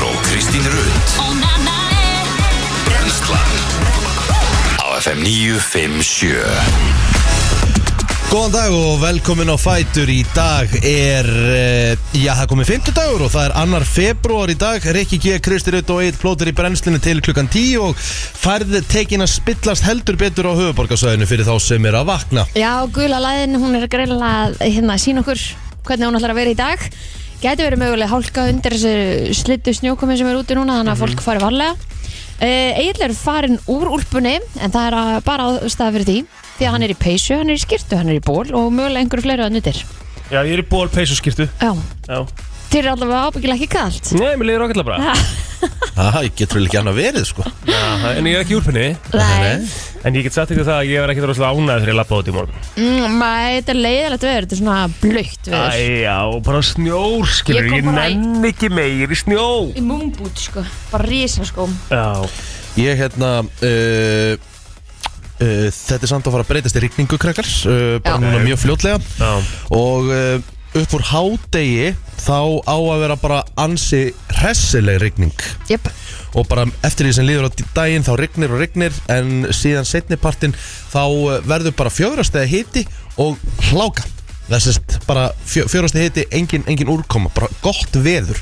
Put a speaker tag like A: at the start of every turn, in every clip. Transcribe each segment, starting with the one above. A: Kristín Rutt Brenslan Á FM 957
B: Góðan dag og velkomin á Fætur Í dag er, eh, já það er komið 50 dagur og það er annar februar í dag Rikki G. Kristi Rutt og Eitt plótur í brennslinu til klukkan 10 og færð tekin að spillast heldur betur á höfuborgarsvæðinu fyrir þá sem er að vakna
C: Já, gula læðin, hún er greinlega að, hérna, sína okkur hvernig hún ætlar að vera í dag Gæti verið mögulega hálka undir þessu slittu snjókomi sem er úti núna
D: Mhm.
C: þannig að fólk fari varlega uh, Egil er farin úr úlpunni en það er að- bara ástæða fyrir því því að hann er í peysu, hann er í skyrtu, hann er í ból og mögulega einhverju fleiri að nutir
D: Já, ég er í ból peysuskirtu
C: Já,
D: Já
C: þér er allavega ábyggilega ekki kalt
D: Nei, mér leiðir ákveðlega bara
B: Það getur vel ekki annað verið sko
D: Já, En ég er ekki í úlpunni
C: Nei,
D: En ég get sagt ykkur það að ég er ekki droslega ánægð þegar ég lappa út í morgun
C: mm, mæ, þetta er leiðilegt veður, þetta er svona blöytt veður
D: Æja, og bara snjór, skilur
C: Ég kom
D: Ég,
C: bara í-
D: nenn ekki meir í snjó
C: Í múmbút sko, bara rísa sko
D: Já
B: Ég hérna uh, uh, Þetta er samt að fara að breytast í rigningu krakkar uh, Bara
C: Já.
B: núna mjög fljótlega
D: Já
B: Og uh, upp úr hádegi Þá á að vera bara ansi Hressileg rigning
C: Jöp,
B: Og bara eftir því sem líður á d- daginn Þá rignir og rignir En síðan setnipartin Þá uh, verður bara fjórastega hiti Og hláka Það sést bara fjórasti hiti, engin, engin úrkoma, bara gott veður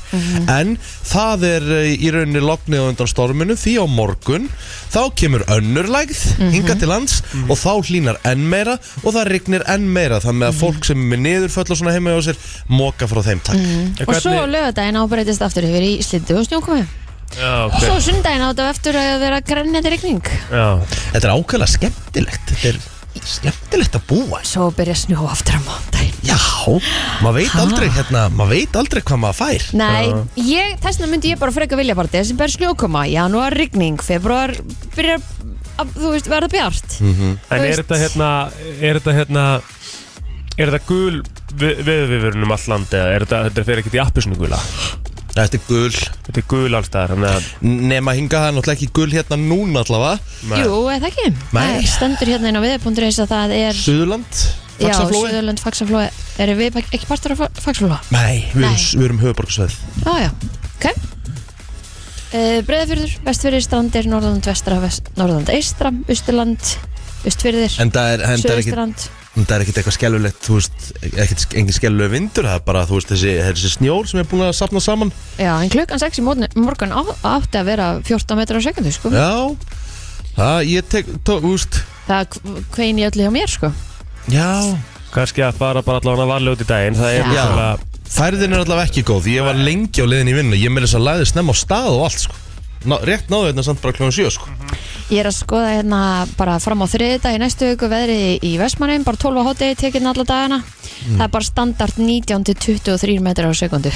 B: En það er eh, í rauninni lognið á undan storminu Því á morgun, þá kemur önnur lægð hingað til lands Og þá hlínar enn meira og það rignir enn meira Þannig að fólk sem er með niðurföll og svona heima hjá sér Moka frá þeim takk
D: En
C: og svo
D: hvernig-
C: lögadaginn ábreytist aftur yfir í slittu og snjókomi
D: Já, ok
C: Svo sundaginn áttu eftir að vera grænandi rigning
D: Já
B: Þetta er ákveðlega skemmtilegt Þetta er skemmtilegt að búa
C: Svo byrja snjó aftur á mándaginn
B: Já, maður veit aldrei hérna, maður veit aldrei hvað maður fær
C: Nei, ég, þess vegna myndi ég bara freka vilja bara þessi ber snjókoma, janúar rigning februar byrjar að, þú veist, verða bjart
B: Hmm.
D: En
C: Þú
D: er
C: veist-
D: þetta hérna Er þetta hérna Er þetta gul veðurviðurinn um all land eða er þetta, þetta fer ekkert í appisnu gula
B: Þetta er gul,
D: Þetta er gul allstaðar þannig að-
B: nema hinga það er náttúrulega ekki gul hérna núna allavega
D: Nei.
C: Jú, eða ekki?
B: Nei.
C: Það stendur hérna inn á viðbúndurins að það er
B: Suðurland,
C: Já,
B: Faxaflói
C: Suðurland, Faxaflói Erum við bak- ekki partur af Fa- Faxaflóa?
B: Nei, við erum,
C: Nei.
B: við erum höfuborgsveð
C: Já, já, ok uh, Breiðafjörður, Vestfjörður, Strandir Norðland, Vestra, vest, Norðland, Eistra Usturland, Vestfjörður
B: En það er, en það er ekkit,
C: Suðurland
B: en það er ekkit eitthvað skelvilegt Þú veist, ekkit, engin skelvileg vindur Það er bara, þú veist, þessi, þessi snjór sem er búin að sapna saman
C: Já, en klukkan 6 í morgun, morgun á, átti að vera 14 metrar á sekundu, sko.
B: Já, það, ég tek, tó, þú veist
C: Það kv- kvein í öllu hjá mér, sko.
B: Já,
D: kannski að fara bara allavega varlega út í daginn það er
C: Já.
D: náttúrulega
B: Færðin er allavega ekki góð, ég var lengi á leiðin í vinnu Ég með þess að læði snemma á stað og allt sko. Ná, Rétt náðu hérna samt bara kljóðan sjö sko.
C: Ég er að skoða hérna bara fram á þriðdag í næstu viku veðrið í Vestmannheim, bara 12 á hotegi tekinn alla dagana.
B: Mm.
C: Það er bara standard 19 til 23 metrar á sekundu.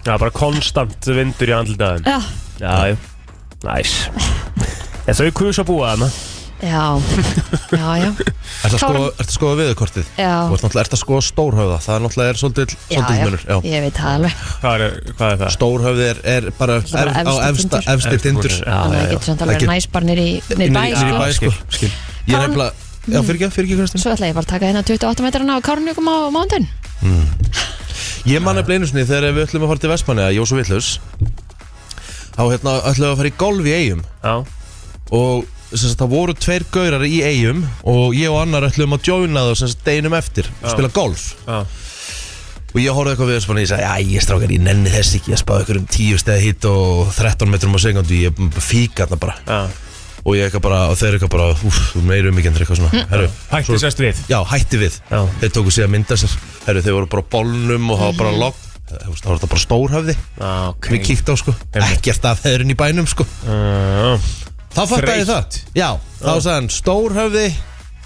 D: Já, bara konstant vindur í andlitaðum
C: Já.
D: Já, já, næs En þau kusa að búa þarna
C: Já, já, já.
B: Ertu að skoða, ertu að skoða viðurkortið?
C: Já,
B: Þú ert náttúrulega ertu að skoða stórhöfða Það er náttúrulega er svolítið,
C: já,
B: svolítið munur
C: já.
B: já.
C: ég veit það alveg.
D: Hvað er, hvað er það?
B: Stórhöfði er, er bara ef,
C: Það er
B: á
C: bara efsti
B: efsta,
C: tindur.
B: efstir tindur
D: Já,
C: Þannig að
D: já,
C: það
D: já
C: getur samt
B: Það
C: alveg
B: get-
C: næs bara nýri
B: Niður
C: bæ,
B: niður í
C: sko.
B: bæ sko.
D: Skil, skil.
B: Ég er
C: Kárn-
B: nefnilega
C: um-
B: Já, fyrir ekki, fyrir ekki
C: Svo ætla ég bara að taka hérna 28 metrarna á Kárnjökum á mándaginn.
B: Ég man nefnilega einu sinni þegar við ætlum að fara til Vestmanni að Jósu Villus þá hérna ætlum við að fara í golf í eigum
D: Já,
B: og sem sagt, það voru tveir gaurar í eigum og ég og annar ætlum að joina það sem sagt, deginum eftir og
D: Já.
B: spila golf
D: já
B: og ég horfði eitthvað við og ég sagði, æ, ég strákar, ég nenni þess ekki að spá ykkur um 10 stegi hitt og 13 metrum á sekundu, ég er fík þarna bara
D: Já,
B: og ég eitthvað bara, og þeir eitthvað bara úf, þú meiru mikið en eitthvað svona
D: Mm.
B: Herru,
D: hætti
B: svo-
D: sest við
B: já, hætti við,
D: Já.
B: þeir tóku sig að mynda sér Herru, þeir voru bara á bólnum og það var bara logg það var þetta bara stórhöfði
D: Já, ok
B: sem ég kíkti á sko,
D: Mm. Einmitt.
B: ekkert af þeirinn í bænum sko
D: Já,
B: Þá fattar ég það
D: Þreytt.
B: Já, þá sagði hann Stórhöfði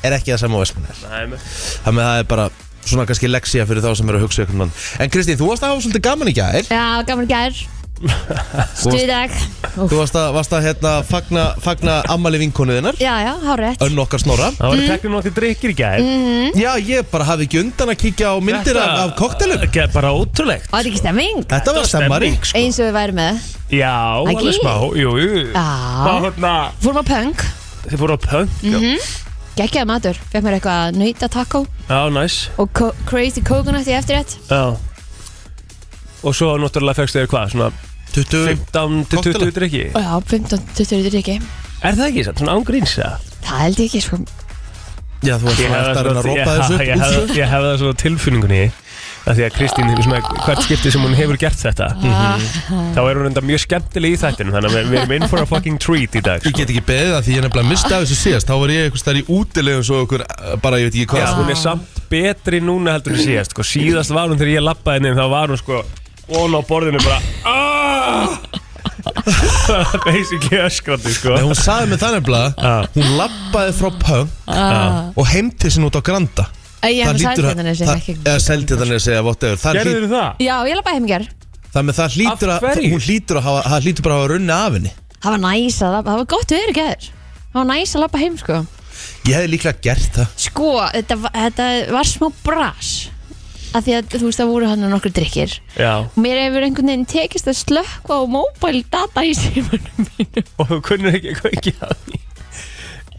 B: er ekki það sama og Vestmannaeyjar
D: Nei, með-
B: Þannig að það er bara svona kannski leksía fyrir þá sem eru að hugsa ykkur mann En Kristín, þú varst að hafa svolítið gaman í gær
C: Já, gaman í gær. Stuð í dag.
B: Þú varst að, varst að hérna, fagna, fagna ammali vinkonu þinnar
C: Já, já, hárétt.
B: Önn okkar snorra
D: Það var teknir nokkuð drikkir í gær
C: Mm.
B: Já, ég bara hafi ekki undan að kíkja á myndir af, af koktelum
D: Þetta er bara ótrúlegt
C: Var þetta ekki stemming?
B: Þetta var stemmari
D: Stemming, sko.
C: Eins og við værum með
D: Já,
C: Ekki?
D: alveg smá Jú, jú
C: Já.
D: Það hérna
C: Fórum á punk,
D: Þið fóru á punk já.
C: geggjaði matur Fekk mér eitthvað nöyta taco
D: Já, næs
C: Og co crazy coconut í eftirrétt
B: Mm.
D: Já Og svo náttúrulega fegst þið hvað Svona
B: 20
D: 15 til
B: Koktela.
D: 20 drikki
C: Já, 15-20 drikki
D: Er það ekki samt, svona ángríns eða?
C: Það held ég ekki sko
B: Já, þú ert svona eftir að reyna að rópa þessu
D: ég,
B: upp
D: hef, ég hef það svo á tilfinningunni að því að Kristín, svona, hvert skipti sem hún hefur gert þetta Mhm. þá er hún enda mjög skemmtileg í þættinu þannig að við- við erum in for a fucking treat í dag sko.
B: Ég get ekki beðið það því ég nefnilega misti af þessu síðast Þá var ég einhvers þar í útilegum svo okkur eh, Bara ég veit ekki
D: Já,
B: hvað
D: hún er samt betri núna heldur en síðast sko. síðast var hún þegar ég lappaði henni þá var hún sko ón á borðinu bara "Ah!" basically öskrandi sko
B: Nei, hún sagði mig það nefnilega
D: Ah.
B: Hún labbaði frá pöng
C: Ah.
B: og heim til sinni út á Granda
C: Æ, Ég hef
B: hlýtur að-
C: sælfjöndanir
B: það- Eða seldi þannig að segja, whatever Það, hlýt,
D: Gerður það?
C: Já, ég lappa heim í ger
B: það, með, það hlýtur að,
D: Af hverju?
B: hún hlýtur að hafa, það hlýtur bara að hafa runni af henni
C: Það var næs að lappa, það var gott veður í ger Það var næs að lappa heim sko
B: Ég hefði líklega gert það
C: Sko, þetta, var- þetta var smá bras Af því að þú veist það voru hann nokkur drikkir
D: Já,
C: Og mér hefur einhvern veginn tekist að slökka á mobile data í símanum mínum
D: og hún kunnur ekki hvað ekki að því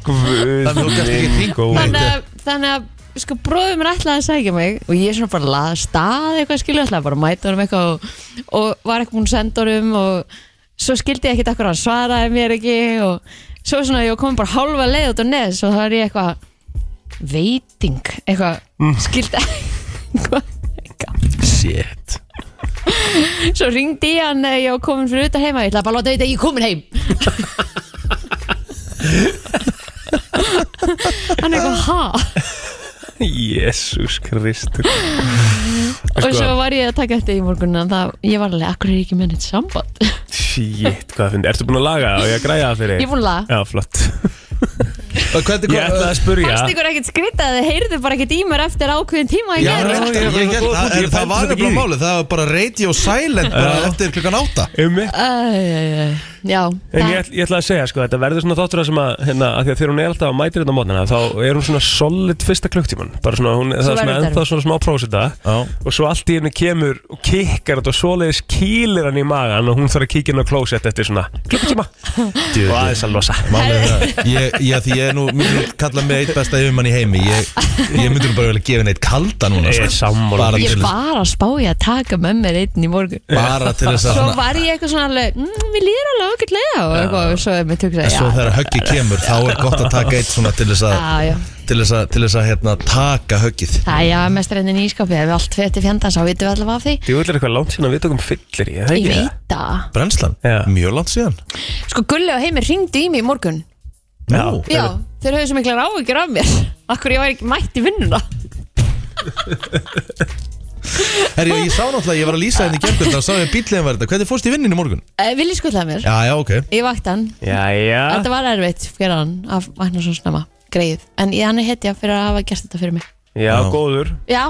D: Guð
B: Þannig að þú gæst ekki
D: minn
B: hringt
D: góður.
B: neitt.
C: þannig að, þannig að sko bróðum er alltaf að sækja mig og ég er svona bara að stað eitthvað skilur alltaf bara að mæta honum eitthvað og, og var eitthvað búin að senda honum og svo skildi ég ekkert akkur hann svaraði mér ekki og svo svona ég kom bara hálfa leið út á nes og þá er ég eitthvað veiting eitthvað mm. skildi eitthvað
B: Shit
C: svo ringdi ég hann þegar ég var komin fyrir utan heima ég ætlaði bara að láta vita að ég er komin heim hann er eitthvað ha
D: Jésús Kristur
C: Og
D: Sko-
C: svo var ég að taka eftir í morgun en það, ég var alveg, akkur er ég ekki með neitt samband
D: Shit, hvað það finnir Ertu búin að laga það og ég að græja það fyrir
C: Ég er búin að laga.
D: Já, flott
B: Og Hvernig
D: Ég ætlaði að spurja
C: Fannst ykkur ekkert skrýta að þið heyrðu bara ekkert í mér eftir ákveðin tíma í
B: Já,
C: gerð
B: ég,
D: ég-
B: ég,
D: ég-
B: ég, það,
D: ég-
B: það var
D: ég-
B: nefnilega málið Það var bara radio silent bara
D: Já.
B: eftir klukkan átta
D: Um mig
C: Æ, Já,
D: En
C: það-
D: ég, ætl- ég ætla að segja, sko, þetta verður svona þáttur að sem að, hérna, að því að þegar hún er alltaf að mætir þetta á mótnana, þá er hún svona solid fyrsta klukktíman, bara svona, hún, það
C: Svo
D: er svona
C: verður
D: ennþá svona smá prósita og svo allt í henni kemur og kikkar þetta og svoleiðis kýlir hann í magan og hún þarf að kíkja inn á klósett eftir svona klukktíma
B: Djöfull.
D: og aðeins að losa.
B: Málið er það Ég, ég, því ég er nú, mér er kallað mig eitt besta yfirmann í heimi Ég, ég myndi nú bara vel að gefa henni eitt kalda núna sko.
D: Ég er sammála.
B: bara,
C: ég
B: til,
C: var að spá ég að taka með mér einn í morgun
B: bara til þess að
C: Svo
B: svona-
C: var ég eitthvað svona alveg, mm, mér líður alveg okkur lega og eitthvað, og svo er mér tökur
B: En
C: að
B: svo
C: já,
B: þegar höggið kemur þá er gott að taka eitt svona til þess að
C: já, já
B: til þess að, til þess að hérna, taka höggið
C: Það er já, mestar enn í nýskapi, ef við allt fyrir til fjandans þá vitum við allavega af því
D: Þú ætlar eitthvað langt síðan að við tökum fyllir í,
C: Ég
D: það ekki?
C: veit það
B: Brennslan,
D: Já.
B: mjög langt síðan
C: Sko, Gulli og Heimir ringdu í mig í morgun
B: Nú,
C: Já, þeir höfðu svo miklar áhyggjur af mér Akkur ég var ekki mætt í vinnuna
B: herri, ég sá náttúrulega, ég var að lýsa henni gerðbjörn þá sá ég að bíllinn var þetta, hvernig fórst í vinninu í morgun?
C: uh, Vili skutlaði mér,
B: Já, já, ok
C: ég vakti hann
D: Jæja.
C: Þetta var erfitt fyrir hann að vakna svo snemma Greið, en ég hann er hetja fyrir að hafa gert þetta fyrir mig
D: Já, góður.
C: Já,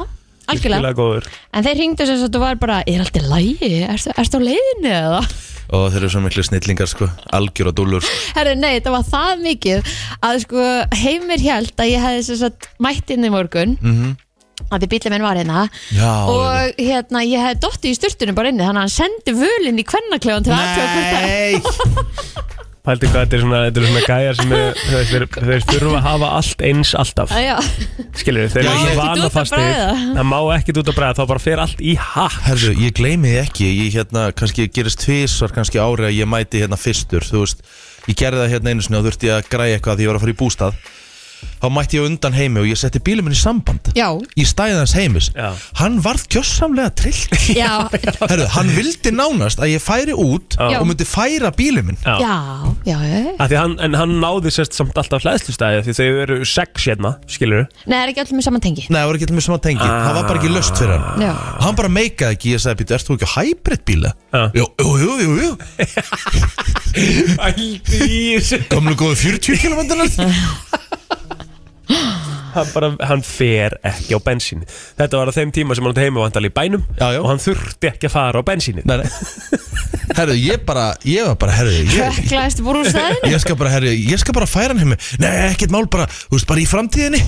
C: algjörlega
D: Virkilega góður.
C: En þeir ringdu sem þetta var bara, er allt í lægi? Ertu, ertu á leiðinu eða?
B: Og þeir eru svo miklu snillingar sko, algjör og dúllur
C: Herru, nei, þetta var það mikið að sko Heimir held að ég hefði sem sagt mætt inn í morgun mm -hmm. að því bíllinn minn var hérna
B: Já,
C: og hérna, ég hefði dottið í sturtunum bara inni þannig að hann sendi völinn í kvennaklefann til aðtöða hvort það
B: Nei
D: Pældi hvað þetta er svona, þetta er svona gæjar sem er, þeir, þeir þurfa að hafa allt eins alltaf.
C: Æ, já.
D: Skilur þeir
B: Já, ég-
D: eru svo
B: Ekkert
C: út að
D: vanafastir
C: bræða.
D: Það má ekkert út að bræða, þá bara fer allt í hakk
B: Herru, ég gleymi þið ekki, ég hérna, kannski gerist tvisvar, kannski ári að ég mæti hérna fyrstur, þú veist, ég gerði það hérna einu sinni og þurfti að græja eitthvað því ég var að fara í bústað, þá mætti ég á undan heimi og ég setti bílum minn í samband,
C: já,
B: í stæðið hans heimis,
D: Já.
B: hann varð kjössamlega trillt,
C: já,
B: herru, hann vildi nánast að ég færi út
D: Já.
B: og myndi færa bílum minn,
C: já, já, já.
D: Af því hann, En hann náði sérst samt alltaf hlæðslustæði Því þau eru sex hérna, skilur
C: Nei, það er ekki allir með saman tengi
B: nei, það var ekki allir með saman tengi, það var bara ekki löst fyrir hann.
C: Já.
B: Hann bara meikaði ekki, ég sagði, býttu, ert þú ekki á hybrid bíla?
D: Já.
B: Jú, jú, jú, jú, jú,
D: Ældi í þessu
B: gamlu góðu 40 km
D: hann, bara, hann fer ekki á bensín Þetta var á þeim tíma sem hann átti heima vandal í bænum
B: Já, já.
D: Og hann þurfti ekki að fara á bensínu
B: Nei, nei Herðu, ég bara, ég var bara, herðu ég,
C: Höklaðist búr úr staðinu
B: ég skal bara, herðu, ég skal bara færa hann heim Nei, ekkert mál, bara, þú veist, bara í framtíðinni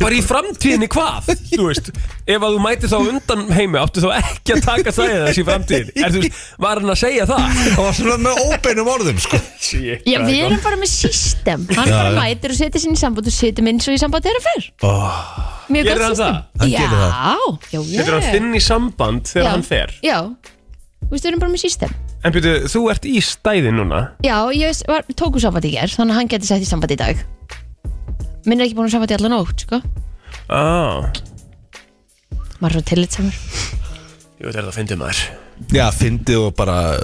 D: Bara í framtíðinni hvað? Þú veist, ef að þú mæti þá undan heimi Áttu þá ekki að taka það eða þessi framtíðin Er þú veist, var hann að segja það?
B: Það var svona með óbeinum orðum, sko
D: Shit,
C: Já,
D: hvað
C: við
D: er
C: erum bara með system Hann
B: Já,
C: bara
B: já.
C: mætir og setur sinni í samband og setur minn svo í samband þeirra fyrr
B: oh,
C: Mjög
D: Gerir hann
C: gott system
D: það?
B: Hann
C: Já,
B: gerir það.
C: já, já
D: Þetta er hann þinn í samband þegar hann fer
C: Já, þú veist, við erum bara með system
D: En byrju, þú ert í stæði núna
C: Já, ég s- var, tóku sambandi í gerð Þannig að hann geti sett í sambandi í dag Minn er ekki búin að sambandi allan ótt, sko
D: ah.
C: Maður er svo tillitsamur
D: Ég veit að það fyndi maður
B: Já, fyndið og bara uh,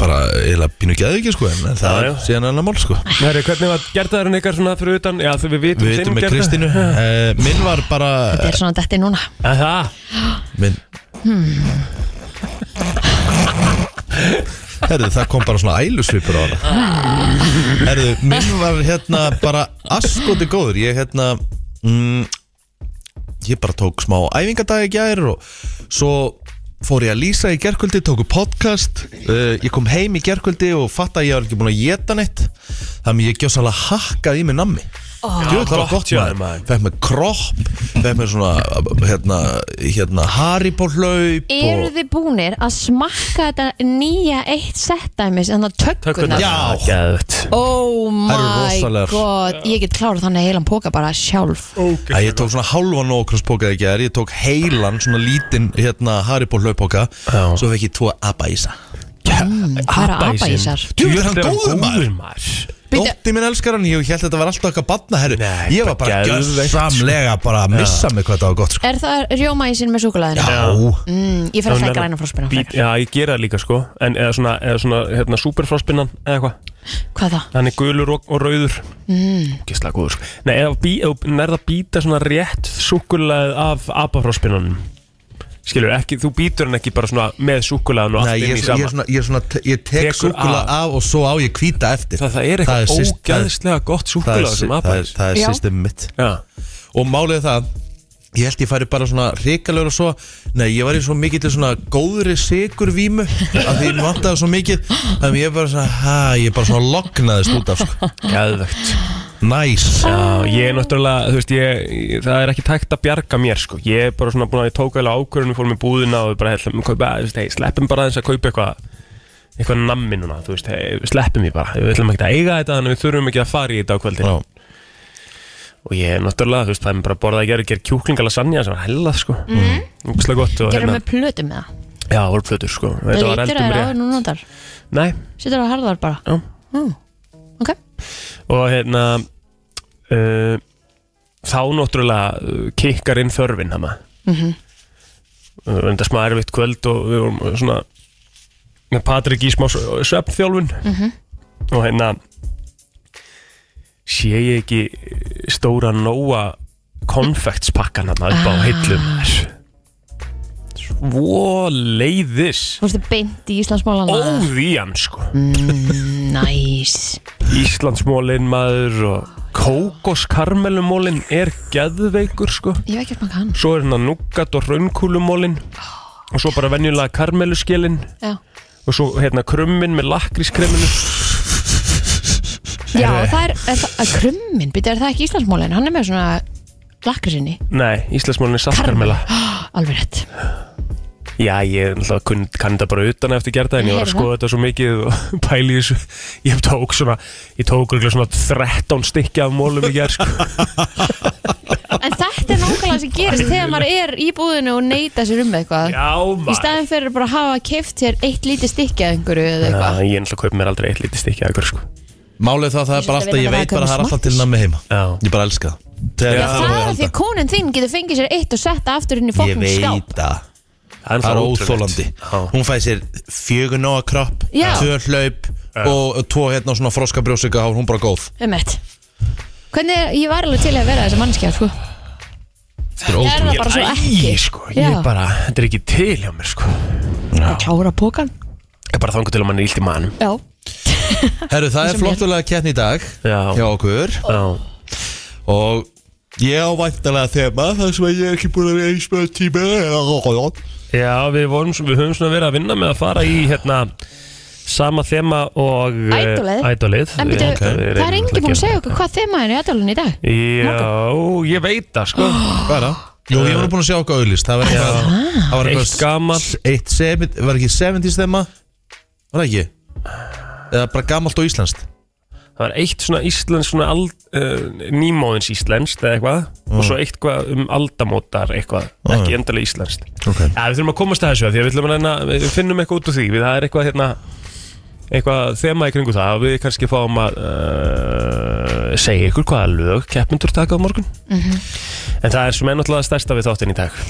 B: bara, eiginlega pínu geðu ekki sko en en það
D: Já,
B: er
D: já.
B: síðan annar mál sko
D: Næri, hvernig var gerðaðurinn ykkar svona fyrir utan Já, þegar við vitum
B: Við
D: sinn
B: veitum með
D: gerða.
B: Kristínu uh, Minn var bara
C: Þetta er svona detti núna
D: Að Það,
B: minn
D: Hmm.
B: Herðu, það kom bara svona ælusvipur á hana Herðu, minn var hérna bara askoti góður Ég hérna mm, Ég bara tók smá æfingadagi gær og svo fór ég að lýsa í gerkvöldi, tóku podcast uh, Ég kom heim í gerkvöldi og fatt að ég var ekki búin að geta neitt Þannig ég gjóðs alveg hakkaði í mig nammi Jú, það var
D: gott
B: gott
D: hjá þér, maður.
B: maður Fekk mér kropp, fekk mér svona hérna, hérna haribólhlaup
C: Eru þið búnir að smakka þetta nýja eitt settæmis En það tökkunar
D: tökurnar
B: Já.
D: Gæðut
C: Oh
B: Þær eru
C: my
B: rosalegar.
C: god Ég get klárað þannig heilan póka bara sjálf
B: Æ, ég tók svona halvan ókrosspoka í gerð Ég tók heilan svona lítinn hérna, haribólhlaupoka
D: Já.
B: Svo fekk ég tvo abæsa
C: mm, Hvað er að apa í sér?
B: Jú, er hann góður maður
D: maður
C: Bíddu.
B: Dótti minn elskar hann, ég held að þetta var alltaf eitthvað badna herru
D: Nei,
B: Ég var bara
D: bara geðveikt, sko.
B: gjössamlega bara að missa mig hvað það var gott sko.
C: Er það rjómaísin með súkulæðinu?
B: Já,
C: Mm, ég fer að hlækja ræna frá spyrna
D: Bít- Já, ég gera það líka sko En eða svona, eða svona hérna, superfráspinnan eða eitthvað
C: Hvað það?
D: hann er gulur og, og rauður mm. gísla góður sko. Nei, ef bí, ef nærða að býta svona rétt súkulegð af apafróspinnunum skilur, ekki, þú býtur hann ekki bara svona með súkulegðan og
B: Nei,
D: allt
B: ég,
D: inn
B: ég, ég,
D: í saman
B: svona, ég, svona, ég tek
D: Tekur
B: súkula
D: af.
B: af og svo á ég hvíta eftir
D: það, það er
B: Það
D: eitthvað
B: er syst- það er-
D: ógæðslega gott
B: Það er,
D: súkulegð sem
B: það er,
D: apafrós
B: það er
C: Já.
B: system mitt
D: já,
B: og málið er það ég held ég færi bara svona hrikalegur og svo nei, ég var í svo mikill svona góðri sigurvímu af því ég vantaði svo mikill þannig ég bara svona, hæ, ég bara svona lognaðist út af sko,
D: gæðvögt
B: næs
D: Já, ég er náttúrulega, þú veist, ég, ég- það er ekki tækt að bjarga mér, sko. Ég er bara svona búin að ég tók eiginlega ákvörðunum, fórum í búðina og bara, hellum, kaupa, þú veist, hey, sleppum bara þess að kaupa eitthvað, eitthvað nammi núna, þú veist, hey, sleppum því bara. Við ætlum ekki að eiga þetta, þannig við þurfum ekki að fara í þetta á kvöldin.
B: Já.
D: Og ég er náttúrulega, þú veist, það er bara að borða að gera, gera kjúklingalega sannja sem var hella, sko. Mm. gott og
C: Mhm. Gerum
D: hérna,
C: við plötum með það?
D: já, voru plötur, sko. Þetta var
C: Lítur að
D: eldum
C: það
D: rétt.
C: áður nú notar
D: Nei,
C: Sittur á harðar bara
D: Já.
C: Mm. Ok
D: og hérna, uh, þá náttúrulega uh, kikkar inn þörfin, hama.
C: Mhm.
D: Það var enda smá erfitt kvöld og við vorum svona með Patrik í smá svefnþjálfun og hérna sé ég ekki uh, stóra nóa konfektspakkan hann upp á hillum svo leiðis
C: Þú veist þið beint í Íslandsmálana
D: óvíjan sko
C: Næs
D: Íslandsmólin maður og kókoskarmelumólin er geðveikur sko
C: Ég hef ekki að smaka hann
D: svo er hérna núgat og raunkúlumólin og svo bara venjulega karmeluskilin
C: Já,
D: og svo hérna krummin með lakrískreminu
C: Já það er, er það, að krummin Býta, er það ekki Íslandsmálin? Hann er með svona lakrisinni
D: nei, íslensmálun er saltkarmela
C: Alveg rétt
D: já, ég er náttúrulega kunn, kann þetta bara utan eftir gerða en ég var að
C: Heyrðu
D: skoða þetta svo mikið og pæli í þessu ég tók svona, ég tók örugglega svona 13 stykki af mólum í gerð sko.
C: En þetta er nákvæmlega sem gerist þegar maður er í búðinu og neyta sér um eitthvað
D: já,
C: Í
D: maður
C: staðin fyrir bara að hafa keft sér eitt lítið stykki að einhverju eða
D: Já,
C: eitthvað
D: ég er náttúrulega kaup mér aldrei eitt lítið stykki af ykkur sko.
B: málið er það, það
C: Ég
B: er bara alltaf,
C: svolítið að
B: ég
C: vita
B: veit
C: hvað
B: bara
C: er
B: það er alltaf
C: smart.
B: til nammi heima
D: Já.
B: ég bara elska það Þegar
D: Já,
B: ég þarf að
C: Það er því
B: halda.
C: að konan þinn getur fengið sér eitt og sett aftur inn í
B: ég
C: fokkum skáp
B: veit það
D: það
B: það er
D: náttúrulega
B: óþólandi
D: ótrúlegt. Já.
B: hún fæði sér fjögur nóa kropp
C: Já.
B: tvö hlaup og tvo hérna svona froska brjósika hún bara góð
C: um eitt Hvernig, ég var alveg til að vera þessi mannskja sko.
B: Þetta er
C: Ég er
B: ótrúlegt.
C: það bara svo
D: Æ,
C: ekki
D: sko, ég
C: Já.
D: bara, þetta er ekki til hjá mér sko.
C: Að klára pókan
D: ég er bara þangu til að mann er illt í manum
C: Já,
B: Herru, það er
C: Eins og mér.
B: flottulega keppni í dag
D: Já.
B: hjá okkur
D: Já.
B: og ég á væntalega þema þar sem ég er ekki búin að vera í smöð tíma
D: Já, við, vorum, svo- við höfum svona verið að vinna með að fara í hérna sama þema og eh,
C: Idolið.
D: Idolið
C: en byrju, það er enginn búin að segja okkur hvað þema er í aðdálun í dag
D: Já, ég veit það sko
B: Bara Jú, ég var búin að sjá okkur auðlist Það var eitthvað Það var
D: Eitt gamalt
B: s- Eitt seven, Var ekki 70s þema? Var það ekki? Eða bara gamalt og íslenskt
D: Það var eitt svona íslensk svona ald, uh, nýmóðins íslenskt eða eitthvað og svo eitthvað um aldamótar eitthvað, ekki endalega íslenskt
B: Ok
D: Já, við þurfum að komast að þessu af því að við ætlum að reyna, við finnum eitthvað út úr því við það er eitthvað hérna eitthvað þema í kringu það og við kannski fáum að uh, segja ykkur hvaða lög keppmyndur taka á morgun en það er sem er náttúrulega stærsta við þáttinn í dag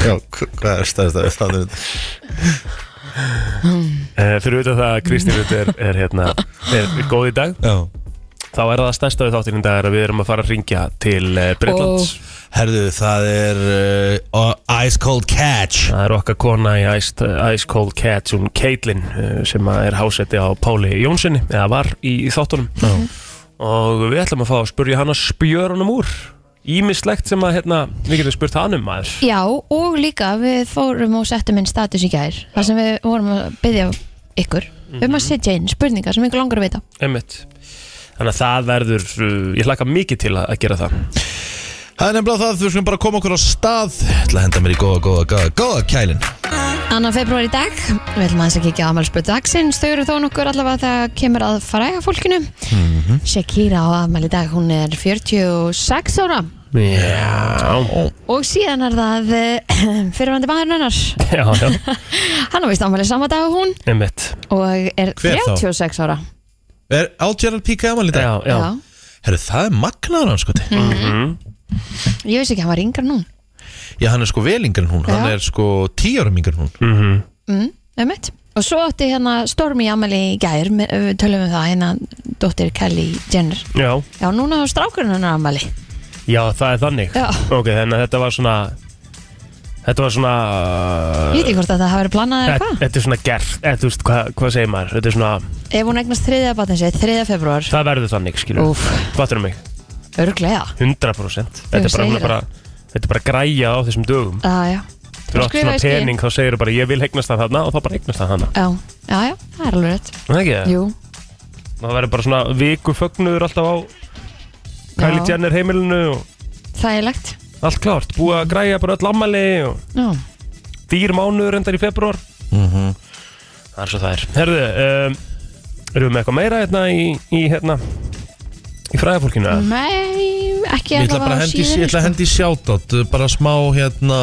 B: Já, hv- hvað er stærsta við það?
D: uh, fyrir auðvitað það að Kristín Rutt er, er, hérna, er góð í dag
B: Já.
D: þá er það stærsta við þáttinn í dag er að við erum að fara að ringja til uh, Breitlands
B: Herðu, það er uh, Ice Cold Catch
D: Það er okkar kona í Ice, Ice Cold Cats hún Caitlin eh, sem að er hásetti á Páli Jónssoni eða var í, í þáttunum
B: Já.
D: og við ætlum að fá að spurja hann að spjör honum úr Ímislegt sem að hérna, við getum spurt hann um maður
C: Já, og líka við fórum og settum inn status í gær þar sem við vorum að byggja ykkur um
D: Mhm.
C: að setja inn spurningar sem ykkur langar að vita
D: Einmitt. Þannig að það verður, uh, ég hlakka mikið til að, að gera það
B: Það er nefnilega það, við skulum bara koma okkur á stað Til að henda mér í góða, góða, góða, góða kælin
C: Annan februar í dag, við ætlum aðeins að kíkja á afmælspöld dagsins, þau eru þó nokkur allavega þegar kemur að fræga fólkinu Shakira á afmæli í dag, hún er 46 ára
D: Já,
C: og síðan er það eh, fyrirvandi maðurinn hennar
D: já, já,
C: hann á vist afmæli sama dag og hún
D: einmitt
C: og er
B: Hver þá?
C: 36 ára
B: Er Algeral Pika Amal í dag?
D: Já, já, Mhm. já.
B: Herðu, það er magnaður hann sko
C: ég veist ekki, hann var yngra nú
B: Já, hann er sko vel yngri en hún, hann
C: Já.
B: er sko tíu árum yngri en hún
C: mm, einmitt. og svo átti hérna Stormi afmæli í gær, með- við tölum um það hérna dóttir Kelly Jenner
D: já,
C: já, núna á strákurinn hennar afmæli
D: það er þannig
C: Já.
D: Ok, þannig að þetta var svona Þetta var svona
C: ég veit ekki hvort að það hafi verið planað eða
D: Þetta
C: hvað
D: þetta er svona gerð, eða þú veist hvað, hvað segir maður Þetta er svona,
C: ef hún egnast þriðja batn sér, þriðja februar
D: það verður þannig skilur
C: úf,
D: Fattur um mig,
C: örglega
D: 100% Þetta er bara, hún
C: segir
D: er bara, þetta er bara græja á þessum dögum
C: aðja,
D: Þú átt svona
C: skrifaðist í-
D: pening, þá segir þú bara ég vil hegnast það þarna og þá bara hegnast það þarna
C: já, já, já, það er alveg rétt
D: Það ekki það?
C: jú,
D: Það verður bara svona viku fögnuður alltaf á Kylie
C: já,
D: Jenner heimilinu og
C: þægilegt
D: allt klárt Búið að græja bara öll ammali og
C: já,
D: dýr mánuður endar í februar Það er svo það er Herðu, um, erum við með eitthvað meira hérna í, í hérna í fræðafólkinu?
C: Mhm.
D: Mm.
C: nei, ekki
B: Ég ætla bara að hendi, ég ætla að hendi sjátátt Bara smá hérna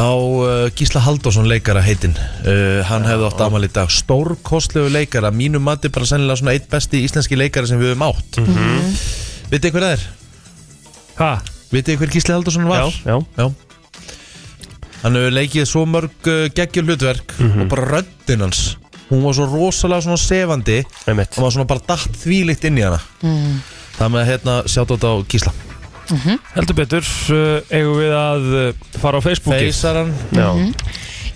B: Á uh, Gísla Halldórsson leikara heitinn uh, Hann hefði átt amal í dag Stórkostlegu leikara, mínu mati bara sennilega svona eitt besti íslenski leikara sem við höfum átt mm -hmm. Vitið hver það er?
D: Hvað?
B: Vitið hver Gísli Halldórsson var?
D: Já, já
B: Já Hann hefur leikið svo mörg uh, geggjur hlutverk og bara röddinn hans hún var svo rosalega svona sefandi
D: Einmitt.
B: hann var svona bara datt þvílitt inn í hana Það með að hérna sjátt á Gísla
D: Heldur betur, uh, eigum við að uh, fara á Facebooki
B: Feysar hann
D: Já,
B: Mhm.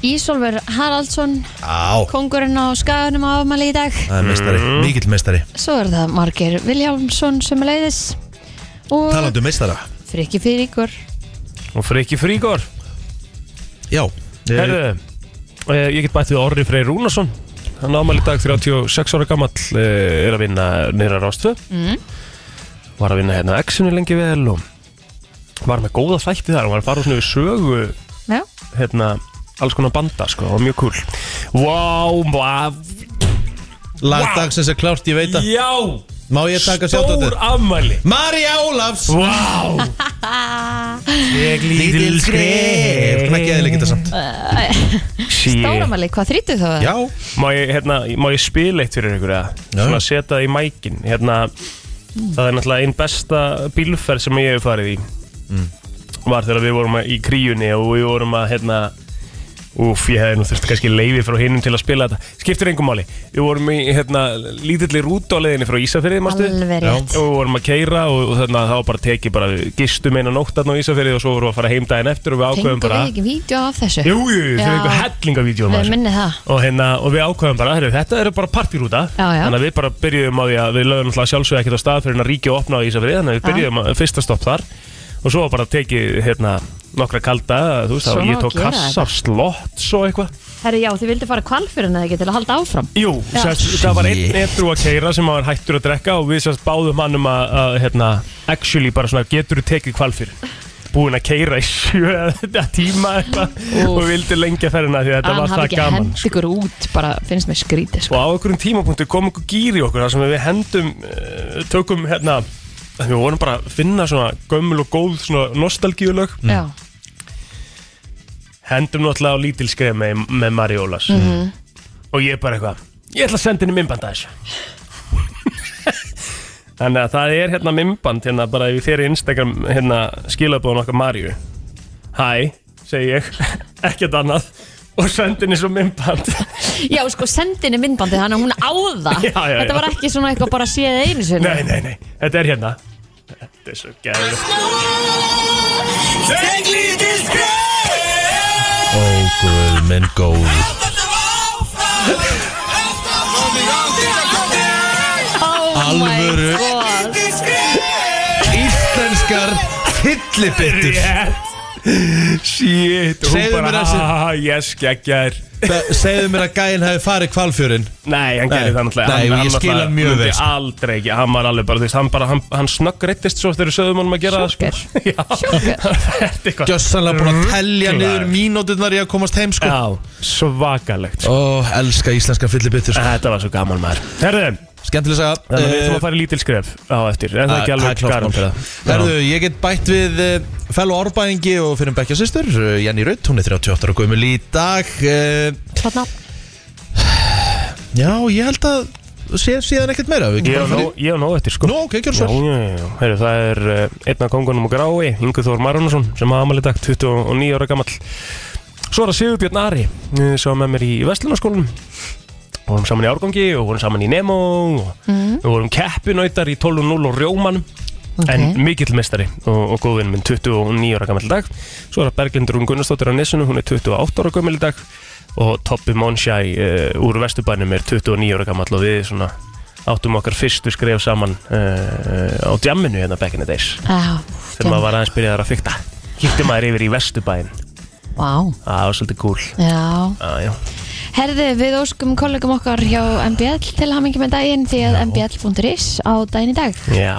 C: Ísolfur Haraldsson,
B: Á,
C: kongurinn á skaganum á afmæli í dag
B: það er meistari,
D: Mm.
B: mikill meistari
C: Svo er það Margeir Viljámsson sem er leiðis og
B: Talandu um meistara
C: Friki Fyríkur
D: og Friki Frígor
B: Já
D: Herðu, uh, ég get bætt við Orri Frey Rúnarsson Hann ámæli dag 36 ára gamall uh, er að vinna nýra rástu
C: Mm.
D: Var að vinna hérna á X-inu lengi vel og var með góða þætti þar og var að fara svona við sögu
C: Já,
D: hérna, alls konar banda sko, það var mjög cool Vá, wow, Vá.
B: Lagdagsins er klárt, ég veit að
D: já
B: Má ég taka sjátt á
D: Stór afmæli
B: Marja Ólafs
D: Vá Ég lítil skrif
B: Knækki eða leikita samt
C: Stóramæli, hvað þrýtu þú það?
B: Já
D: Má ég, hérna, má ég spila eitt fyrir ykkur eða?
B: Já.
D: Svona setja það í mækin hérna, Það er náttúrulega einn besta bílferð sem ég hef farið í
B: Mm.
D: Var þegar við vorum í kríunni og við vorum að hérna Úf, ég hefði nú þurfti kannski leiði frá hinnum til að spila þetta Skiptir engum máli Við vorum í hérna, lítilli rútu á leiðinni frá Ísafyrði, mástu?
C: Alveg rétt
D: og við vorum að keira og, og þannig að það var bara tekið bara við gistum eina nótt þarna á Ísafyrði og svo vorum við að fara heim daginn eftir og við
C: Fengum við
D: ákveðum bara
C: ekki vídeo af þessu?
D: Jú, jú, jú,
C: Já.
D: þau fengum hellingavídeó
C: Við minni það
D: og, hérna, og við ákveðum bara, heyrðu, þetta eru bara partyrúta
C: Já, já.
D: þannig að við bara byrjuðum á því að við lögum alltaf sjálfsög ekkert á stað fyrir en að ríkja og opna á Ísafrið þannig að við
C: Já.
D: byrjuðum að fyrsta stopp þar og svo var bara tekið hérna, nokkra kalda þú veist, þá
C: Svona
D: ég
C: á
D: tók
C: að gera
D: kassa, slott svo eitthvað
C: Herri, já, þið vildi fara kvalfyrun eða ekki til að halda áfram
D: Jú,
C: Já.
D: sérst, það var einn
B: Shit.
D: edru að keira sem var hættur að drekka og við sérst báðum hann um að, að hérna, actually bara svona getur þú tekið kvalfyrir búin að keira í sjö eða tíma eitthvað
C: Úff.
D: og vildi lengja ferðina því að þetta
C: Hann
D: var
C: hafði
D: það
C: ekki
D: gaman sko.
C: hend ykkur út, bara finnst mér skrítið sko.
D: og á einhverjum tímapunktu kom einhver gýr í okkur þar sem við hendum, uh, tökum hérna, við vorum bara að finna svona gömul og góð svona nostalgíulög
C: Já,
D: hendum náttúrulega á lítilskrið með, með Mari Ólas og ég er bara eitthvað ég ætla að senda henni mymband að þessu þannig að það er hérna mymband hérna bara ef ég fer í Instagram hérna skilabóðan okkar Marju hæ, segi ég ekkert annað og sendi henni svo mymband
C: Já, sko, sendinni myndbandið þannig að hún á það
D: Já, já, já.
C: Þetta var ekki svona eitthvað bara séð einu sinni
D: nei, nei, nei, þetta er hérna þetta er svo gæður
B: Ó, guð, minn góð
C: oh
B: Alvöru.
C: my god.
B: Íslenskar kyllibittur
D: shit, hún
B: Segðu mér
D: bara
B: þessi-
D: "Ah, yes, geggjær
B: Þa- Segðu mér að gæinn hefði farið kvalfjörin
D: Nei, hann
B: Nei.
D: gerði það náttúrulega
B: Nei,
D: Hann-
B: ég
D: hann
B: skil
D: náttúrulega-
B: hann mjög
D: myndi
B: vel, sko.
D: Aldrei ekki, hann var alveg bara, þú veist, hann bara, hann, hann snöggreittist svo þegar sögðum honum að gera það sko.
C: Sjokker. Sjokker.
D: Þetta er eitthvað
B: Gjössanlega búin að telja
D: Rugglaður.
B: niður mínúturnar í að komast heim sko
D: Mm. Já, svakalegt sko.
B: Ó, elska íslenskar fyllibittur sko.
D: Þetta var svo gaman maður Herðu,
B: Skemmtileg saga
D: þannig að við
B: Eh,
D: þurfum að fara í lítil skref á eftir En það er
B: Það
D: ekki
B: er
D: alveg
B: klárt
D: garan
B: mál. Herðu, ég get bætt við uh, fellow árbæðingi og fyrir bekkja sýstur uh, Jenny Rutt, hún er 38 og gömul í dag uh,
C: Þarna,
B: Já, ég held að sé, síðan ekkert meira við
D: Ég
B: getum bara
D: og nóg,
B: farið í-
D: ég á nóg eftir sko
B: Nú, ok, gjörðu svo
D: Já,
B: vel.
D: já, já, já. Heyrðu, það er uh, einn af kongunum og grái, Ingu Þór Marunasson sem hafa amal í dag, 29 ára gamall Svo er það Sigurbjörn Ari eh, sem var með mér í Vestlunarskólanum og vorum saman í árgangi og vorum saman í Nemo og við vorum keppinautar í 12.0 og Rjómanum
C: Ok.
D: en mikill mestari og, og góðvinn minn 29 ára gammal dag svo er það Berglindur um Gunnarsdóttir á Nissinu hún er 28 ára gammal dag og Toppi Monshai uh, úr Vesturbænum er 29 ára gammal og við svona áttum okkar fyrstu skref saman uh, á djamminu hérna back in the days
C: já,
D: þegar maður var aðeins byrjaðar að fykta hittum maður yfir í Vesturbæn
C: Vá,
D: það var svolítið cool
C: já
D: ah, já.
C: Herði, við óskum kollegum okkar hjá MBL til hamingi með daginn því að mbl.is á daginn í dag
D: já,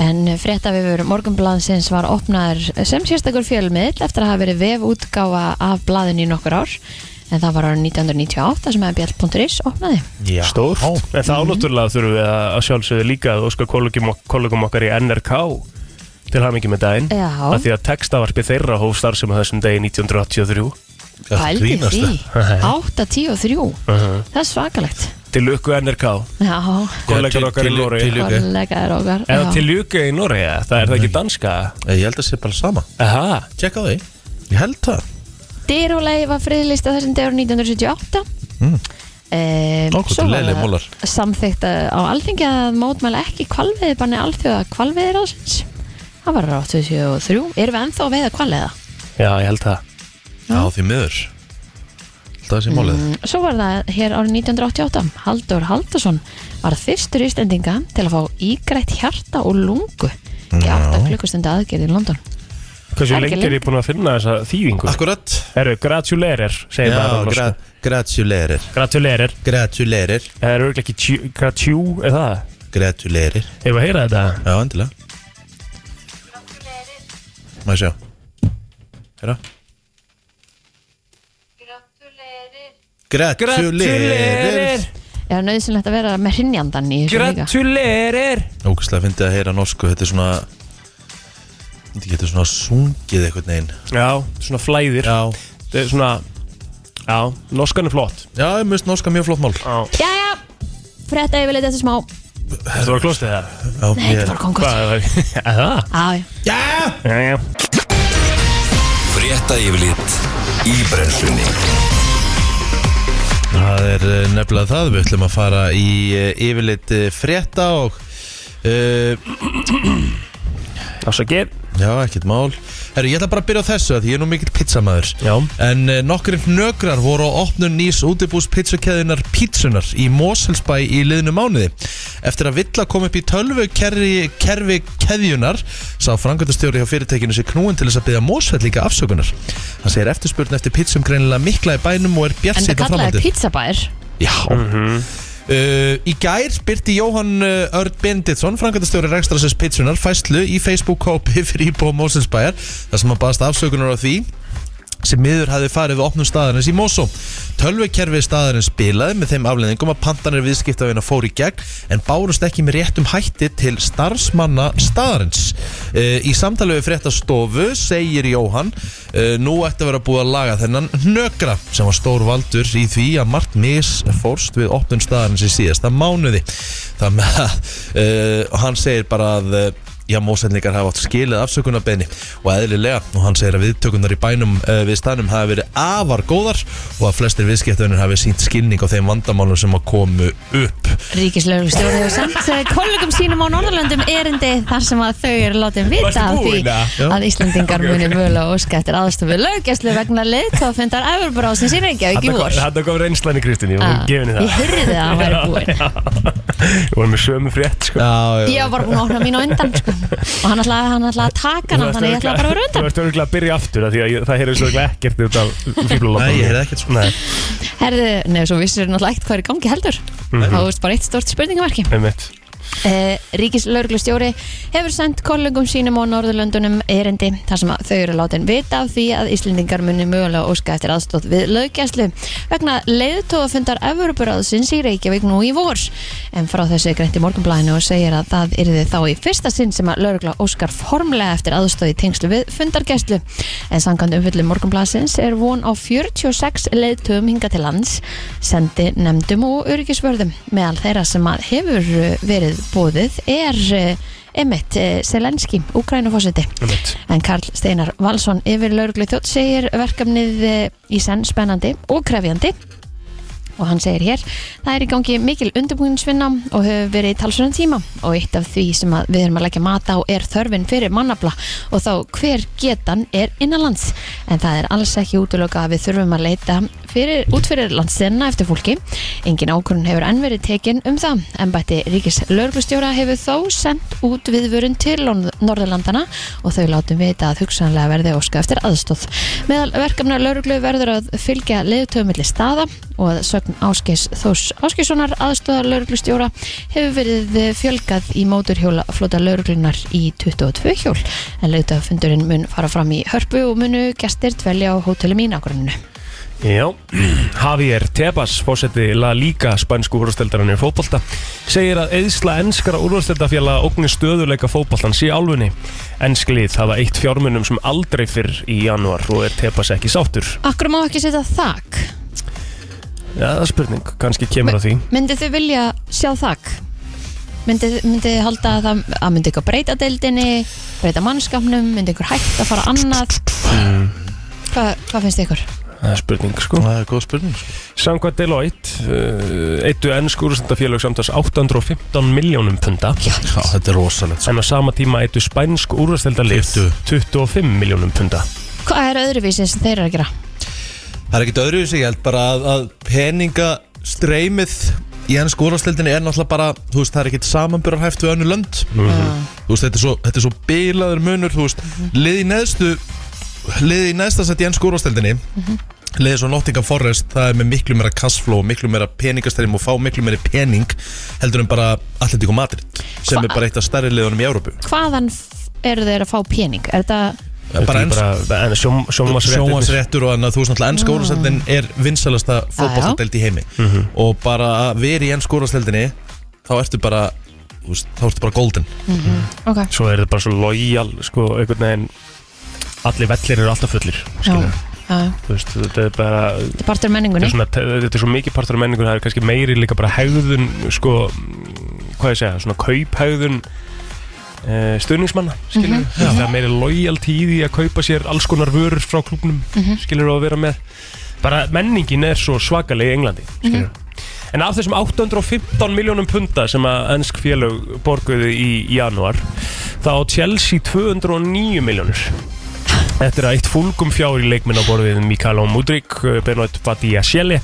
C: En fréttavefur Morgunblansins var opnaður sem sérstakur fjölmiðl eftir að hafa verið vefútgáfa af blaðinu í nokkur ár en það var árið 1998 sem mbl.is opnaði
B: Já.
D: stórt
B: Ó,
D: en þá náttúrulega þurfum við að að sjálfsögðu líka að óska kollegum, kollegum okkar í NRK til hamingi með daginn
C: Já,
D: að því að textavarpi þeirra hóf starfsemi á þessum degi 1983
B: ertu
C: pældi
B: grínast,
C: því
B: eh?
C: 8, 10 og 3 Það er svakalegt
D: til lukku NRK
C: Já,
D: kollegar
B: til-
D: okkar í
B: til-
D: Nóri
B: til- Lukku.
C: kollegaður okkar
D: eða
C: já.
D: til lukku í Nóri það er það ekki danska
B: Eh, Ég held að sé bara sama
D: Aha.
B: Tjekka á því Ég held það
C: Dyrúlei var friðlista þessum dagur 1978 mm.
B: Ó, hvað þetta er leiðilegir múlar.
C: samþykkt eh, á alþingi að mótmæla ekki kvalveiði banni alþjóða kvalveiðir ásins það var 83 erum við ennþá að veiða kvalveiða
D: já ég held það
B: Já, því miður Það sé málið
C: Mm, svo var það hér árið 1988 Haldur Haldursson var fyrstur íslendinga til að fá ígrætt hjarta og lungu í 8 klukkustunda aðgerð í London
D: hversu
C: Er ekki
D: lengi er ég búin að finna þessa þýðingu
B: Akkurat
D: eru gratulerer
B: Já,
D: segir það
B: gra
D: gra
B: gratulerir
D: gratulerer
B: Gratulerir
D: það eru örugglega ekki tjú- gratjú er það
B: Gratulerir
D: hefur að heyra þetta
B: Já, endilega Má ég sjá Hérna Gratulerir
C: er nöðsynlegt að vera með hrinnjandan í þessu líka
D: gratulerer
B: Ógæslega fyndi að heyra norsku Þetta er svona Þetta getur svona sungið einhvern veginn
D: já svona flæðir
B: Já
D: þetta er svona já norskan er flott
B: Já, ég mist norska mjög flott mál
D: já
C: Jæja, frétta yfirleitt eftir smá
D: þetta var klostið það
B: Já,
C: Nei, þetta var kongur
D: hvað er það
C: Já, já.
B: Já
D: já já
A: Frétta yfirlit í brennslunni
B: Það er eh, nefnilega það, við ætlum að fara í eh, yfirleitt eh, frétta og uh,
D: Ásakir
B: já, ekkert mál Herru, ég ætla bara að byrja á þessu að ég er nú mikill pizzamaður
D: Já.
B: En uh, nokkur nökrar voru á opnun nýs útibús pizzakeðinar Pítsunar í Moselsbæ í liðnu mánuði Eftir að Villa kom upp í tölvu kerfi, kerfi keðjunar sá frangöndastjóri hjá fyrirtekinu sér knúin til þess að byrja Mosfell líka afsökunar Hann segir eftirspurn eftir pizzum greinilega mikla í bænum og er bjart
C: En það
B: síðan
C: kallaði
B: framhaldið
C: pizzabær
B: Já uh, Í gær byrti Jóhann uh, Örn Benditsson, frangatastjóri Rækstrasins Pitsunar, fæslu í Facebook-kópi fyrir íbúa Mósinsbæjar þar sem hann baðast afsökunar á því sem miður hafði farið við opnum staðarins í Mosó. Tölvekerfi staðarins spilaði með þeim afleðingum að pantanir viðskiptavina fór í gegn en bárust ekki með réttum hætti til starfsmanna staðarins. Eh, Í samtali við fréttastofu segir Jóhann eh, nú ætti að vera búið að laga þennan nökra sem var stór valdur í því að margt misfórst við opnum staðarins í síðasta mánuði. Þannig að eh, hann segir bara að eh, Já, mósendingar hafa átt skilið afsökunarbeini og eðlilega og hann segir að viðtökunar í bænum uh, við stanum hafi verið afar góðar og að flestir viðskiptunir hafi sínt skilning á þeim vandamálum sem að komu upp.
C: Ríkislaugur stjórið og samt eh, kollegum sínum á Norðurlöndum erindi þar sem að þau eru látið
D: Varstu
C: vita af því
D: búin, eða?
C: að Íslandingar muni völu og óska eftir aðstofu löggjæslu vegna leiðtófundar Evroparásins í Reykjavík í
D: Þarna kom-
C: vor.
D: Þarna kom reynslan í Kristín, ég
C: Ah,
D: var gefin í
C: Ég
D: það
C: hörði það að hann væri búinn.
D: Ég var með sömu frétt sko
B: Já,
C: Ég var bara búin að opna mín á undan sko. og hann ætlaði, hann ætlaði að taka hann Hérna, þannig ég ætlaði bara að vera
D: Þú
C: undan.
D: ert örgulega að byrja aftur af Því að ég- það heyrðist örgulega ekkert út af fíblaloppa
B: Nei, ég heyrði ekkert, sko.
D: Nei,
C: Herðu, neðu, svo vissir náttúrulega ekkert hvað er í gangi heldur. Mm
D: Mhm.
C: -hmm. Það var bara eitt stort spurningamarki.
D: einmitt
C: Eh, Ríkislauglustjóri hefur sendt kollegum sínum á Norðurlöndunum erindi þar sem að þau eru látin vita af því að Íslendingar muni mögulega óska eftir aðstóð við löggjæslu vegna leiðtóðafundar Evropuráðsins í Reykjavík nú í vor en frá þessu er greint í morgunblæðinu og segir að það yrði þá í fyrsta sinn sem að lögregla óskar formlega eftir aðstóð í tengslu við fundargæslu en samkvæmt umfyllum morgunblæðsins er von á 46 leiðtöfum hinga til lands sendi nefndum og öryggisvörðum meðal þeirra sem að hefur eh, verið bóðið er eh, Emmett eh, Selenski, Ukrænufósiti
D: Einmitt.
C: en Karl Steinar Valsson yfir lauruglu þjótt segir verkefnið eh, í senn spennandi og krefjandi og hann segir hér það er í gangi mikil undirbúinsvinna og hefur verið í talsunum tíma og eitt af því sem að við erum að leggja mata á er þörfin fyrir mannafla og þá hver getan er innanlands en það er alls ekki útlöka að við þurfum að leita fyrir, út fyrir landsina eftir fólki engin ákvörun hefur enn verið tekin um það en bætti ríkis lörglustjóra hefur þó sendt út viðvörun til Lon- Norðurlandana og þau látum vita að hugsanlega verði óska eftir aðstóð meðal verkefna lörglu verður að fylgja leiðtöfum milli staða og að sögn Áskis Þós Áskissonar aðstóðar lörglustjóra hefur verið fjölgað í móturhjóla flota lörglunar í 22 hjól en leiðtöfundurinn mun fara fram í hörpu og munu gestir dvelja á hótelum í nágruninu
D: Já, Javier Tebas, fósetti La Liga spænsku úrvalsteldarinn í fótbolta, segir að eðsla enskara úrvalsteldarfjalla ógni stöðuleika fótboltan sé álfunni. Ensklið hafa eitt fjármunum sem aldrei fyrr í janúar og er Tebas ekki sáttur.
C: Akkur má ekki setja þak
D: Já, það er spurning, kannski kemur að því.
C: Myndið þið vilja sjá þak? Myndið myndi þið halda að það að myndi ykkur breyta deildinni, breyta mannskapnum, myndi ykkur hægt að fara annað? Hva, hvað finnst þið ykkur?
D: Það er spurning, sko.
B: það er góð spurning. sko.
D: Samkvæmt Deloitte, uh, eittu ennsku úrvalsteldarfélag samtals 815 miljónum punda.
B: Já, þetta er rosalegt. sko.
D: En á sama tíma eittu spænsku úrvalsteldarlið 25 miljónum punda.
C: Hvað er öðruvísið sem þeir eru að gera?
B: Það er ekkert öðruvísi, ég held bara að, að peninga streymið í enn skórasteldinni er náttúrulega bara, þú veist, það er ekkert samanbyrjarhæft við önnu lönd.
D: Mhm.
B: Þú veist, þetta er svo, þetta er svo bilaður munur, þú veist, lið í neðstu, lið í neðsta sett í enn skórasteldinni, liðið svo Nottingham Forest það er með miklu meira cashflow, miklu meira peningastrým og fá miklu meira pening heldur en bara Atletico Madrid sem
C: Hva-
B: er bara eitt af stærri liðunum í Európu
C: Hvaðan f- eru þeir að fá pening? Er þetta,
B: bara enn
D: en sjóm, sjómasréttir
B: sjónvarsréttur og annað, þú veist náttúrulega ennsk úrvarsdeldin er vinsalasta fótballsteld í heimi og bara að vera í ennsk úrvarsdeldinni þá ertu bara þú veist, þá ertu bara golden
C: ok,
D: svo er þetta bara svo lojal sko, einhvern veginn allir vellir eru alltaf fullir
C: já,
D: skilur.
C: já,
D: Þú veist, þetta er bara þetta
C: þetta er partur
D: er,
C: menningunni.
D: svona, þetta er svo mikið partur af menningun það er kannski meiri líka bara hegðun sko, mm, hvað ég segja, svona kauphegðun uh, stuðningsmanna skilur, það er meiri lojal tíði að kaupa sér alls konar vörur frá klubnum skilur og að vera með bara menningin er svo svakalega í Englandi skilur En af þessum 815 miljónum punda sem að ennsk félög borguðu í janúar þá á Chelsea 209 miljónur eftir að eitt fólkum fjár í leikminn á borðið Mikael Omudrik, eh, Benoit Badiashele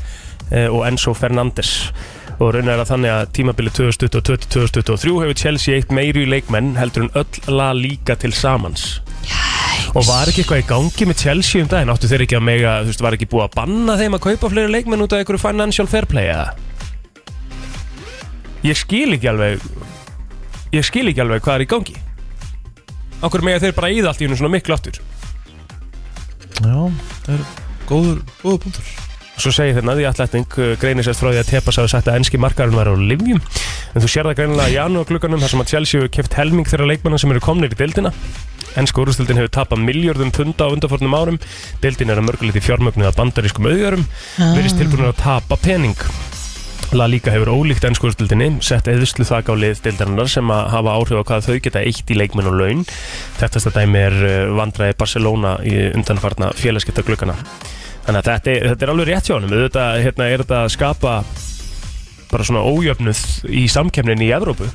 D: og Enzo Fernandes og raunar er að þannig að tímabilið 2022-2023 hefur Chelsea eitt meiri í leikmenn heldur en öll la líka til samans og var ekki eitthvað í gangi með Chelsea um daginn áttu þeir ekki að mega, þú veist, var ekki búið að banna þeim að kaupa fleiri leikmenn út af einhverju financial fair play eða ég skil ekki alveg ég skil ekki alveg hvað er í gangi okkur mega þeir bara íða allt í hennu svona miklu aftur
B: Já, það er góður, góður punktur
D: Svo segir hérna þérna því aðlætning eh, greinir sérst frá því að Tepas hafi sagt að enski markarinn var á livjum en þú sér það greinilega í janúarglugganum þar sem að Chelsea hefur keft helming þeirra leikmanna sem eru komnir í deildina Enska úrústildin hefur tapað miljörðum punda á undarfórnum árum deildin er að mörguleiti fjármögnuð að bandarískum auðjörum verist tilbúin að tapa pening La Liga hefur ólíkt ennsku úrstildinni sett eðslu þak á lið deildarinnar sem að hafa áhrif á hvað þau geta eitt í leikmenn og laun þetta dæmi er eh, vandræði Barcelona í undanfarna félagskipta Þannig að þetta, er- þetta er alveg rétt hjá honum auðvitað hérna, er þetta að skapa bara svona ójöfnuð í samkemnin í Evrópu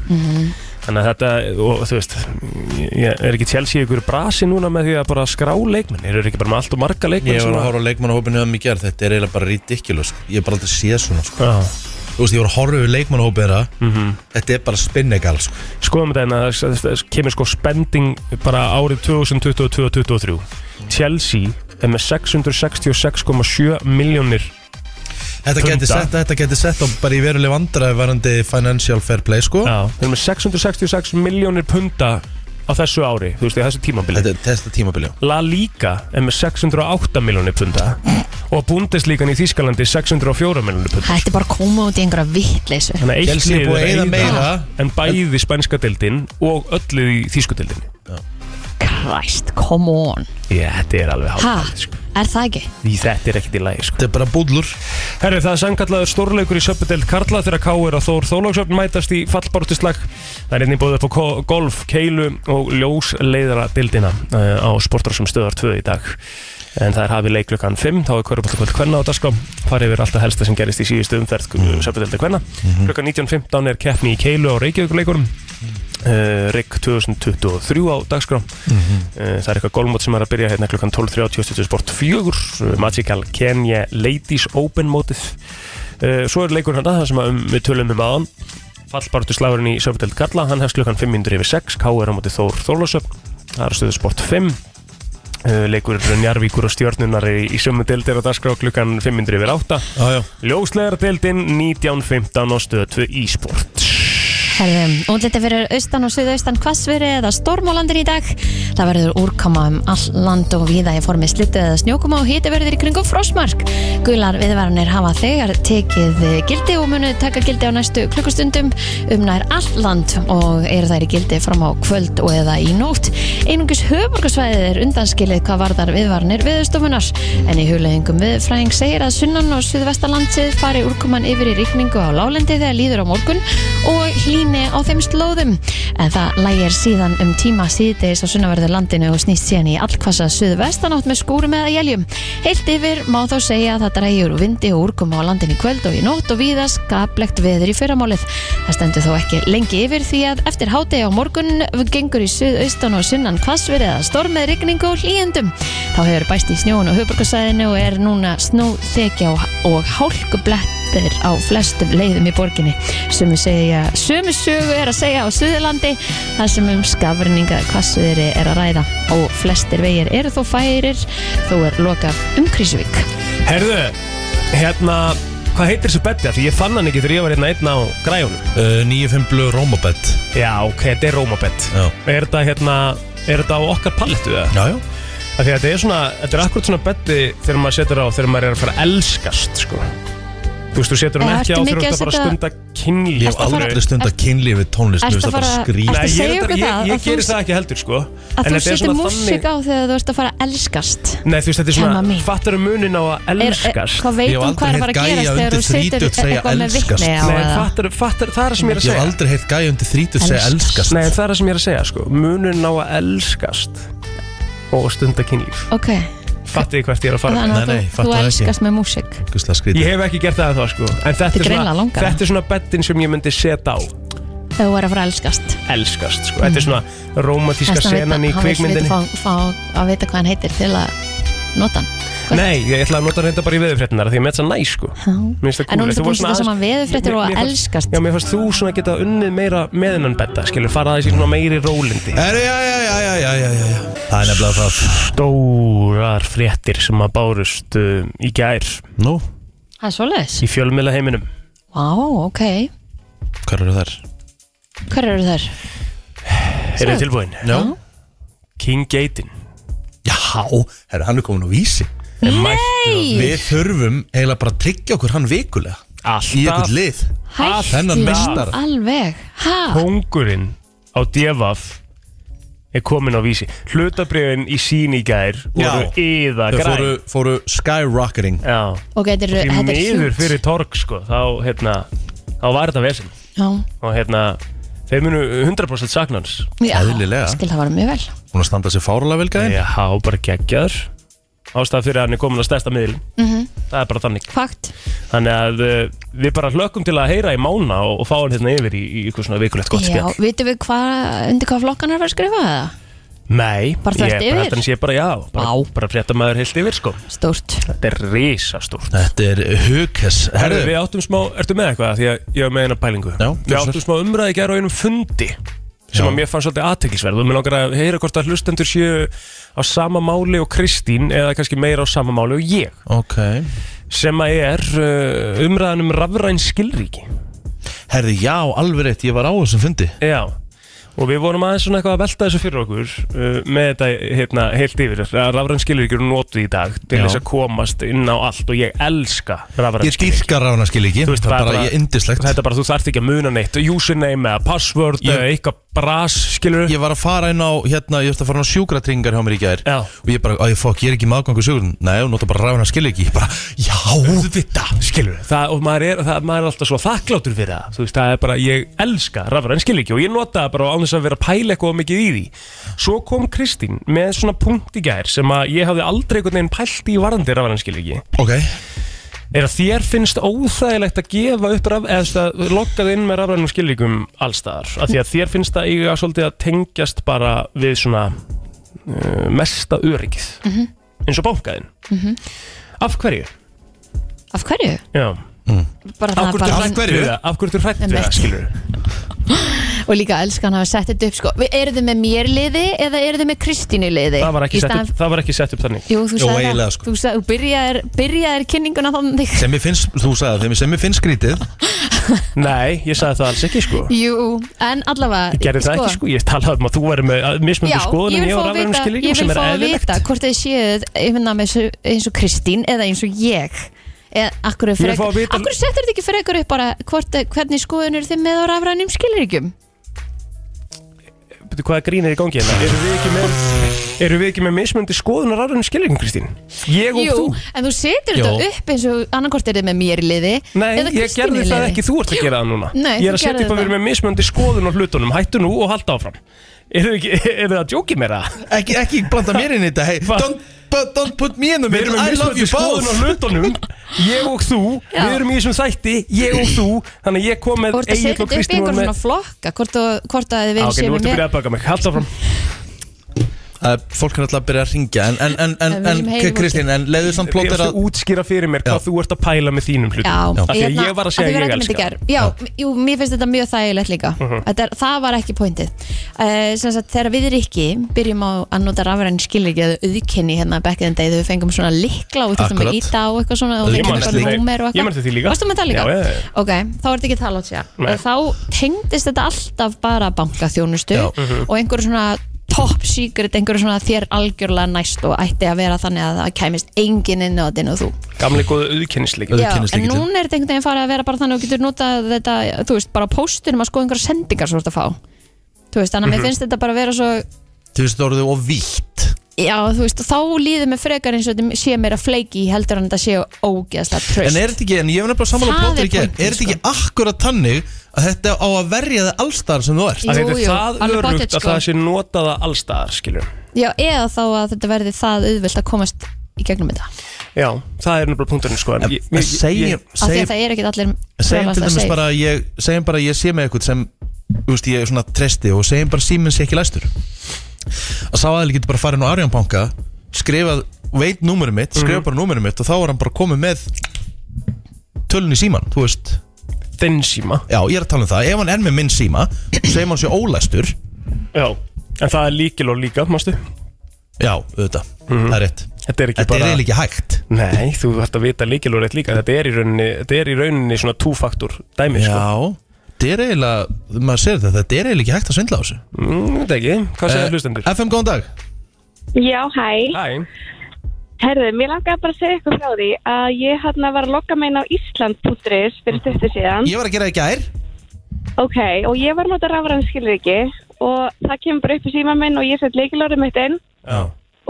D: þannig að þetta, og, þú veist ég, ég er ekki Chelsea ykkur brasi núna með því að bara skrá leikmenn, eru þeir ekki bara með allt og marga leikmenn
B: Ég var
D: sem
B: að horfa á leikmannahópinu um í gerð Þetta er eiginlega bara ridiculous sko. Ég hef bara aldrei séð svona sko.
D: Já,
B: Þú veist, ég var að horfa yfir leikmannahópinu þeirra
D: mhm.
B: Þetta er bara spinnegal sko.
D: skoðum þetta en að það- það það kemur sko spending bara árið 2022-2023 Chelsea er með 666,7 miljónir
B: Þetta
D: Punda.
B: geti sett, þetta geti sett á bara í veruleg vandra Verandi financial fair play sko.
D: Já, þeir eru með 666 miljónir punda á þessu ári, þú veist, í þessu tímabili
B: Þetta er testa tímabili
D: La Liga er með 608 miljónir punda og Bundesligan í Þýskalandi 604 miljónir punda
C: Þetta er bara að koma út í einhverja vittleysu
D: Þannig að eitt
B: Chelsea er
D: lið
B: búið að
D: er
B: eyða
D: að
B: meira.
D: en bæði spænska deildin og öllu í þýsku deildin
C: Christ, come on
D: Já, þetta er alveg
C: Ha,
D: hálftalið sko.
C: er það ekki?
D: Því þetta er ekkit í lagi sko.
B: Þetta er bara búllur
D: Herru, það er sannkallaður stórleikur í söpudeld Karla þegar K.R. og Þór Þólóksöfn mætast í fallbártislag. Það er einnig búið upp á ko- golf, keilu og ljósleiðara dildina uh, á sportar sem stöðar 2 í dag. En það er hafið leiklukan 5, þá er Köruboltakvöld Kvenna á dagskrá. Farið yfir alltaf helsta sem gerist í síðustu umferð mm. söpudelda Kvenna. Klukkan 19.15 er keppni í keilu á Reykjavíkuleikurum. Uh, Rigg 2023 á dagskrá. Uh, Það er eitthvað gólmót sem er að byrja hérna klukkan 12.30 stuttur sport 4 uh, Magical Kenya Ladies Open mótið Uh, Svo er leikur hérna það sem að um, við tölum um aðan Fallbartu slagurinn í Söfndeld Karla Hann hefst klukkan 5 mindur yfir 6 K er á mótið Þór Þórlósöp Það er stöðu sport 5 Uh, leikur Njarvíkur og Stjörnunar í, í sömu deildir á dagskrá klukkan 5 mindur yfir 8
B: Já, já
D: Ljóslegar deildin 19.15 og stöðu 2 í sport
C: Herðum, útliti fyrir austan og suðaustan hvassveri eða stormólandir í dag. Það verður úrkama um all land og víða í formi slittu eða snjókuma og hiti verður í kringum frosmark. Gular viðvaranir hafa þegar tekið gildi og munu taka gildi á næstu klukkustundum um nær all land og eru þær í gildi fram á kvöld og eða í nótt. Einungis höfburgarsvæðið er undanskilið hvað varðar viðvaranir viðstofunar en í hugleðingum viðfræðing segir að sunnan og suðvestalandsið fari úrkoman yfir í rikningu á lálendi þegar líður á morgun og hlíni á þeim slóðum en það lægir síðan um tíma síðdeis á sunnaverðu landinu og snýst síðan í allkvassa suðvestanátt með skúrum eða jæljum. Heilt yfir má þó segja að það drægjur úr vindi og úrkoma á landinu í kvöld og í nótt og víða skaplegt veður í fyrramálið. Það stendur þó ekki lengi yfir því að eftir hádegi á morgun gengur í suðaustan og sunnan hvassverið eða storm með rigningu og hlíjendum. Þá hefur bæst í snjóun og höfburgarsæðinu og er núna snjóþekja og, og hálkublettir á flestum leiðum í borginni. Sumu, segja, sumu sögu er að segja á Suðurlandi þar sem um skafrinninga hvassviðri er að ræða og flestir vegir eru þó færir þó er lokað um Krísuvík.
D: Herðu, hérna hvað heitir þessu betti? Því ég fann hann ekki þegar ég var hérna einn á græjunum
B: uh, 9-5 blöð Rómabett
D: Já, ok, þetta er Rómabett
B: Já.
D: Er þetta hérna, er þetta á okkar pallettu eða?
B: Já, já
D: Af því að þetta er svona, þetta er akkurat svona betti þegar maður setur á þegar maður er að fara að elskast, sko Þú veist, þú setur hann
C: Eða
D: ekki á
C: ertu
D: þegar þú
C: mikið
D: ert
C: að
D: að bara
C: setja-
D: stunda kynlíf
B: Ég hef
C: að fara-
B: aldrei stund að kynlífi tónlist
C: Ertu
B: Mér finnst
C: að
B: það bara
C: fara-
B: skrýt
C: ertu-
D: Nei,
C: að
D: ég,
C: segja
D: er
C: okkur
D: þetta-
C: það,
D: ég,
C: að
D: ég
C: þú-
D: gerir það ekki heldur, sko
C: Að þú setur músík
D: þannig
C: á þegar þú ert að fara að elskast.
D: Nei, þú veist, þetta er
C: Emma
D: svona,
C: mín.
D: fattar um munin á að
C: Er, er,
D: elskast
C: hvað
B: Ég
C: veit
B: hef
C: um hvað er að
B: aldrei
C: fara að
B: heyrt gæja
C: gerast þegar þú
B: undir
C: setur
B: þrítugt segja
C: eitthvað með
B: elskast.
C: vikni á
D: Nei,
C: eða-
D: fattar, fattar, það er það sem ég er
B: Ég
D: að
B: hef
D: segja
B: aldrei heilt gæja undir 30 segja sko.
C: Elskast.
B: elskast
D: Nei, það er það sem ég er að segja, sko Munin á að elskast og stunda kynlíf
C: Ok,
D: Fattið þið hvert ég er að fara
C: þannig að
B: Nei, nei,
C: þú-
B: fattu
C: þú
B: það ekki.
C: elskast með músík.
B: Ógeðslega skrýtið.
D: Ég hef ekki gert það þá sko En þetta
C: Þetta er
D: er svona,
C: greinilega langar.
D: þetta er svona bettin sem ég myndi setja á
C: Þegar þú er að fara að elskast.
D: Elskast sko
C: Mhm.
D: Þetta er svona romantíska senan í kvikmyndinni
C: Hann vil fá, fá að vita hvað hann heitir til að nota hann hvað-
D: Nei, ég ætla að nota reynda bara í veðurfréttinar Því ég með þetta næ sko
C: Já.
D: Mér finnst
C: En
D: það cool.
C: hún er
D: Þú
C: búin að
D: varst
C: setja
D: svona aðeins-
C: saman veðurfréttir og að
D: Mér- mér fannst-
C: elskast
D: Já, mér fannst þú svona geta unnið meira meðinan betta Skilur, fara aðeins í svona meiri rólindi
B: Herru, já, já, já, já, já, já, já, já Það er nefnilega það
D: Stórar fréttir sem að bárust uh, í gær
B: Nú,
C: Það er svoleiðis
D: Í fjölmiðla heiminum
C: Vá, ok
B: hvað eru þær?
C: Hver eru þær?
D: Eru tilbúin?
B: Já
C: Já.
D: King Gaten
B: Já, herra, hann er komin á vísi
C: Nei,
B: Við þurfum eiginlega bara að tryggja okkur hann vikulega Í
D: Alltaf
B: eitthvað lið
C: hætti
B: Þennan
C: nú
B: meistara.
C: Alveg, hæ?
D: Kongurinn á Devaf er komin á vísi Hlutabriðin í sín í gær voru yða
B: Þau
D: græn
B: fóru, fóru skyrocketing
D: Já,
C: Ok, þetta er,
D: því
C: þetta er
D: miður
C: hjúts
D: fyrir Torg sko þá, hérna, þá var þetta vesinn
C: Já,
D: og hérna, þeir munu 100% sakna hans
C: já
B: Eðlilega.
C: skil það var mjög vel
B: Hún að standa sér fárulega vel
C: Mm.
B: gæðin
D: Já, bara geggjaður Ástæða fyrir að hann er komin á stærsta miðlum
C: Mhm.
D: -hmm. Það er bara þannig
C: Fakt,
D: Þannig að uh, við bara hlökkum til að heyra í mána og, og fá hann hérna yfir í, í ykkur svona vikulegt gott
C: já,
D: spjall
C: vitum við hvað undir hvað flokkan er að skrifa það?
D: Nei,
C: Bara
D: ég
C: þvert yfir?
D: bara þetta sé bara já bara,
C: Vá.
D: bara frétta maður heilt yfir sko
C: Stórt
D: Þetta er risastórt
B: Þetta er hugkess
D: Herðu, við áttum smá, ertu með eitthvað? Því að ég var með eina pælingu
B: Já,
D: Við
B: gjörðu svo
D: áttum smá umræði gæra á einum fundi sem
B: Já.
D: að mér fannst svolítið aðteklisverð og mér langar að heyra hvort að hlustendur séu á sama máli og Kristín eða kannski meira á sama máli og ég
B: Ok
D: sem að er uh, umræðan um rafræn skilríki
B: Herðu, já, alveg rétt, ég var á þessum fundi
D: Já og við vorum aðeins svona eitthvað að velta þessu fyrir okkur uh, með þetta hérna, heilt yfir að rafræn skilríki eru notuð í dag til
B: Já.
D: þess að komast inn á allt og ég elska rafræn
B: Ég dýrkar rána skil ekki
D: Þú veist,
B: Það
D: það
B: er
D: er
B: bara,
D: bara-
B: ég indislegt
D: Þetta er bara, þú þarft ekki að muna neitt Username eða password
B: Ég-
D: eða eitthvað bras, skilur
B: Ég var að fara inn á, hérna, ég var að fara inn á sjúkratringar hjá mér í gær
D: Já.
B: Og ég bara, að ég fokk, ég er ekki með aðgangu sjúkratringar Nei, hún nota bara rána skil ekki Ég bara, já, þetta
D: Skilur, það, og maður er, það, maður er alltaf svo þakklátur fyrir það Þú veist, það er bara, ég elska rafræn skilríki Og ég nota það bara án þess að vera að pæla eitthvað of mikið í því Svo kom Kristín með svona punkt í gær Sem að ég hafði aldrei einhvern veginn pælt í varandi rafræn skilríki
B: Ok,
D: Er að þér finnst óþægilegt að gefa upp raf, eða að lokkað inn með rafrænum skilríkum allstaðar af því að þér finnst það eiga svolítið að tengjast bara við svona uh, mesta öryggið
C: Mhm.
D: eins og bankaðinn af hverju?
C: Af hverju?
D: Já.
C: Bara
D: Af
C: það
D: hverju,
C: bara
D: af hverju? Við það? af hverju þú hrætt við það
C: Einmitt.
D: skilur
C: Og líka elskan hafa sett þetta upp sko Vi- Eru þið með mér liði eða eru þið með Kristínu liði?
D: það var, ekki
C: Í
D: sett upp,
C: staðan-
D: það var ekki sett upp þannig
C: Jú, þú
B: Jú,
C: sagði
B: eiginlega,
C: það
B: sko.
C: Þú, sagði, þú byrjaðir, byrjaðir kynninguna þannig
B: sem ég finnst, þú sagði það, þeim sem ég finnst skrítið
D: Nei, ég sagði það alls ekki sko
C: Jú, en allavega
D: Ég gerði það ekki sko, ég talaði um að þú væri með mismöndu
C: Já, ég vil
D: skoðunum ég
C: fá
D: á
C: að
D: rafrænum
C: vita, ég
D: skilríkum
C: vil
D: sem er
C: fá að
D: eðlilegt
C: vita hvort þið séuð ég finna með þessu- eins og Kristín eða eins og ég eða akkur,
D: vil
C: frek,
D: fá að vita-
C: akkur settur þetta ekki frekar upp bara hvort, hvernig skoðun eru þið með á rafrænum skilríkjum
D: Byrju, hvaða grín er í gangi hérna? Eru við ekki með, eru við ekki með mismöndi skoðunar rafrænum skilringum, Kristín? Ég og
C: Jú,
D: þú?
C: en þú setur
B: Jú.
C: þetta upp eins og annarkort er þið með mér í liði
D: Nei,
C: eða
D: ég
C: Kristínu
D: gerði
C: í
D: það
C: liði.
D: ekki, þú ert að gera það núna
C: Nei,
D: Ég er
C: þú
D: að setja
C: gerðir
D: upp að við erum
C: það.
D: með mismöndi skoðun á hlutunum Hættu nú og halda áfram Eru þið ekki, eru þið að djóki meira?
B: ekki, ekki blanda mér inn í þetta hey,
D: Hva?
B: don't, but don't put me in the
D: Við erum
B: middle
D: með
B: I love
D: mismöndi
B: you
D: skoðun á
B: both
D: hlutunum Ég og þú,
C: Já.
D: við erum í þessum þætti Ég og þú, þannig að ég kom með
C: Þú ert að
D: Egill
C: setja
D: og
C: þetta upp í
D: Kristín voru
C: einhver
D: með
C: svona flokka hvort, að- hvort að þið
D: Á,
C: verið
D: Ok,
C: séu
D: nú
C: með
D: ertu
C: mér
D: byrjað að baka mig, halda áfram
B: Það er- fólk er alltaf að byrja að ringja en, en, en, en,
C: En við viljum
B: en
C: heyra í
B: Kristín, en leiðu samt
D: Ég
B: plóter
D: ertu
B: að
D: útskýra fyrir mér
B: Já.
D: hvað þú ert að pæla með þínum hlutum
C: Já,
D: Af því að
C: hérna,
D: ég var að segja
C: af því við
D: að ég
C: ræddum þetta
D: elska Mhm.
C: í gær. Já, jú, mér finnst þetta mjög þægilegt líka Þetta er, Það var ekki pointið uh, sagt, Þegar við Rikki byrjum á að nota rafræn skilriki eða auðkenni hérna back in the day þegar við fengum svona likla og þurftum
B: Akkurat.
C: að íta á eitthvað svona og
B: Ég
C: fengum
B: man
C: eitthvað
B: eftir
D: því.
C: númer og
D: Ég man eftir því
C: eitthvað
D: líka.
C: Varstu með það líka?
D: Já, já, já.
C: Ok, þá er þetta ekki talað sér
D: Nei.
C: Þá tengdist þetta alltaf bara bankaþjónustu
B: Já.
D: Mhm.
C: og einhverju svona top secret, einhverju svona þér algjörlega næst og ætti að vera þannig að það kæmist enginn inn á þinn og þú
D: Gamli góðu auðkennisleik
B: Auð-
C: Já, en
B: Auðkennislykillinn.
C: núna er þetta einhvern veginn farið að vera bara þannig að þú getur notað þetta, þú veist, bara á póstinum að skoða einhverja sendingar svo þú ert að fá þú veist,
B: Mhm.
C: þannig að mér finnst þetta bara að vera svo
B: þú veist það orðið og vítt
C: já, þú veist, þá líður mér frekar eins og þetta sé meira fleiki í heldur en þetta sé ógeðslega tröst
B: en er þetta ekki, en ég var nefnilega
C: Það
B: samanlega
C: er sko.
B: plóter í gerð
C: pointið,
B: er þetta ekki akkurat þannig að þetta á að verja þig allstar sem þú ert
D: Af
C: Jú,
D: því
C: jú,
D: Þetta er það
C: alveg
D: örugt
C: pottþétt,
D: að
C: sko.
D: það sé notaða allstaðar, skiljum
C: já, eða þá að þetta verði það auðvelt að komast í gegnum þetta af
D: Já, það er nefnilega punkturinn, sko
B: En- en segjum
C: því
B: segjum-
C: að það er ekkit allir
B: segjum
C: frjálslega
B: til dæmis
C: safe.
B: bara að ég segjum bara að ég sé með eitthvað sem þú veist, ég er svona tresti og segjum bara síminn sé ekki læstur að sá aðeins getur bara farin á Arján banka skrifað, veit númurum mitt
D: Mhm.
B: skrifa bara númurum mitt og þá er hann bara komið með tölun í síman þú veist,
D: Þinn síma
B: já ég er að tala um það ef hann er með minn síma, segjum hann sé ólæstur
D: Já, en það er líkil og líka, mástu
B: já, auðvitað, það er rétt
D: Mhm. Þetta er
B: þetta
D: ekki
B: er
D: bara
B: eiginlega ekki hægt
D: Nei, þú ætti að vita líkil og rétt líka Þetta er í rauninni, þetta er í rauninni svona túfaktur dæmi, sko
B: já, þetta er eiginlega maður sér þetta, þetta er eiginlega ekki hægt að svindla á þessu
D: mm, Þetta ekki, hvað segir
B: Eh,
D: hlustendur?
B: FM, góðan dag
E: Já, hæ.
D: Hæ,
E: Herðu, mér langaði bara að segja eitthvað frá því að ég hann var að logga meina á Ísland.is fyrir stuttu síðan.
B: Ég var að gera það í gær
E: Ok, og ég var að nota rafræn skilriki og það kemur bara upp í síma minn og ég sett leikilorðið mitt inn
D: Já.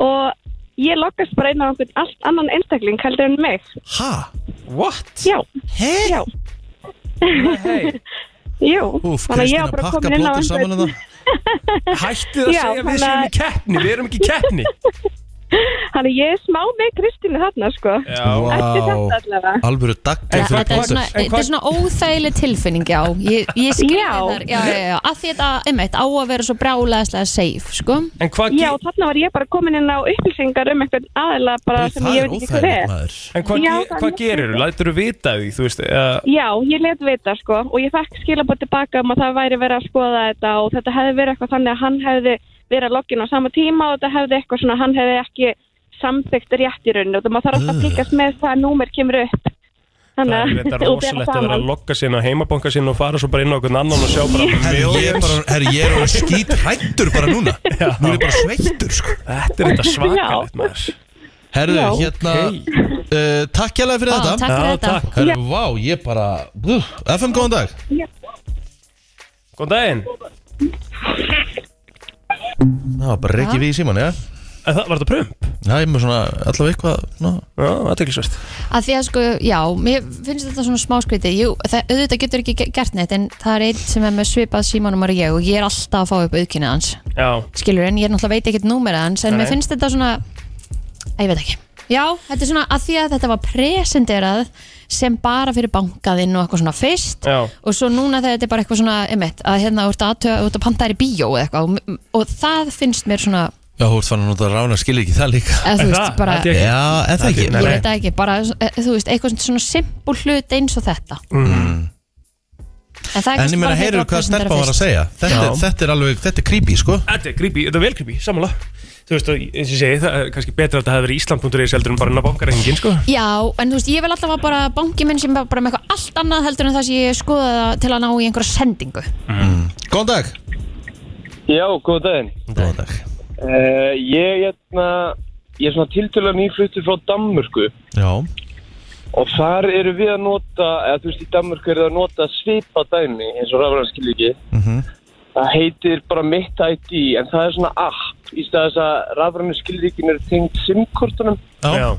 E: og ég loggast bara inn á einhvern allt annan einstakling heldur en mig.
B: Ha?
D: what?
E: Já,
B: Hei?
E: já,
D: Hey,
E: jú.
B: Úf,
E: Þannig að ég
B: Kristina
E: var bara
B: pakka
E: komin inn á
B: plótið
E: einhvern-
B: saman hérna. en það
D: hættið að
E: Já,
D: segja við
E: þannig
D: séum
E: að-
D: í keppni, við erum ekki í keppni
E: Þannig að ég er smá með Kristínu þarna, sko.
D: Já,
E: Eftir þetta allavega.
B: Alvöru daggjörn
D: En
B: fyrir
C: Þetta er
B: plótið
C: svona,
D: En hvað-
C: þetta er svona óþægileg tilfinning, já. Ég, ég skilja
E: Já.
C: þar, já, já, já. Að því þetta, einmitt, á að vera svo brálaðislega safe, sko.
D: en hvað
E: Já,
D: ge-
E: þarna var ég bara komin inn á upplýsingar um einhvern aðila bara sem
B: Það
E: ég
B: er
E: veit ekki hvað
B: óþægilegt
E: er.
B: maður
D: en hvað
E: Já,
D: ge-
E: það er
D: hvað
E: mjög
D: gerir þú? Lætur þú vita af því, þú veist uh,
E: Já, ég let vita sko og ég fekk skilabótt tilbaka um að það væri verið að skoða þetta og þetta hefði verið eitthvað þannig að hann hefði verið að loggin á sama tíma og þetta hefði eitthvað svona, hann hefði ekki samþygt rétt í rauninu og það maður þarf alltaf að fylgjast með það að númer kemur upp.
D: Það er
E: Þannig
D: þetta rosalegt að vera að logga sín á heimabanka sín og fara svo bara inn á einhvern annan og sjá bara
B: Herri, ég er
D: millions.
B: bara, herri, ég er bara skýt hrættur bara núna Nú er ég bara sveittur, sko
D: Þetta er þetta svakalegt maður
B: Herðu,
E: Já.
B: hérna, uh, takk hérlega fyrir
C: Ó,
B: þetta
C: takk fyrir
D: Já,
C: þetta.
D: takk.
B: Herru, vá, ég bara uh, FM, góðan dag
D: Góðan daginn
B: Það var bara reykja við í síman, já
D: Eh, það- Var þetta prump?
B: Já, ég er með svona allavega eitthvað ná.
D: Já, aðteklisvert
C: Að því að, sko, já, mér finnst þetta svona smáskriti. Jú, það, auðvitað getur ekki ge- gert neitt, en það er einn sem er með svipað símanúmer og ég og ég er alltaf að fá upp auðkynnið hans.
D: Já,
C: skilur en ég náttúrulega veit ekkert númerið hans en
D: Nei.
C: mér finnst þetta svona að ég veit ekki já, þetta er svona að því að þetta var presenderað sem bara fyrir bankaðinn og eitthvað svona fyrst
D: Já.
C: og svo núna þegar þetta er bara eitthvað svona emitt, að hérna úr datu, út að panta þær í bíó eða eitthvað og, og það finnst mér svona
B: Já, þú ert fann að nota rána skil ekki það líka
C: eða þú
D: Er
C: veist,
D: það?
C: bara
D: Held ég
C: ég
D: ekki.
B: Já, eða það ekki
D: Nei, nei.
C: veit það ekki, bara eh, þú veist, eitthvað svona simpul hlut eins og þetta mm. en það er
B: En ég meina, heyrðu hvað stelpa var að segja þetta,
D: Já.
B: þetta er alveg, þetta er creepy, sko
D: þetta er creepy, þetta er vel creepy, sammála Þú veist, og eins og ég segi, það er kannski betra að þetta hefði verið Ísland.is heldur en bara inn á bankarengin, sko
C: Já, en þú veist, ég vil alltaf að bara banki minn sem er bara með eitthvað allt annað heldur en það sem ég skoða það til að ná í einhverja sendingu.
B: Góðan dag
F: Já, góð daginn.
B: Góðan dag
F: Uh, ég, hérna, ég er svona tiltölulega nýfluttur frá Danmörku
B: Já,
F: og þar eru við að nota, eða þú veist í Danmörku eru það að nota svipa dæmi eins og rafræðarskil ekki. Það heitir bara Mitt ID en það er svona app í stað þess að rafræðarskilríkin eru tengt simkortunum
B: já,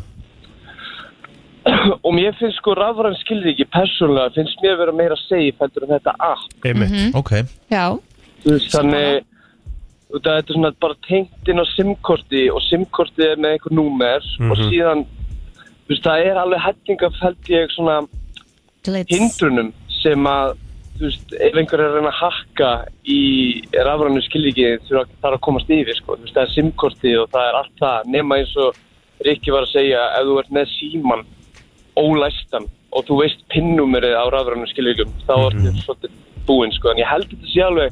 F: og mér finnst sko rafræðarskilríki persónulega finnst mér vera meira safe heldur en þetta app.
D: einmitt
B: Hm? ok
C: Já,
F: Þú veist, þannig út af þetta er svona bara tengt inn á simkorti og simkorti er með einhver númer og síðan þú veist, það er alveg hætting af held ég svona
C: glitz.
F: hindrunum sem að þú veist, ef einhver er að reyna að hakka í rafrannu skilíki þurfa þarf að komast yfir sko, þú veist, það er simkorti og það er allt það, nema eins og Rikki var að segja, ef þú ert með síman ólæstan og þú veist pinnumerið á rafrannu skilíkum þá ertu
D: Mhm.
F: svolítið búinn sko en ég held þetta sé alveg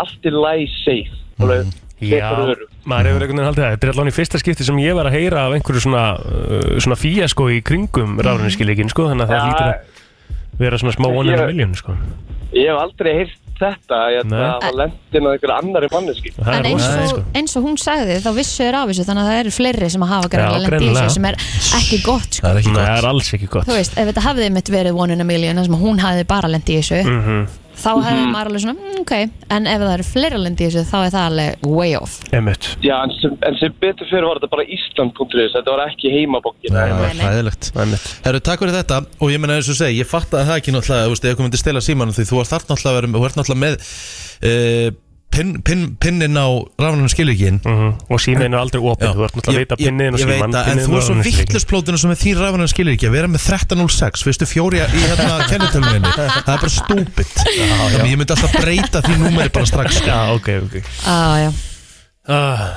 F: allt í læg safe, alveg
D: Mhm. Já,
F: betur öru
D: maður hefur einhvern veginn haldið það Þetta er allan í fyrsta skipti sem ég var að heyra af einhverju svona, uh, svona fíasko í kringum rafræðinskilíkin, sko Þannig að það
F: Já.
D: lítur að vera svona smá one in a
F: Ég-
D: million, sko
F: Ég hef aldrei heyrt þetta, ég held
D: Nei.
F: að það lendin á einhverju annari manneski
D: Og Það
C: En
D: er
C: eins
D: rosa,
C: og,
D: sko
C: eins og hún sagði þá vissu þér af þessu þannig að það eru fleiri sem að hafa
D: Já,
C: greinlega lent í
D: greinilega.
C: þessu sem er ekki gott sko.
B: Það er ekki
D: Nei, það
B: gott
D: er alls ekki gott
C: Þú veist, ef þetta hafði mitt verið one in a million þar sem hún hafði bara lent í þessu þá hefði maður alveg svona, mm, ok en ef það eru fleiri lent í þessu þá er það alveg way off.
D: Einmitt
F: Já, en sem, en sem betur fyrir var þetta bara Ísland.is, þetta var ekki heimabokkin.
B: Nei, það
C: Nei,
B: er
C: nei.
B: hæðilegt
D: Einmitt.
B: Herru, takk fyrir þetta og ég menna eins og segi, ég fatt að það ekki náttúrulega, þú veist, ef þú myndir stela símanum því þú ert þarna náttúrulega, að vera með- þú ert náttúrulega með uh, pin, pin, pinnin á rafnum skilvíkin
D: Mhm. Og símiðin er aldrei opið, þú ert náttúrulega að vita pinniðin og
B: Ég veit
D: síman
B: það, en þú ert svo vittlustplótinu sem er þín rafnum skilvíki að vera með 1306, veistu, fjóri í hérna kennitöluninni, það er bara stúpid Þannig ég myndi alltaf breyta því númeri bara strax sko.
D: Já, ok, ok
C: Ah, já.
D: ah,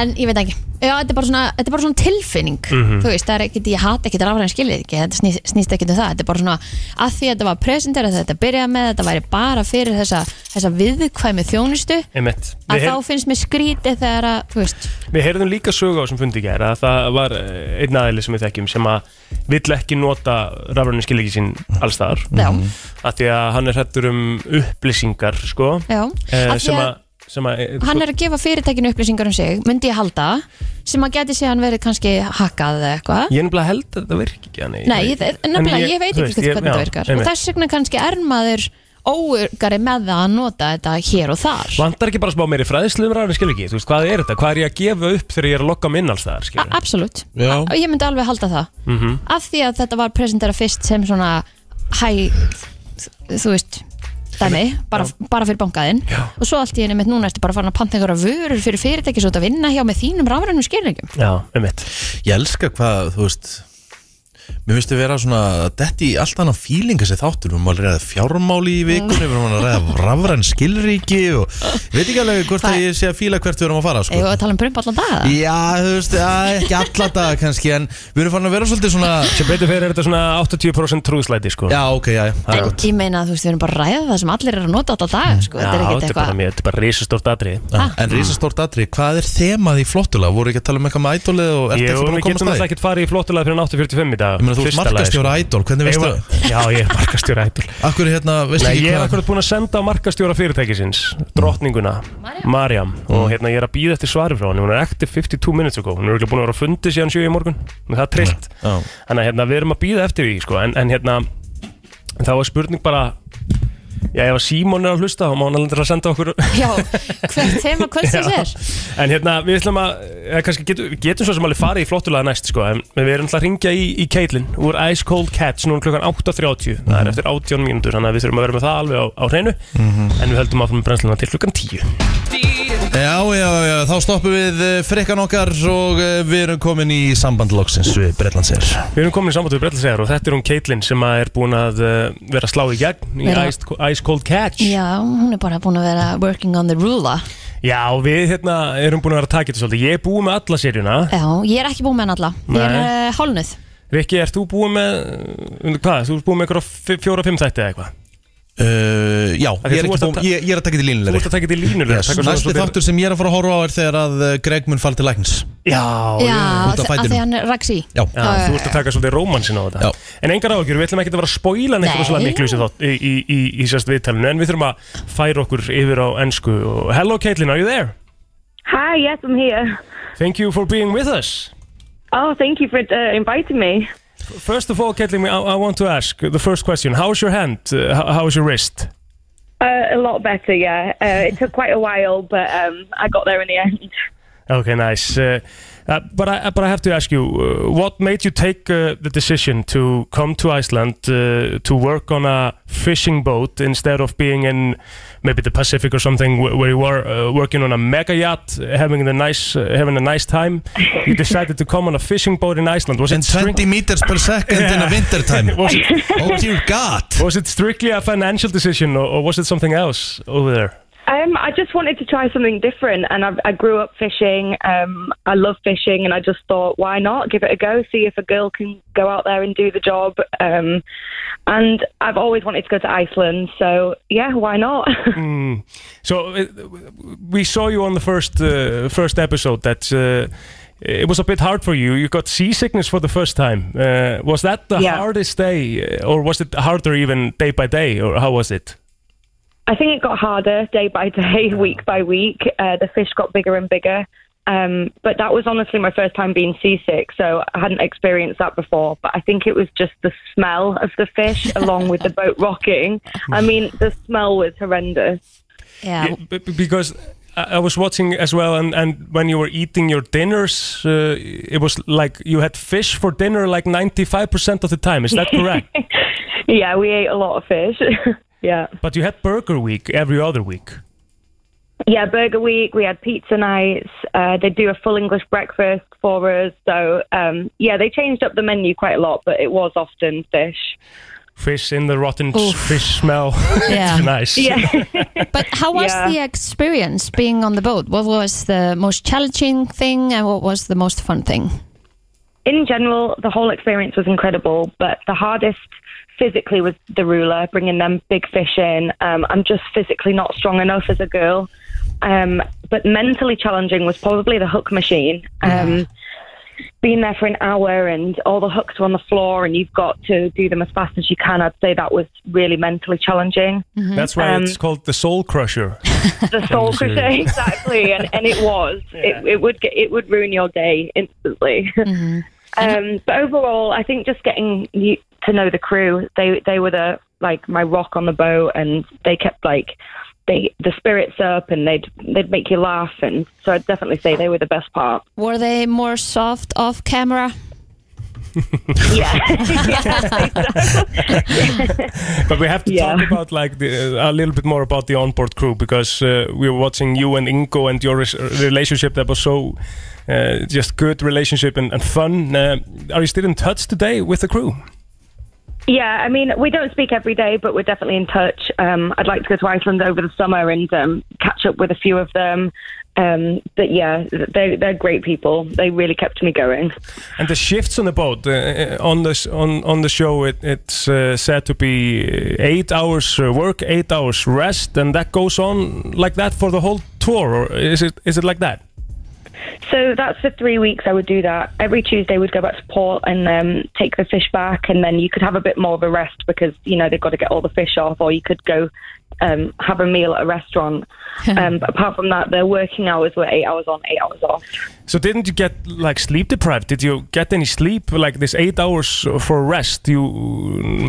C: En ég veit ekki Já, þetta er bara svona, þetta er bara svona tilfinning Þú veist, það er ekkit, ég hata ekkit rafræðin skilið ekki Þetta snýst, snýst ekkit um það Þetta er bara svona, að því að þetta var presenterað þegar Þetta byrjaði með, þetta væri bara fyrir þessa Þessa viðkvæmi þjónustu
D: Einmitt
C: Að
D: Við heyr-
C: þá finnst mér skrítið þegar að Þú veist,
D: Við heyrðum líka sögu á þessum fundi í gæra að það var eh, einn aðeili sem við þekkjum sem að vill ekki nota rafræðinu skilíki sín allstaðar
C: já,
D: af því að hann er hrættur um upplýsingar sko,
C: já
D: eh,
C: Að því
D: sem
C: að
D: að sem að eh, sko,
C: hann er að gefa fyrirtækinu upplýsingar um sig myndi ég halda, sem að geti síðan verið kannski hakkað eða eitthvað
D: Ég nefnilega held að þetta virki ekki þannig.
C: Nei, ég,
D: En
C: nefnilega, ég, veit
D: þú
C: ekki
D: veist,
C: hvernig
D: já,
C: þetta virkar og
D: einmitt.
C: þess vegna kannski er maður óurgari með það að nota þetta hér og þar
D: Vantar ekki bara smá meiri fræðislu um ræðinu, skilur ekki? Þú veist, hvað er þetta? Hvað er ég að gefa upp þegar ég er að lokka minn alls þar,
C: A-
D: skilur?
C: Absolutt,
G: Já.
C: A- ég myndi alveg halda það
D: Mhm.
C: af því að þetta var presentera fyrst sem svona hæ, þú veist dæmi, bara, bara fyrir bankaðinn og svo allt í einu mitt núna ertu bara farin að panta einhverja vörur fyrir fyrirtæki svo þetta vinna hjá með þínum rafrænum skilningum
D: Já, um mitt.
B: Ég elska hvað, þú veist Mér finnst þið vera svona Detti í allt annan fíling þessi þáttur Við erum að ræða fjármáli í vikunni Við erum að ræða rafræn skilríki og Ég veit ekki alveg hvort að ég sé að fíla hvert við erum að fara sko.
C: eða að tala um prump allan dag eða?
B: Já, þú veist, já, ekki alla daga kannski En við erum farin að vera svolítið svona
D: Sem betur fyrir er þetta svona 80% trúðslæti, sko.
B: Já, ok, já, já, það er
C: en
B: gott
C: ég meina að þú veist við erum bara að ræða það sem allir eru að nota alltaf dag sko. þetta er
D: Já,
C: ekkert
D: þetta er bara
C: eitthvað
D: mjög, þetta er bara risastórt atrið.
B: Já, En risastórt atri, hvað er þemað í flottula? Voru ekki að tala um eitthvað með ædolið og ert
D: Ég,
B: ekki búin
D: við
B: að koma
D: getum alltaf
B: stæði?
D: ekkert farið í flottulega fyrir 8.45 í dag.
B: Ég meina, þú ert markastjóra ædol, hvernig veistu það?
D: það? sko. Já, ég er markastjóra ædol.
B: Akkur hérna, veistu
D: Nei,
B: ekki
D: ég er
B: hvað
D: akkurat búin að senda á markastjóra fyrirtækisins Drottninguna, Mariam
B: Mm.
D: Og hérna ég er að býða eftir svari frá henni Hún er active 52 minutes ago Hún er örugglega búin að vera að fundi síðan 7 í morgun Það er trillt
B: Mm. Já.
D: Þannig að hérna, við erum að býða eftir því sko. en, en hérna, þá er spurning bara Já, ef að Símon er að hlusta Þá má hann alveg að senda okkur
C: já, hvert tema kvöldsins er
D: En hérna, við ætlum að eða, kannski getum, getum svo sem alveg farið í flottulega næst sko, En við erum alltaf að ringja í, í Caitlin Úr Ice Cold Cats Núna klukkan 8.30 Það
B: Mhm.
D: er eftir 18 mínútur Þannig að við þurfum að vera með það alveg á, á hreinu En við höldum áfram með brennsluna til klukkan 10
B: Já, já, já, þá stoppum við eh, frekkan okkar og eh, við erum komin í sambandloksins við Bretlandsir
D: Við erum komin í samband við Brellasegar og þetta er hún Caitlin sem að er búin að uh, vera að slá í gegn í
C: Vera-
D: Ice, Ice Cold Catch
C: já, hún er bara búin að vera working on the ruler
D: Já, við hérna erum búin að vera að taka þetta svolítið Ég er búin með alla seríuna
C: já, ég er ekki búin með hann alla ég er
D: Nei.
C: uh, hálnuð
D: Rikki, ert þú búin með, uh, hvað, þú ert búin með einhverja fjóra-fimm þætti eða eitthvað
B: Uh, já,
D: Ok,
B: ég er,
D: þú
B: ekki
D: varst að
B: búinn-
D: ta-
B: ég, ég er að taka þetta í
D: Þú
B: línulegri
D: ert að taka þetta í línulega
B: yes. Næsti þáttur sem ég er að fara að horfa á er þegar að eh, Greg mun falla til læknis
D: Já,
C: já,
B: út af
C: að
B: fætinum.
C: því hann er raksi
B: Já,
D: Já, þú ert að taka svolítið rómansin á þetta
B: Já.
D: En engar áhugjur, við ætlum ekki að vera að spoila neitt
C: Nei.
D: rosalega miklu í þessu þátt- í, í, í, í sérst viðtalinu En við þurfum að færa okkur yfir á ennsku og, Hello Caitlin, are you there?
H: Hi, yes, I'm here.
D: Thank you for being with us
H: Oh, thank you for uh, inviting me.
D: First of all, Caitlin, I, I want to ask the first question. How is your hand? Uh, how, how is your wrist?
H: Uh, a lot better, yeah. Uh, it took quite a while, but um, I got there in the end.
D: Okay, nice. Uh, uh, but I but I have to ask you, uh, what made you take uh, the decision to come to Iceland uh, to work on a fishing boat instead of being in maybe the Pacific or something wh- where you were uh, working on a mega yacht, having the nice uh, having a nice time? You decided to come on a fishing boat in Iceland. Was it
B: In
D: strict-
B: 20 meters per second in a winter time
D: was it,
B: Oh dear god
D: was it strictly a financial decision, or, or was it something else over there?
H: Um, I just wanted to try something different, and I, I grew up fishing. Um, I love fishing, and I just thought, why not give it a go? See if a girl can go out there and do the job. Um, and I've always wanted to go to Iceland, so yeah, why not?
D: So uh, we saw you on the first uh, first episode that uh, it was a bit hard for you. You got seasickness for the first time. Uh, was that the
H: Yeah.
D: hardest day, uh, or was it harder even day by day, or how was it?
H: I think it got harder day by day, week by week. Uh, the fish got bigger and bigger. Um, but that was honestly my first time being seasick, so I hadn't experienced that before. But I think it was just the smell of the fish along with the boat rocking. I mean, the smell was horrendous.
C: já,
D: Yeah, b- b- because. I I was watching as well, and, and when you were eating your dinners, uh, it was like you had fish for dinner like 95% of the time. Is that correct?
H: Yeah, we ate a lot of fish. yeah.
D: but you had Burger Week every other week.
H: Yeah, Burger Week, we had pizza nights. Uh, they do a full English breakfast for us. So, um, yeah, they changed up the menu quite a lot, but it was often fish.
D: Fish in the rotten s-
C: Oof.
D: fish smell.
C: Yeah.
D: nice.
H: Yeah.
C: But how was
H: Yeah.
C: the experience being on the boat? What was the most challenging thing and what was the most fun thing?
H: in general, the whole experience was incredible, but the hardest physically was the ruler, bringing them big fish in. Um, I'm just physically not strong enough as a girl. Um, but mentally challenging was probably the hook machine. Um, been there for an hour and all the hooks are on the floor and you've got to do them as fast as you can, I'd say that was really mentally challenging.
D: That's why
H: Um,
D: it's called the Soul Crusher.
H: The soul
D: Sure.
H: crochet, exactly, and, and it was. It, it would get, it would ruin your day instantly. Um, but overall, I think just getting you to know the crew, they they were the like my rock on the boat, and they kept like they the spirits up, and they'd they'd make you laugh, and so I'd definitely say they were the best part.
C: Were they more soft off camera?
H: Yeah, yeah.
D: But we have to
H: Yeah.
D: talk about like the, uh, a little bit more about the onboard crew because uh, we were watching you and Ingo and your res- relationship that was so uh, just good relationship and, and fun. Uh, are you still in touch today with the crew?
H: Yeah, I mean, we don't speak every day, but we're definitely in touch. Um, I'd like to go to Iceland over the summer and um, catch up with a few of them. Um, but yeah, they're, they're great people. They really kept me going.
D: And the shifts on the boat uh, uh, on this on on the show it, it's uh, said to be uh, eight hours uh, work, eight hours rest, and that goes on like that for the whole tour. Or is it is it like that?
H: So that's for three weeks. I would do that every Tuesday. We'd go back to port and um, take the fish back, and then you could have a bit more of a rest because you know they've got to get all the fish off, or you could go um, have a meal at a restaurant. um, but apart from that, their working hours were eight hours on, eight hours off.
D: So didn't you get like sleep deprived? Did you get any sleep like this eight hours for rest? You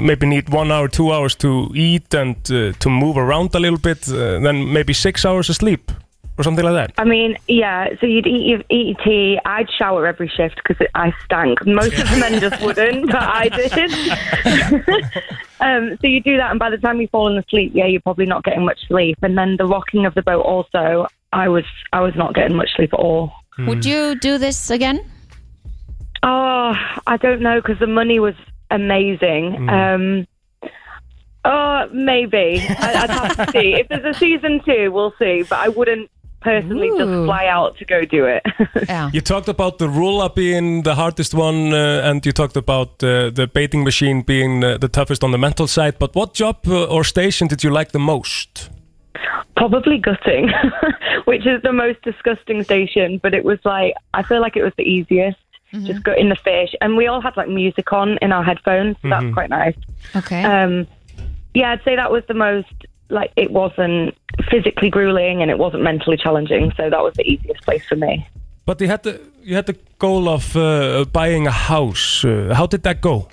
D: maybe need one hour, two hours to eat and uh, to move around a little bit, uh, then maybe six hours of sleep or something like that.
H: I mean, yeah. So you'd eat your eat your tea. I'd shower every shift because I stank. Most of the men just wouldn't, but I did. um, so you do that, and by the time you fall asleep, yeah, you're probably not getting much sleep. And then the rocking of the boat also. I was I was not getting much sleep at all.
C: Would you do this again?
H: Oh, I don't know because the money was amazing. Um, oh, maybe I, I'd have to see if there's a season two. We'll see, but I wouldn't personally
C: Ooh.
H: just fly out to go do it.
C: Yeah.
D: You talked about the ruler being the hardest one, uh, and you talked about uh, the baiting machine being uh, the toughest on the mental side. But what job uh, or station did you like the most?
H: Probably gutting, which is the most disgusting station, but it was like, I feel like it was the easiest.
C: Mm-hmm.
H: Just gutting the fish. And we all had like music on in our headphones. So
C: Mm-hmm.
H: That's quite nice.
C: Okay.
H: Um, yeah, I'd say that was the most, like, it wasn't physically grueling and it wasn't mentally challenging. So that was the easiest place for me.
D: But you had the you had the goal of uh, buying a house. Uh, how did that go?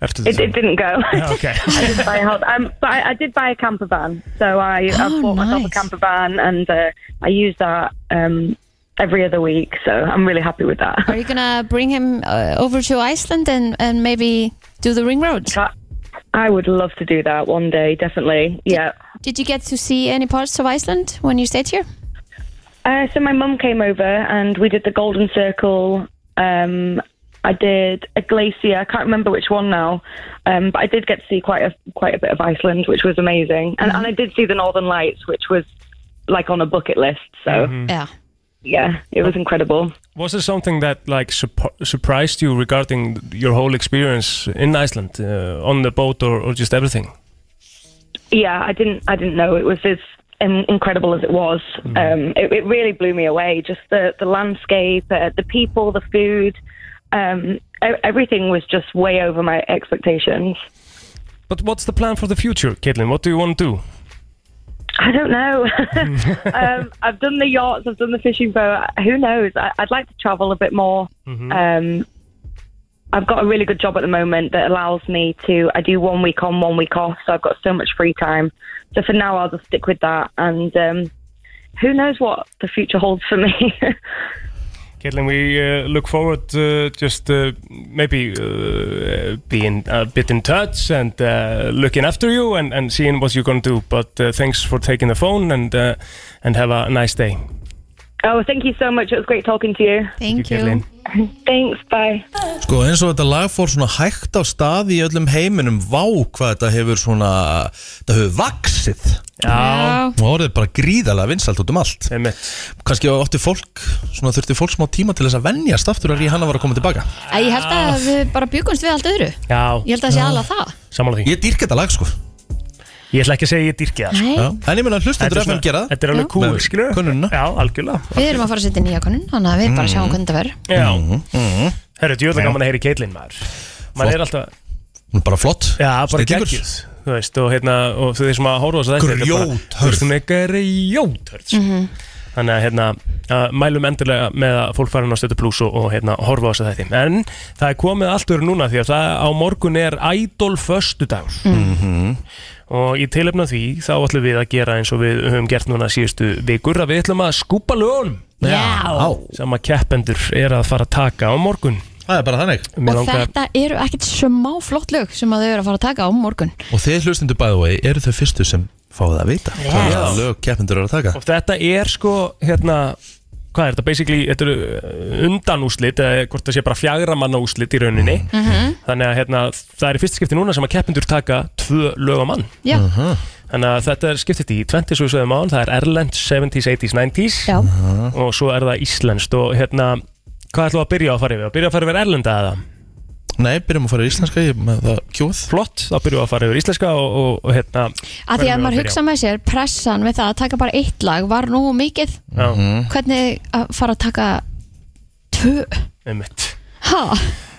D: After the
H: It, it didn't go.
C: Oh,
D: okay.
H: I didn't buy a house. Um, but I, I did buy a camper van. So I,
C: Oh,
H: I bought myself a
C: nice.
H: camper van and uh, I use that um, every other week. So I'm really happy with that.
C: Are you gonna bring him uh, over to Iceland and, and maybe do the ring road?
H: I, I would love to do that one day, definitely. Yeah.
C: Did you get to see any parts of Iceland when you stayed here?
H: Uh, so my mum came over and we did the Golden Circle. Um, I did a glacier. I can't remember which one now, um, but I did get to see quite a quite a bit of Iceland, which was amazing. And, and I did see the Northern Lights, which was like on a bucket list. So
C: Yeah.
H: yeah, it was incredible.
D: Was there something that like surp- surprised you regarding your whole experience in Iceland uh, on the boat or, or just everything?
H: Yeah, I didn't I didn't know it was as um, incredible as it was. Um, it, it really blew me away. Just the the landscape, uh, the people, the food, um, e- everything was just way over my expectations.
D: But what's the plan for the future, Caitlin? What do you want to do?
H: I don't know. um, I've done the yachts, I've done the fishing boat. Who knows? I, I'd like to travel a bit more. Um, I've got a really good job at the moment that allows me to. I do one week on, one week off, so I've got so much free time. So for now, I'll just stick with that, and um, who knows what the future holds for me.
D: Caitlin, we uh, look forward to just uh, maybe uh, being a bit in touch and uh, looking after you and, and seeing what you're going to do. But uh, thanks for taking the phone and uh, and have a nice day.
H: oh, thank you so much. It was great talking to you.
C: Thank you.
D: Caitlin.
H: Thanks. Bye.
I: Sko eins og þetta lag fór svona hægt á stað í öllum heiminum Vá hvað þetta hefur svona Þetta hefur vaksið
C: Já.
I: Og orðið bara gríðarlega vinsælt út um allt
D: Einmitt.
I: Kanski átti fólk, svona þurfti fólk smá tíma til þess að venjast aftur að Rihanna var að koma tilbaka
C: Æ, Ég held að við bara byggumst við allt öðru.
D: Já,
C: Ég held að það sé alveg það.
D: samanlega því.
I: Ég dýrk þetta lag sko
D: Ég ætla ekki að segja ég dyrki það sko.
C: Nei,
B: Já. En ég meina hlustendur FM gera það
D: þetta er alveg cool,
B: Með
D: skilur
B: könnunina.
D: Já, algjörlega
C: við erum að fara að setja nýja konun Þannig að við bara sjáum hvernig þetta verður
D: Já,
B: Mm-hmm,
D: herru, djúðlega gaman að heyri Keitlin maður Maður er alltaf,
B: Hún er bara flott
D: já, bara
B: Stillingur.
D: geggjus Þú veist, og hérna, og þau sem að horfa á þessu þetta er bara-
B: Grjóthörð.
D: Þú veist, hún er grjóthörð sko. Þannig að, hérna, að mælum endurlega með að fólk fara inn á stötu pluss og, og hérna, horfa á þessu þetta En það er komið allt öru núna því að það á morgun er Idol föstudagur
B: Mm-hmm.
D: Og í tilefna því þá ætlum við að gera eins og við höfum gert núna síðustu vikur að við ætlum að skúpa lögunum
C: Já,
D: sem að keppendur er að fara að taka á morgun
B: Það er bara þannig
D: Mig
C: og
D: langar-
C: þetta eru ekkert smá flott lög sem að þau eru að fara að taka á morgun
B: Og þeir hlustendur by the way eru þau fyrstu sem fá það að vita yes. Það er það lög keppindur eru að taka
D: og þetta er sko hérna hvað er þetta, basically þetta eru undanúslit eða hvort það sé bara fjagra manna úslit í rauninni
C: Mm. Mhm.
D: þannig að hérna, það er í fyrsta skipti núna sem að keppendur taka tvö lög á mann
C: Já,
D: þannig að þetta er skiptið í 20 svo sögum án, það er Erlend 70s, 80s, 90s
C: já,
D: og svo er það Íslenskt og hérna, hvað ætlum við að byrja á að fara yfir? Að byrja að fara yfir Erlenda eða?
B: Nei, byrjum að fara í íslenska Ég er með það kjóð
D: Flott, þá byrjum við að fara yfir Íslenska og, og, og hérna,
C: að því að
D: Hvernig á að
C: maður
D: byrja?
C: hugsa með sér pressan við það að taka bara eitt lag var nú mikið
D: já,
C: Mhm. hvernig að fara að taka tvö
D: einmitt
C: ha,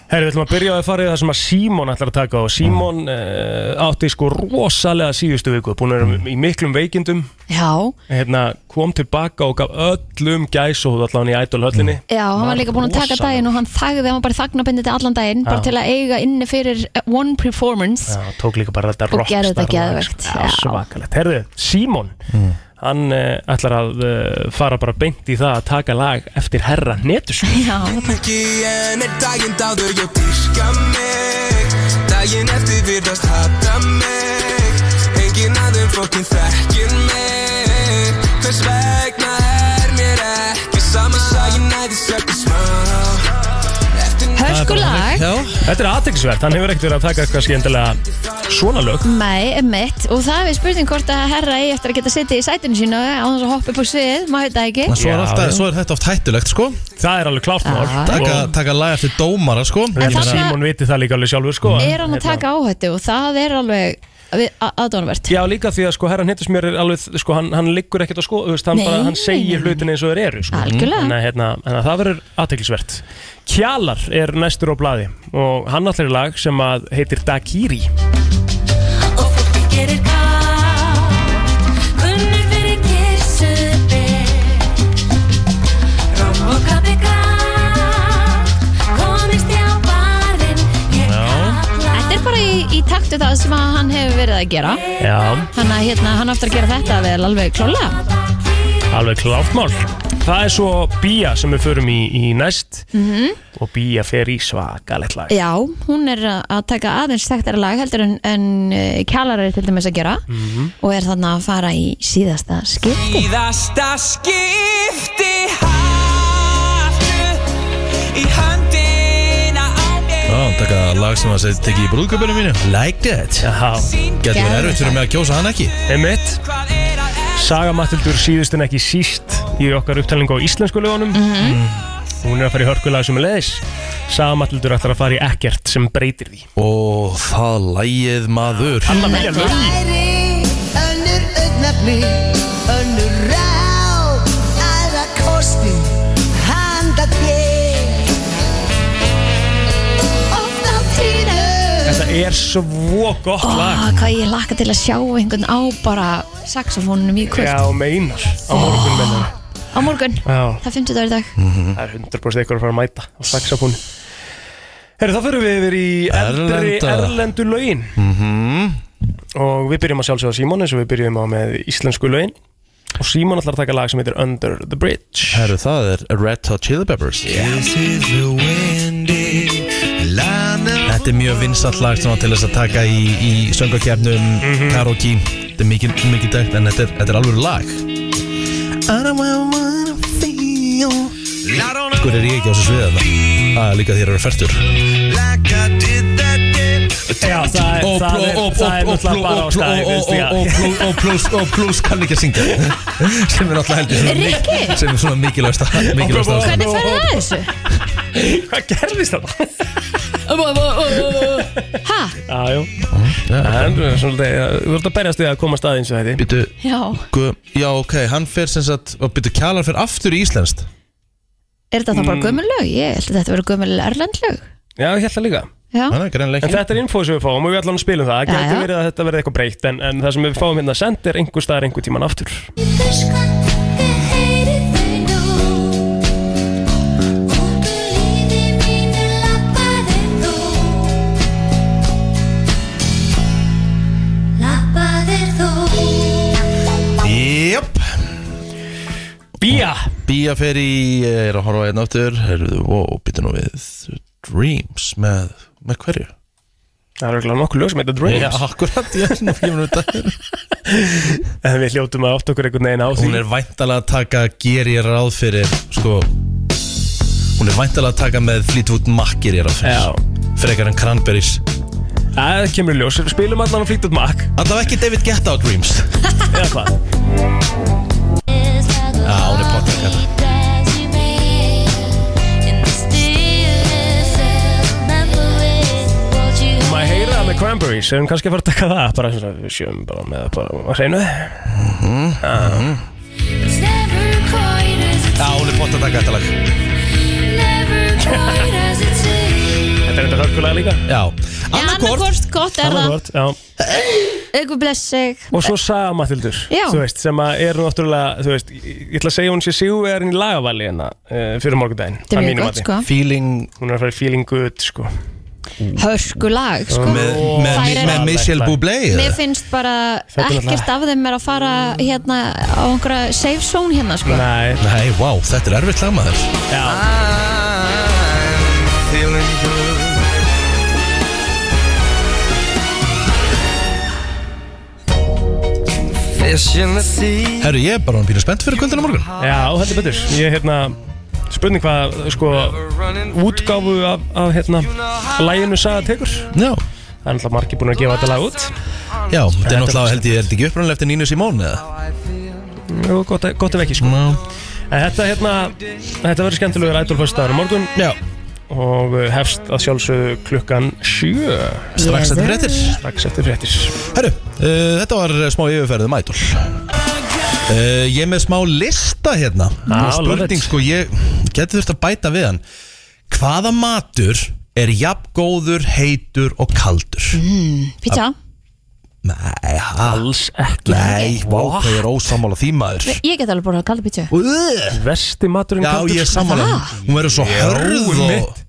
D: Herri, við ætlum að byrja á að fara í það sem að Símon ætlar að taka og Símon uh, átti sko rosalega síðustu viku búin að vera í miklum veikindum
C: já,
D: hérna, kom tilbaka og gaf öllum gæs og allan í ædol höllinni
C: já, hann var líka búinn að taka
D: Rosalega.
C: daginn og hann þagði, hann var bara þagnabindið allan daginn, bara
D: Já.
C: til að eiga inni fyrir uh, one performance
D: Já, tók líka bara þetta
C: Og gerði þetta
D: rockstar lag,
C: geðveikt,
D: sko. Já,
C: já.
D: svakalegt Herri, Símon, hann uh, ætlar að uh, fara bara beint í það að taka lag eftir herra netus
C: já,
A: Ekki en er daginn dáður ég dyrka mig Daginn eftir virðast hata mig Engin aðeim fólkin þekkir mig Hvers vegna er mér ekki sama Sægin næði sökkur smá Eftir
C: höskulag
D: Þetta er aðteklisvert, hann hefur ekkert verið að taka eitthvað skemmtilega svona lög
C: Nei, emitt, og það er spurning hvort að herra eigi eftir að geta setið í sætinu sínu á þess að hoppa upp á svið, maður veit það ekki
B: Svo, er
D: Já,
B: alltaf,
D: já.
B: svo er þetta oft hættulegt sko
D: Það er alveg klárt mál
C: Já.
B: Taka,
D: Og-
B: taka lag eftir dómara sko
D: Ég meina,
C: þarna-
D: Símon viti það líka alveg sjálfur sko
C: er hann að taka áhættu og það er alveg uh, aðdónavert
D: Já, líka því að sko herran hittismjör er alveg, sko, hann, hann liggur ekkert á sko, þú veist, hann
C: Nei,
D: bara, hann
C: nei,
D: segir
C: nei, nei.
D: hlutin eins og þeir eru, sko.
C: Algjörlega.
D: Þannig að, hérna, þannig að það verður aðteklisvert. Kjalar er næstur á blaði og hann allir lag sem að heitir Dakiri.
H: Og fólki gerir kátt Kunnur fyrir kirsubyr Róm og kaffi kátt Komist ég á barinn Ég kalla
C: Þetta er bara í, í taktu það sem að hann hefur verið að gera
D: Já,
C: Þannig að hérna, hann aftur að gera þetta vel alveg klálega
D: alveg klárt mál. Það er svo Bía sem við förum í, í næst -hmm. og Bía fer í svakalett lag.
C: Mhm. Já, hún er að að taka aðeins þekktara lag heldur en, en eh, kjalar er til dæmis að gera
D: Mhm.
C: og er þannig að fara í síðasta skipti
A: Íðasta skipti Hattu í höndina á mér
B: Já, taka lag sem að segja tekið í brúðköpunum mínu Like that
D: Já,
B: Gæti verið
C: Gerðu
B: erfitt fyrir mig að kjósa hann ekki
D: emitt. Saga Matildur síðust en ekki síst í okkar upptalningu á íslensku lögunum Hún er að fara í hörkulag sem er leiðis Saga Matildur ætlar að fara í ekkert sem breytir því
B: Og það lagið maður
D: Alla velja lögin
H: Væri önnur augnafni Önnur rá Aðra kosti Handa þér Oft á tínu
D: Þetta er svo gott lag
C: Ó, Ah, Hvað ég laka til að sjá einhvern á bara saxofónunum í kvöld
D: Já, meinar Á morgun meinar
C: Á morgun,
D: Já,
C: það er 50 dagar í dag
D: það er 100% eitthvað að fara að mæta á saxafónu Herru, þá fyrir við yfir í eldri
B: Erlenda.
D: erlendu lögin -hmm. Og við byrjum að sjálfsögða Símon eins og við byrjum á með íslensku lögin Og Símon ætlar að taka lag sem heitir Under the Bridge
B: Herru, það er Red Hot Chili Peppers Þetta er mjög vinsalt lag svona, til þess að taka í, í söngakefnum karaoke Þetta er mikið, mikið dægt en þetta er, þetta er alveg lag Hver er ég ekki á þessu sviða þarna? Það er líka þér eru færtur
D: Já, það er,
B: Og
D: það er,
B: pló- og-
D: það
B: og-
D: er
B: og-
D: náttúrulega bara á
B: og-
D: staði
B: og-
D: veist,
B: og-
D: já.
B: og- og- pló- og plús- og plús kann ekki að syngja sem er náttúrulega heldur svona mik- sem er svona mikilvægsta mikilvægsta ástæðan.
C: Hvernig ferðu það þessu?
D: Hvað gerðist þetta?
C: Ó, ó, ó, ó, ó. Hæ?
D: Já, já En uh, svolítið, uh, þú ert að berjast við að koma staði eins og þetta
B: Býtu,
C: Já.
B: gu- já ok, hann fer sem sagt og býtu kjalar fer aftur í Íslenskt
C: Er þetta
D: Mm.
C: þá bara gömul lög? Ég held að þetta verið gömul erlend lög.
D: Já, ég held það líka
C: Já.
B: Hann er greinlega
D: En
B: ekki
D: þetta er info sem við fáum og við allan spilum um það Það
C: Já,
D: getur
C: já.
D: verið að þetta verði eitthvað breytt en, en það sem við fáum hérna send er einhver staðar einhver tíman aftur
B: Jöp,
D: Bía
B: Bía fer í, eh, er að horfa einn aftur Herðu, wow, býtu nú við Dreams með, með hverju?
D: Það er ekki nokkuð lög sem heitir Dreams
B: akkurat, ég er um nú fyrir mér þetta
D: En við hljótum að átt okkur einhvern veginn á því
B: Hún er væntalega að taka, ger ég ráð fyrir Sko Hún er væntalega að taka með Fleetwood Mac ger ég ráð
D: Já.
B: fyrir Frekar en Cranberries
D: Það kemur í ljós Spilum allan að flýta út makk
B: Allavega ekki David Guetta á Dreams
D: Eða hvað
B: Já, hún er potið þetta
D: Maður heyra það með Cranberries Erum kannski að fara að taka það Bara svona við sjöum bara með það bara að hreinu
B: Já, hún er bótt að taka þetta lag
D: Þetta er þetta hörkulega líka
B: Já, annarkort
C: Annarkort, gott er það.
D: Annarkort, já
C: Ykkur bless sig.
D: Og svo Saga Matildur
C: Já.
D: Þú veist, sem að er náttúrulega Þú veist, ég ég ætla að segja hún sé sigurverðin í lagavali hérna uh, Fyrir morgundaginn
C: Þetta
D: að
C: er mjög
D: mínu
C: gott,
D: mati.
C: sko.
B: Feeling
D: Hún er að fara í feeling good, sko
C: Hörku lag, sko.
B: með,
C: Þær
B: með,
C: eru-
B: með Michelle Bublé
C: Mér finnst bara
D: Þetta er
C: ekkert
D: náttúrulega-
C: af þeim er að fara hérna á einhverja safe zone hérna, sko.
D: Nei,
B: Nei, vá, þetta er erfitt lag maður
D: já,
A: Fish in the sea
B: Herru, ég er bara hann pínu spennt fyrir kvöldinu morgun
D: já, þetta er betur Ég er hérna, spurning hvað, sko Útgáfu af, af hérna Læginu Saga tekur Það
B: Já,
D: er náttúrulega margir búin að gefa þetta lag út
B: já, þetta er náttúrulega held ég, er þetta ekki upprannlega eftir Nínu Simón eða?
D: Jú, gott, ef- gott ef ekki, sko
B: Ná,
D: En þetta, hérna, þetta verður skemmtilegur ædolföstaðar á morgun
B: já,
D: Og uh, hefst að sjálfsögðu klukkan sjö
B: strax þetta fréttir
D: Strax eftir fréttir
B: Herru, uh, þetta var smá yfirferðum ædol uh, Ég er með smá lista hérna
D: Ah,
B: Og
D: love it.
B: Spurning, sko, ég geti þurft að bæta við hann Hvaða matur er jafn góður, heitur og kaldur?
D: Mm.
C: Pítja,
B: Nei, ha,
D: Alls ekki
B: nei, vá, hvað ég er ósammála því maður
C: ég get alveg búin að kalla pítju.
B: Úh,
D: Vesti maturinn
B: Já, ég er sammála
C: Ah.
B: Hún verður svo hörð og
D: einmitt.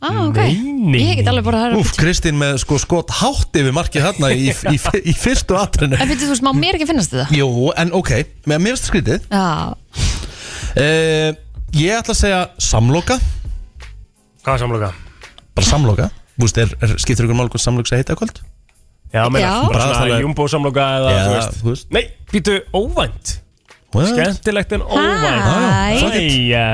C: Ah, ok.
D: Nei, nei.
C: Ég get alveg búin að hæra
B: Úf,
C: pítju.
B: Kristín með sko skot hátt yfir markið þarna í, í, í, í fyrstu atrinu
C: En fyrir þú veist, má mér ekki finnast þetta?
B: Jú, en ok, með mér finnst það skrítið
C: Já,
B: uh, Ég ætla að segja samloka
D: Hvað er samloka?
B: Bara samloka Þú veist, er, er, skiptir ykkur mál hvað samloka segja heita í kvöld?
D: Já, meina,
C: Já.
D: bara
B: Bragðast
D: svona
B: alveg.
D: jumbo samloka eða,
B: Já,
D: þú veist.
B: þú veist.
D: Nei, býtu, óvænt Skemmtilegt en óvænt eh,
B: já, fuck it.
D: Æ, ja.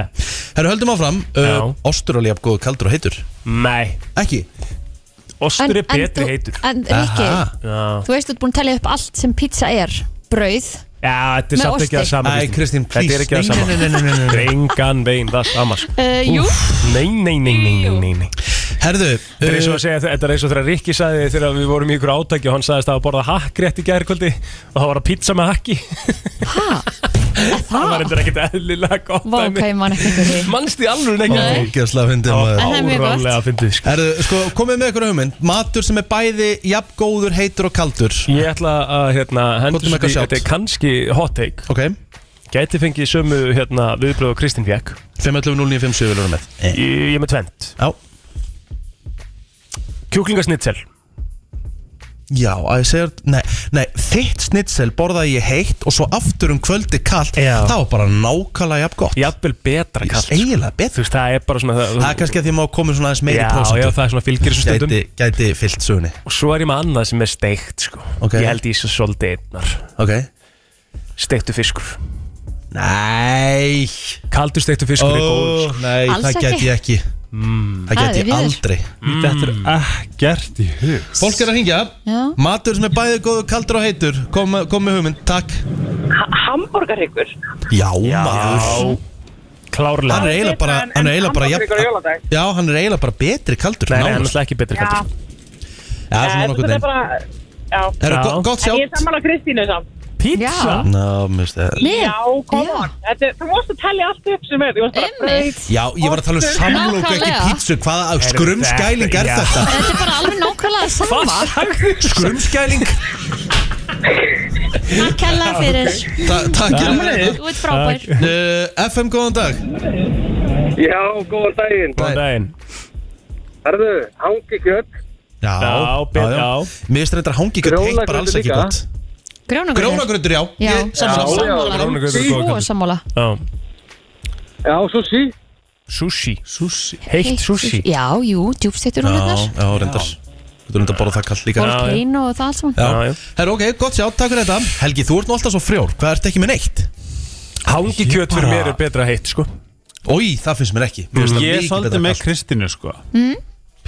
B: Herru, höldum áfram
D: Já.
B: uh, Ostur alveg jafn góð kaldur og heitur
D: Nei,
B: Ekki
D: ostur er betri heitur
C: En Rikki,
B: Aha.
D: Já,
C: þú veist, þú ert búin að tellja upp allt sem pizza er Brauð,
D: Já, þetta er
C: Með
D: samt ekki
C: osti.
D: að sama
B: Æ, Kristín,
D: Þetta er
B: please.
D: ekki
B: Nei,
D: að
B: nei, nei, nei,
D: sama Drengan veginn, það er sama sko.
C: uh, jú
D: Nei, nei, nei, nei, nei, nei, nei
B: Herðu
D: Þetta er eins og
B: uh,
D: að segja, þetta er eins og þegar Rikki sagði þegar við vorum í ykkur átæki og hann sagðist að það var borða hakkrétt í gærkvöldi og það var að pizza með hakki
C: Hæ?
D: Það var
C: Það?
D: eitthvað ekkert eðlilega gott
C: Ah! Vá, ok, ég man ekki eftir því
D: Mannst í alveg ekki eftir því.
B: Ógeðslega fyndið maður.
C: En það er mjög gott.
D: Árálega fyndið sko.
B: Herðu, sko, komið með ykkur á hugmynd Matur sem er bæði jafn góður, heitur og kaldur
D: Ég ætla að hérna, hendur
B: Komdu með
D: því,
B: eitthvað sjálft.
D: þetta er kannski hot take
B: Ok,
D: Gæti fengið sömu hérna, viðbröð og Kristinn fekk
B: 511-0957 vil vera með
D: Ég ég er með tvent
B: Já
D: Kjúklingasnitsel
B: Já, að ég segja Nei, nei þitt snitsel borðaði ég heitt og svo aftur um kvöldi kalt
D: Já.
B: Það var bara nákvæmlega jafn gott
D: Jafnvel betra kallt sko.
B: Eiginlega
D: Þú
B: betur
D: veist, það er bara svona það,
B: Það er kannski að því maður komið svona aðeins meiri
D: Já,
B: prósentu
D: já, það er svona fylgir þessum stundum
B: gæti, gæti fyllt sögunni
D: Og svo er ég með annað sem er steikt sko.
B: Ok.
D: Ég held í þessu svolítið einnar
B: Ok
D: Steiktu fiskur
B: Nei
D: Kaldur steiktu fiskur er góð sko. Mm.
B: Nei,
C: Alls
B: það
C: ekki.
B: gæti ég ekki Það
C: Það
B: gæti
C: er
B: ég
C: viður.
B: aldrei
D: Þetta er ekkert í hug
B: Fólk er að hringja
C: Já.
B: Matur sem er bæði góður, kaldur og heitur Kom, kom með hugmynd, takk
E: Hamburgarhyggur
B: Já, maður
D: Já, klárlega
B: Hann er eiginlega bara, hann er eiginlega bara jafn-
E: Hamburgarhyggur á jóladag
B: Já, hann er eiginlega bara betri kaldur
D: Nei,
B: en
D: nei, hann er
B: áður.
D: náttúrulega ekki betri kaldur
B: Já,
H: Uh,
B: svona
J: En
B: nokkuð
J: þetta er
B: neginn
J: bara, já.
B: Er
D: Já.
B: það gott
J: En ég er
B: sjátt?
J: sammála Kristínu samt.
D: Pizza?
C: Já.
B: Ná, mér finnst það
C: Mér?
J: Já, come
C: Já.
J: on. Þetta er- Þú mást að tellja allt upp sem er. Þú mást bara
C: Einmitt.
B: Já, ég var að tala um samlóku, ekki
C: Nákvæmlega.
B: pítsu Hvaða skrumskæling er
D: Já.
B: þetta?
C: Þetta er bara alveg nákvæmlega
D: Hvað
C: sama
D: sagði
B: Skrumskæling?
C: Takk hella fyrir
B: Ta- Takk ég
C: Þú ert frábær
B: FM, góðan dag
A: Já, góðan daginn.
D: Góðan daginn
A: Herðu, hangi kjött,
B: Já,
D: Já, betur, já.
B: Mér finnst þetta hangi ekki heitt bara alls
A: Grjónagrautur
B: ekki
A: líka.
B: gott
C: Grónagröður
B: Grónagröndur, já
C: Já,
B: Ég-
C: sammála
A: já,
D: grónagrautur er góður
C: Svo
D: kostur.
C: sammála
D: Já
A: já, sushi.
D: Sushi Sushi Heitt sushi
C: Já, jú, djúbstettur hún
B: Já,
C: þetta
B: já, reyndar Þú erum þetta að borða það kallt líka
D: já.
C: Volcano og það allt saman
D: Já, já.
B: Já, herru, ok, gott sjá, takk fyrir þetta Helgi, þú ert nú alltaf svo frjór, hvað ert ekki með neitt?
D: Hangi kjöt fyrir mér er betra heitt sko
B: Ói, það finnst mér ekki Mér finnst það
K: Ég er
B: mikið
K: svolítið
B: betra
K: með
B: kalt.
K: Kristínu sko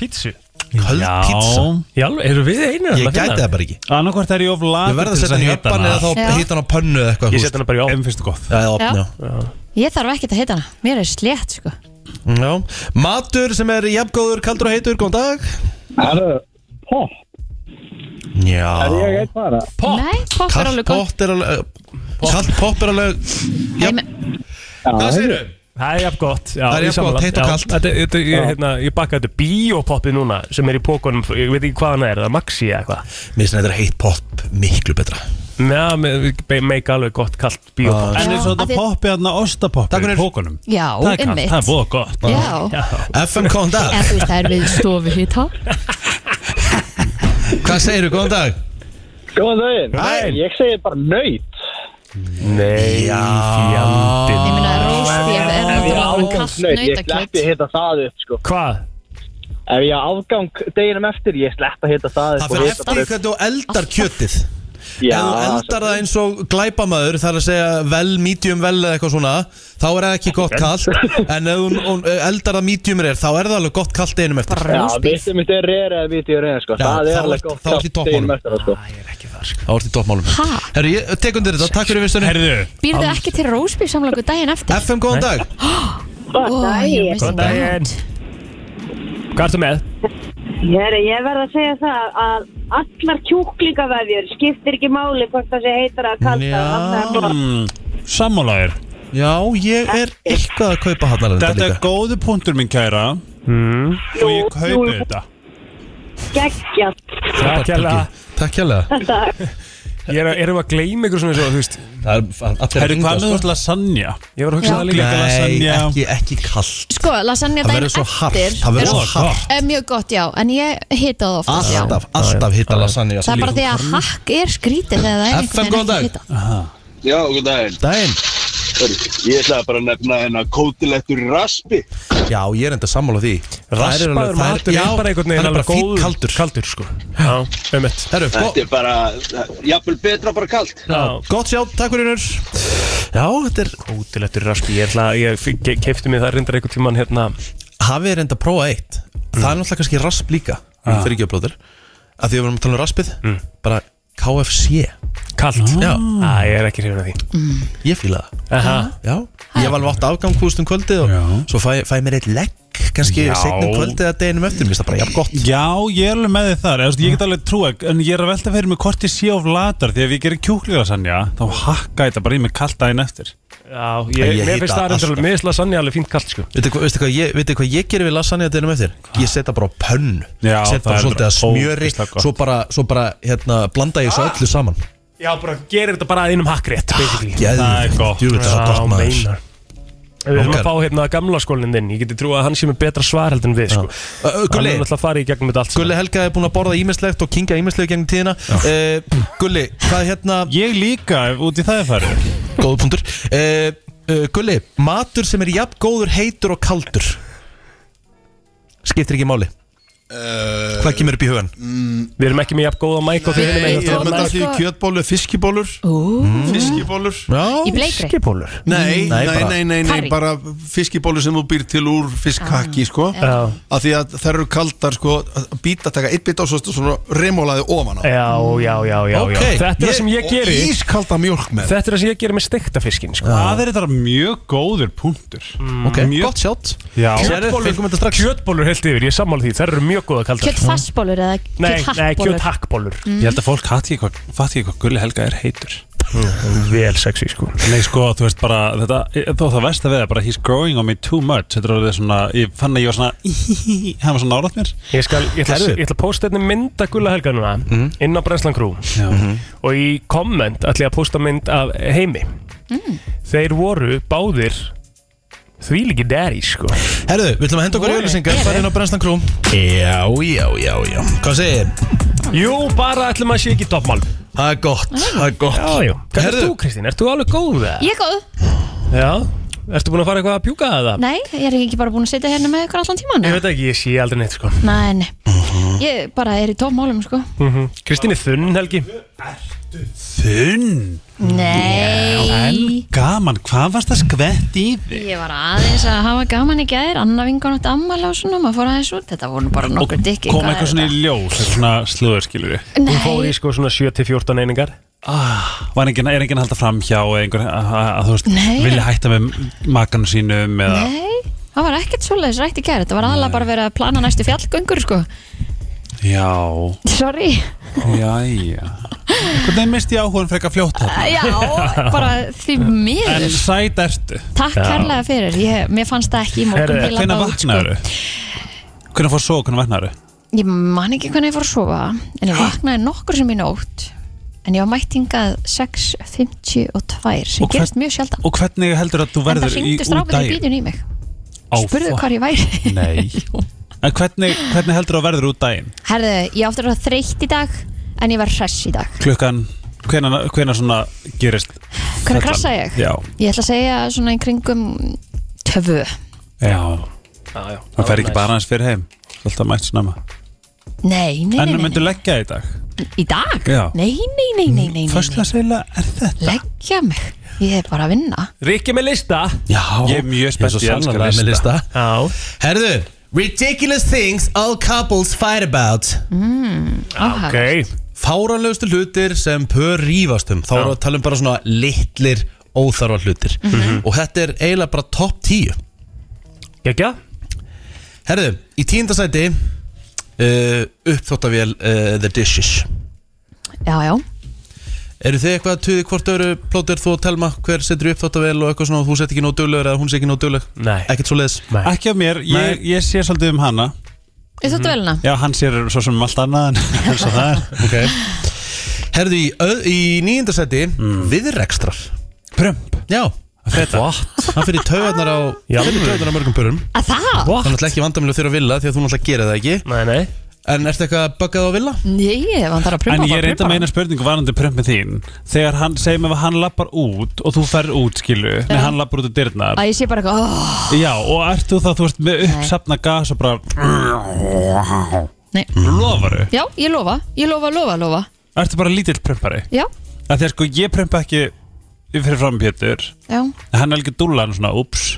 D: Pizzu
B: Köld pizza
D: Já, eru við einu
B: Ég gæti það bara ekki
K: Annarkvort er ég of
B: Ég
K: latur
B: verð
K: til
B: að
K: þess
B: setja hann í
K: hita
B: öppan eða
C: Já.
B: þá hita hann á pönnu eða eitthvað
D: Ég
B: þú
D: set hana bara í
K: Ef
D: á
K: mér finnst það gott
B: veist. Já, eða opn,
C: Já.
B: já.
C: Ég þarf ekkert að heita hana Mér er slétt, sko
B: Já. Matur sem er jafngóður, kaldur og heitur, góðan dag
A: Herðu, pop.
B: Já
A: bara.
D: Popp.
C: Nei, pop er
B: Kallt
C: alveg góð
B: pott er alveg Kallt pop er alveg
C: Nei, men-
B: Hvað segir þau?
D: Það er jafn gott já,
B: Það er
D: ég
B: jafn
D: sammála.
B: gott, heitt og
D: Já,
B: kalt.
D: þetta- þetta- Ég hérna, ég bakka þetta bíopoppi núna sem er í pókunum, ég veit ekki hvað hann er, það er maxi eða eitthvað
B: Mér finnst þetta heitt pop miklu betra
D: Já, me- be- make alveg gott kalt bíopop
K: En eins og
C: af því-
K: þetta poppi hann að
B: Takk
K: ostapoppi í
B: fyrir.
K: pókunum
C: Já,
K: Það er kallt,
C: einmitt
K: það er búið gott
C: Já,
B: FM, góðan
C: en
B: dag
C: þú veist, það er við stofu hita
B: Hvað segir þau, góðan dag?
A: Góðan daginn.
B: Hæ.
A: Ég segi bara nöyt.
D: Nei, fjandinn
C: Ég meina, rósbjörn er náttúrulega kast
A: ég sleppi
C: nautakjöt
A: hitta það upp, sko.
D: Hvað?
A: Ef ég á afgang deginum eftir, ég sleppi hitta það upp.
B: Það fyrir eftir því hvernig þú eldar kjötið
A: Já,
B: Ef þú eldar það eins og glæpamaður Það er að segja vel, medium, vel eða eitthvað svona Þá er það ekki gott kallt En ef þú hún eh, eldar það medium rare Þá er það alveg gott kallt einum eftir
A: Já,
C: Rósbjörn
A: vitið mitt er reyra eða vitið er reyra, sko.
B: Já,
A: það er
B: þá
A: alveg
B: ert-
A: gott.
B: þá ert í
A: kaffi deginum
B: toppmálum.
A: eftir það, sko.
B: Það voru í toppmálum
C: Ha?
B: Herru, ég tek undir þetta, takk fyrir vissunni
K: Herðu,
C: Býrðu ekki til rósbjörn samlagu daginn eftir?
B: FM, góðan dag
C: Ó, ég missi
D: Góðan daginn.
C: það.
D: Hvað ertu með?
E: Ég, ég verð að segja það að allar kjúklingavefjur skiptir ekki máli hvort það sé heitara að kalda
B: Já.
K: sammálaður
B: Já, ég er eitthvað að kaupa hann
K: Þetta er góðu punktur minn kæra Og ég kaupi þetta
E: geggjast
D: Takk hérlega.
B: Takk hérlega
D: Ég er að- Erum við að gleyma ykkur svona svo, þú veist
B: Það er allir
K: Herðu, hvað með þú lasagna?
D: Ég var að hugsa
C: Já.
D: það líka
B: Nei,
K: lasagna?
B: ekki, ekki kallt
C: Sko, lasagna
B: Það
C: daginn
B: verður svo hart
C: eftir
B: Það
C: er
B: verður svo
K: Ó,
B: hart
C: er mjög gott, já En ég hita það ofta
B: Alltaf, alltaf hitta lasagna
C: Það er bara því að hakk er skrítið þegar það er
B: FM, góðan
C: einhvern veginn
B: dag.
C: ekki hitað.
L: Já, góð daginn.
B: Dæin
L: Ég ætlaði bara að nefna hennar kótilettur í raspi.
B: Já, ég er enda sammála því
D: Raspaður matur er bara einhvern veginn
B: alveg
D: alveg
B: fín
D: góður
B: kaldur
D: Kaldur, sko Já, um mitt
B: Herru, go-
L: Þetta er bara, jafnvel betra bara kalt.
D: Já,
B: gott sjá, takk fyrir hennur Já, þetta er
D: útilettur raspi Ég, ætla, ég kefti mig það reyndar einhvern tíman hérna
B: Hafið er enda að prófa eitt Það
D: Mm.
B: er náttúrulega kannski rasp líka
D: Ah.
B: Fyrir ekki að blóður Að því að við erum að tala um raspið
D: Mm.
B: Bara KFC
D: Kalt
B: Mm. Já,
D: Æ, ég er ekki hrifin af því
B: ég fíla það
D: Aha.
B: Já, ég hef alveg átt afgang hústum kvöldið og svo fæ, fæ mér eitt legg kannski
K: Já.
B: setnum kvöldið að deginum eftir mér finnst það bara jafn gott
K: Já, ég er alveg með þið þar eða, þú veist, Ég get alveg trúa, en ég er að velta fyrir mig hvort ég sé of latar Því ef ég gerir kjúklingasanja Þá hakka ég þetta bara í mig kallt daginn eftir
D: Já,
B: Ég
D: ég, mér
B: hita
D: finnst það reyndar
B: alltaf.
D: alveg Mér finnst lasagna alveg fínt kalt, sko
B: Veitu hvað, veistu hvað, ég- veitu hvað ég gerir við lasagna að deginum eftir? Ég setja bara á pönnu
K: Já,
B: Set
K: það
B: bara
K: er
B: svolítið að smjöri
K: ógeðslega gott.
B: Svo bara, svo bara hérna, blanda ég svo öllu saman
D: Já, bara gerir þetta bara að einum hakkrétt, basically
K: Það er gott.
B: Jú, þetta er svo
D: Já,
B: gott maður
D: meinar Við erum
B: Langar.
D: að fá hérna gamla skólinn þinn Ég geti trú að hann sé með betra svar heldur en við sko.
B: Ö, ö, Gulli,
D: Hann er alltaf að fara í gegnum þetta allt
B: Gulli Helga er búin að borða ímislegt og kingja ímislegt gegn tíðina uh, Gulli, hvað hérna
K: Ég líka, ef út í það er farið
B: Góður punktur uh, uh, Gulli, matur sem er jafn góður, heitur og kaldur Skiptir ekki máli Hvað kemur upp í hugan?
D: Við erum ekki með jafn góða mæk og þið
C: Nei,
D: erum
C: ég er með það-
D: með
C: sko-
K: kjötbólur, fiskibólur Fiskibólur
C: Í bleikri
D: Fiskibólur
K: Nei, nei,
B: Nei,
K: nei,
B: bara-
K: nei, nei,
C: Curry.
K: bara fiskibólur sem þú býr til úr fiskhaki, sko
D: Já,
K: Af því að þær eru kaldar, sko, að býta, taka eitt bit á svo svona remólaði ofan á
D: já, já, já, já, já.
B: Ok.
D: Þetta er það sem ég geri
K: Og ískalda mjölk með
D: Þetta er það sem ég geri með stekta fiskin sko.
K: Það er þetta mjög góður punktur
B: Ok,
K: mjög-
B: gott sjátt
K: Já,
B: Sérðu, fengum þetta strax
D: Kjötbólur heilt yfir, ég er sammála því, þær eru mjög mjög góða kaldar
C: Kjötfassbólur eða
D: Nei, nei,
C: kjöthakkbólur
D: kjöthakkbólur
K: Ég held að fólk fatti ekki hvað, fatti ekki hvað Gulli Helga er heitur
D: Vel sexy sko
K: Nei sko, þú veist bara þetta, Þó það versta við það, bara he's growing on me too much Þetta er orðið svona, ég fann að ég var svona Hann var svona nálægt mér
D: Ég, skal, ég, ætla, ég ætla að posta einni mynd að Gulla Helga núna inn á Brenslan Crew og í komment ætla ég að posta mynd af heimi Þeir voru báðir því líki deri sko
B: Herðu, við ætlum að henda okkur í auðlýsingar Fara inn á Brenslan Krú Já, já, já, já Hvað segir?
D: Jú, bara ætlum að sé ekki toppmál
B: Það er gott, það er gott
D: Já, já Hvað er
B: Herðu.
D: þú Kristín? Ertu alveg góð það?
C: Ég er góð,
D: Já Ertu búin að fara eitthvað að pjúka það?
C: nei, ég er ekki bara búin að sitja hérna með ykkur allan tíman
D: Ég veit ekki, ég sé aldrei neitt sko
C: Nei, nei,
K: Mhm.
C: ég bara er í tómálum sko
D: Kristín er þunn helgi
K: Þunn,
C: Nei,
K: gaman, hvað varst það skvett í þig?
C: ég var aðeins að hafa gaman í gæðir Anna vingan átt ammala og svona, maður fór aðeins út Þetta voru nú bara
K: Og
C: nokkur dykki
K: kom eitthvað svona í ljós, eitthvað svona slöður skilur við
C: Nei,
D: Hún fór í sko svona 7-14 einingar
K: Var engin, er enginn að halda fram hjá einhver, að, að, að þú veist,
C: Nei.
K: vilja hætta með makanum sínum eða
C: nei Það var ekkert svoleiðis rætt í gæri, þetta var aðalega bara verið að plana næstu fjallgöngur sko
K: Já,
C: Sorry,
K: jæja Hvernig misti ég áhugan frekar fljótt þarna?
C: já, bara því miður
K: En sæt ertu
C: Takk kærlega fyrir, ég, mér fannst það ekki í morgun
D: Herðu,
C: heila
K: Hvernig
C: bát, sko.
K: vaknaðu? Hvernig fór svo, hvernig vaknaðu?
C: Ég man ekki hvernig ég fór að sofa En ég vaknaði nokkur sem í nótt En ég var mættingað 6.52 Sem
K: Og
C: gerist mjög sjaldan
K: Og hvernig heldur að þú
C: En það
K: verður í
C: hringdu
K: út
C: strákar í
K: daginn?
C: bílun í mig
K: Á,
C: Spurðu
K: fuck.
C: hvar ég væri
K: Nei En hvernig, hvernig heldur að verður út daginn?
C: Herðu, ég átti að vera þreytt í dag En ég var hress í dag
K: Klukkan, hvenær, hvenær svona gerist
C: Hvernig
K: fellan?
C: krassa ég?
K: Já,
C: Ég ætla að segja svona í kringum Töfu
K: já
D: Já, já
K: Það fer ekki bara aðeins fyrir heim Alltaf mætt snemma
C: Nei, nei,
K: En
C: nei,
K: þú
C: nei,
K: myndu leggja í dag
C: nei. Í dag?
K: Já.
C: Nei, nei, nei, nei, nei, nei, nei.
K: Föstlaseila er þetta
C: Leggja mig Ég er bara að vinna
D: Rikki með lista
B: Já,
K: Ég er mjög
B: Ég er
K: spennt
B: svo
K: ég elska
B: sannlega með lista
D: Já
B: Herðu, ridiculous things all couples fight about
C: Áhagast
D: Ok
B: Fáranlegustu hlutir sem pör rífast um Þá erum við að tala um bara svona litlir óþarfa hlutir
K: Mhm.
B: Og þetta er eiginlega bara topp 10
D: Gekja
B: Herðu, í tíundasæti uh, Uppþóttavél uh, The Dishes
C: Já, já
B: Eru þið eitthvað að tuði hvort öru plótir þú og telma Hver setur í uppþóttavél og eitthvað svona og Þú sett ekki nóg duglegur eða hún sé ekki nóg dugleg
D: Nei.
B: Ekkert svo leiðis
K: Ekki af mér, ég, ég sé svolítið um hana
C: Þú
K: Mhm.
C: þáttu velina?
K: Já, hann sér svo sem um allt annað en eins og það er
B: Herðu, í, öð- í níundasæti mm. Viðrekstrar
K: Prump
B: Já,
K: Freda
B: hann fyrir taugarnar á
D: Já.
B: Fyrir taugarnar á mörgum pörum
C: Að það?
B: Það er náttúrulega ekki vandamil fyrir að vilja því að þú náttúrulega gerir það ekki
D: Nei, nei
B: En ertu eitthvað að böggað á vilja?
C: Nei, ef hann þarf að prumpa
K: En ég
C: bara
K: reynda
C: prumpar
K: með
C: hann.
K: eina spurningu varandi prumpið þín Þegar hann, segjum ef hann lappar út og þú ferð út, skilu Nei, hann lappar út úr dyrnar
C: að ég sé bara eitthvað oh,
K: Já, og ert þú þá, þú veist, með uppsapna gas og bara
C: Nei.
K: Mm. Lofaru
C: Já, ég lofa, ég lofa, lofa, lofa
K: Ertu bara lítill prumpari
C: Já,
K: Af Því að sko, ég prumpa ekki fyrir fram Pétur
C: já,
K: Hann er ekki dúlla hann svona, ups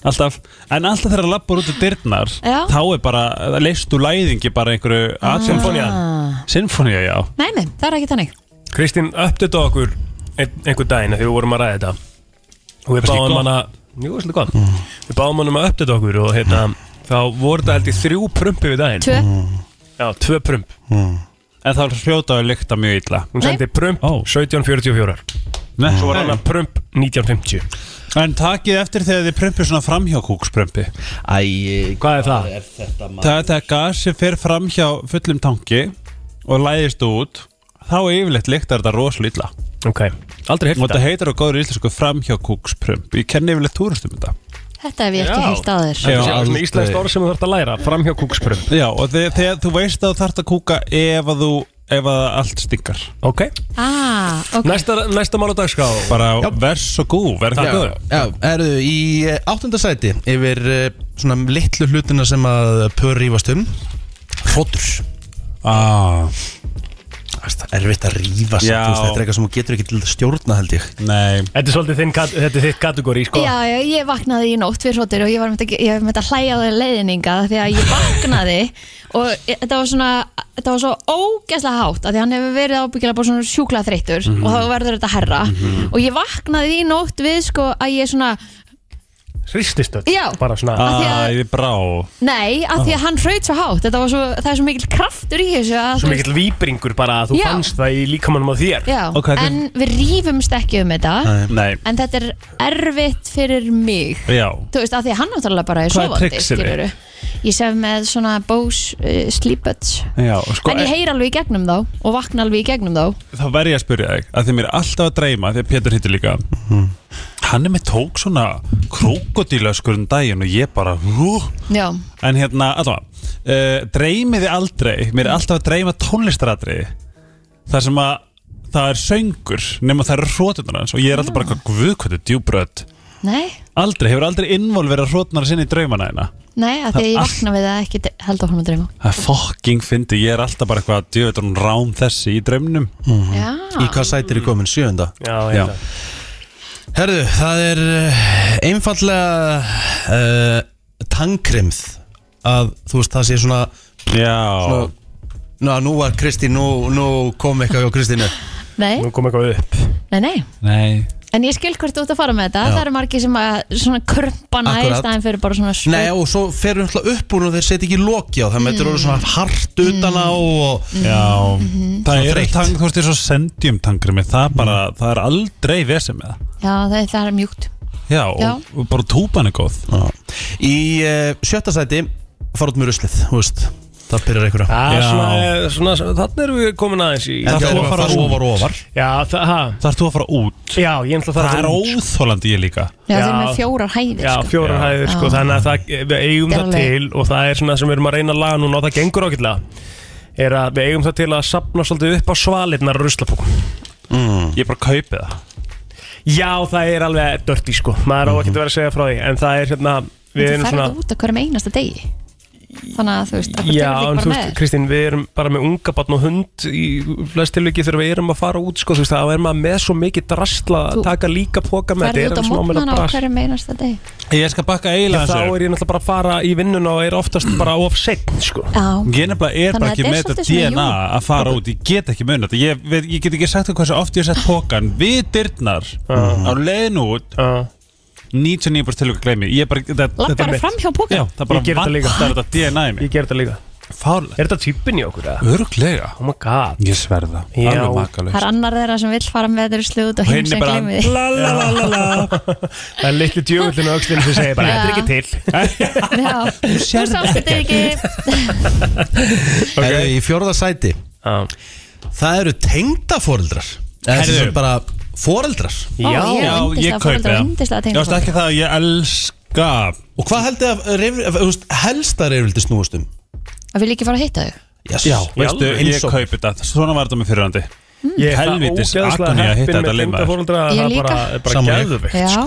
K: Alltaf, en alltaf þegar hann lappar út úr dyrnar
C: Já.
K: Þá er bara, leist úr læðingi bara einhverju Symfónían Symfónían, já
C: Ah. nei, nei, það er ekki þannig
D: Kristín, uppdata okkur ein, einhver daginn þegar við vorum að ræða þetta og við
K: Varstu ekki
D: báðum
K: gott?
D: hann að Jú, svolítið gott Við báðum hann um að uppdata okkur og hérna þá voru þetta held í þrjú prumpi við daginn
C: Tvö,
D: Já, tvö prump
K: En það hljótaði lykta mjög illa
D: Hún
C: Nei.
D: sendi prump
K: Ó.
D: 1744
K: Nei.
D: Svo var hann að prump 1950
K: En takið eftir þegar þið prumpi svona framhjá kúksprumpi
B: Æ,
D: Hvað er það?
K: Það er þegar gas sem fer framhjá fullum tanki og læðist út þá yfirleitt lyktar þetta rosalega illa
D: Ok, aldrei
K: og
D: heyrt
K: þetta
D: þetta
K: heitir á góður íslensku framhjá kúksprump Ég kenni yfirleitt túristum um þetta
C: þetta hef ég ekki
D: Já.
C: heilt að þér
K: Já.
D: Það er svona
B: aldrei.
D: íslenskt orð sem þú þarfst að læra Framhjá kúksprump
K: Já, og þegar, þegar þú veist að þú þarft að kúka ef að þú ef að allt stingar
D: Ok,
C: ah, ok,
D: næsta, næsta mál á dagská
K: bara vers og gú, verð ekki góður
B: Já, erðu í eh, áttunda sæti yfir eh, svona litlu hlutina sem að pör rífast um Hróttur
K: ah,
B: Það er erfitt að rífa sig
K: Já.
B: þú veist, Þetta er eitthvað sem þú getur ekki til að stjórna held ég
K: Nei,
D: Þetta er svolítið þinn, kat- þetta er þitt kategóri sko
C: Já, já, ég vaknaði í nótt við hróttir og ég var með að, ég var með að hlæja á þeir leiðninga því að ég vaknaði og ég- þetta var svona þetta var svo ógeðslega hátt af því að hann hefur verið ábyggilega bara svona sjúkla þreyttur og þá verður þetta herra og ég vaknaði í nótt við sko að ég svona
D: hrististöld
C: Já.
D: bara svona
C: Af því að-
K: Æði brá
C: Nei, af því að hann hraut svo hátt Þetta var svo, það er svo mikill kraftur í þessu að,
D: svo mikill víbringur bara að þú
C: Já.
D: fannst það í líkamannum á þér
C: Já,
K: Ok, þetta-
C: en við rífumst ekki um þetta
K: Nei,
C: En þetta er erfitt fyrir mig
K: já
C: Þú veist, af því að hann náttúrulega bara er
K: Hvaða
C: sofandi
K: tricks eru?
C: skilurðu. Ég sef með svona Bose uh, Sleepods
K: Já, sko,
C: En ég heyr alveg í gegnum þá Og vakna alveg í gegnum þá
K: þá verð ég að spyrja þig að því mér er alltaf að dreyma því að Pétur hittir líka hann er með tók svona krokodílaskur um daginn og ég bara hú,
C: Já,
K: en hérna allavega, uh, dreymiði aldrei mér er alltaf að dreyma tónlistaradri þar sem að það er söngur nema það eru hrótunar hans og ég er alltaf bara
C: Ah.
K: hvað guð hvað þetta er djúbröð
C: nei,
K: aldrei, hefur aldrei involverið hrótunar sinni í draumana hérna
C: nei, af því að ég vakna við það ekki held áfram að dreyma
K: það er fokking fyndi, ég er alltaf bara eitthvað djúveitur hún rám þessi í draumnum
C: Já,
B: Í hvað sæti er ég komin? Sjöunda
D: já,
K: Já.
D: hérna.
B: Herðu, það er eh, einfallega uh, tangkrimð að þú veist það sé svona
K: já,
B: Ná, nú var Kristín, nú, nú kom eitthvað hjá Kristínu
C: nei,
D: nú kom eitthvað upp
C: nei, nei
K: nei
C: En ég skil hvert þú ert að fara með þetta Það eru margir sem að svona krömpana í
B: Akkurat.
C: staðin fyrir bara svona spurt
B: Nei, og svo ferum við alltaf upp úr og þeir setja ekki loki á það með þetta eru orðið svona hart utan á og
K: Mm. Já,
C: Mhm.
K: það
B: Svona
K: er
B: þreytt.
K: tang, þú veist, þess að sendjum tangrimi, það bara, það er aldrei vesið með það.
C: Já, það, það er mjúkt
K: Já, og-
C: Já.
K: og bara túpan er góð.
B: Í uh, sjötta sæti fara út með ruslið, þú veist Það byrjar einhverja
D: Það er
K: Já.
D: svona, svona, þannig erum við komin aðeins í
K: En
B: Það
K: þú
B: er
K: að
B: að
K: fara
B: fara
K: út.
B: ofar og ofar
D: Já, það, ha,
K: Þar þú að fara út.
D: já, ég ætla að
K: Það
D: fara
K: er
D: út.
K: óþólandi ég líka.
C: Já,
D: Já.
C: þeir eru með fjórar hæðir
D: Já,
C: sko.
D: fjórar hæðir, sko,
C: Já.
D: þannig að það, við eigum það
C: Gerlega.
D: til og það er svona sem við erum að reyna að laga núna og það gengur ákveðlega er að við eigum það til að sapna svolítið upp á svalirnar og ruslapókum.
K: Ég bara kaupi það.
D: Já, það er alveg dörti, sko, maður á ekki að vera að segja frá því, en það er hérna,
C: Þú
D: við erum
C: ferð
D: svona...
C: þetta út að hverjum einasta degi Þannig að þú veist, akkur
D: Já,
C: tekur
D: en
C: þig
D: þú
C: bara
D: veist,
C: með
D: Kristín, við erum bara með unga barn og hund í flest tilviki þegar við erum að fara út, sko, þú veist, þá er maður með svo mikið drastla að
C: Þú
D: taka líka póka með,
C: Ferðu út
D: þetta er
C: á
D: alveg svona
C: mótnana
D: ámæla
C: á
D: brast.
C: hverjum einasta degi
K: Ég skal bakka
D: Já,
K: eiginlega
D: þá
K: þessu.
D: er ég náttúrulega bara að fara í vinnuna og er oftast bara of seitt sko.
C: Já,
K: Ég nefnilega er
C: Þannig
K: bara
C: að
K: ekki
C: þetta er
K: með þetta
C: svolítið svona,
K: DNA að fara út, ég get ekki munið þetta ég, veit- ég get ekki sagt það hversu oft ég hef sett pókan við dyrnar á leiðin út
D: uh,
K: 99% tilvæg gleymi ég bara, þetta,
C: lapp
K: þetta er
C: bara
K: mitt.
C: fram hjá póka
K: Já, það bara
D: Ég geri þetta líka.
K: vantar þetta DNA í
D: Ég
K: mig
D: ger þetta líka
K: Fárlega
D: Er þetta typin í okkur? Eða?
K: Örglega
D: Oh my god
K: Ég sverða,
D: Já.
K: alveg
C: Það
K: makalust
C: er annar þeirra sem vill fara með þeirra sluð og
K: Og
C: hinn
K: hinn er
C: sem
K: bara-
C: glemir því
D: Það er litli djöfullin á öxlinn sem segir bara
C: Já.
D: Þetta er ekki til
C: Já, Þú
K: sérð
C: sást þetta ekki
B: okay. Í fjórða sæti
D: Já,
B: Það eru tengdaforeldrar
K: Herðu.
B: Það eru bara foreldrar
C: Ó,
D: Já.
C: ég
K: Já, ég kaupi
C: er yndislega foreldrar og
K: það Ég veist
C: yndislega tengdaforeldrar.
K: ekki það að ég elska
B: Og hvað heldur að reyf, að, þú veist, helsta reyfildi snúast um?
C: Að vil ekki fara að hitta þau
B: Yes.
K: Veistu, ég
B: Einsog.
K: kaupi það Svona var þetta með fyrirhandi
D: ég er það
K: Helvítis
D: ógeðslega
K: agonía að hitta
D: heppin
K: þetta
D: með
K: lið, maður.
D: tengdafórundra
C: Ég
D: Það er
C: líka.
D: bara, er bara
B: Sammála.
D: gæðuveikt
C: Já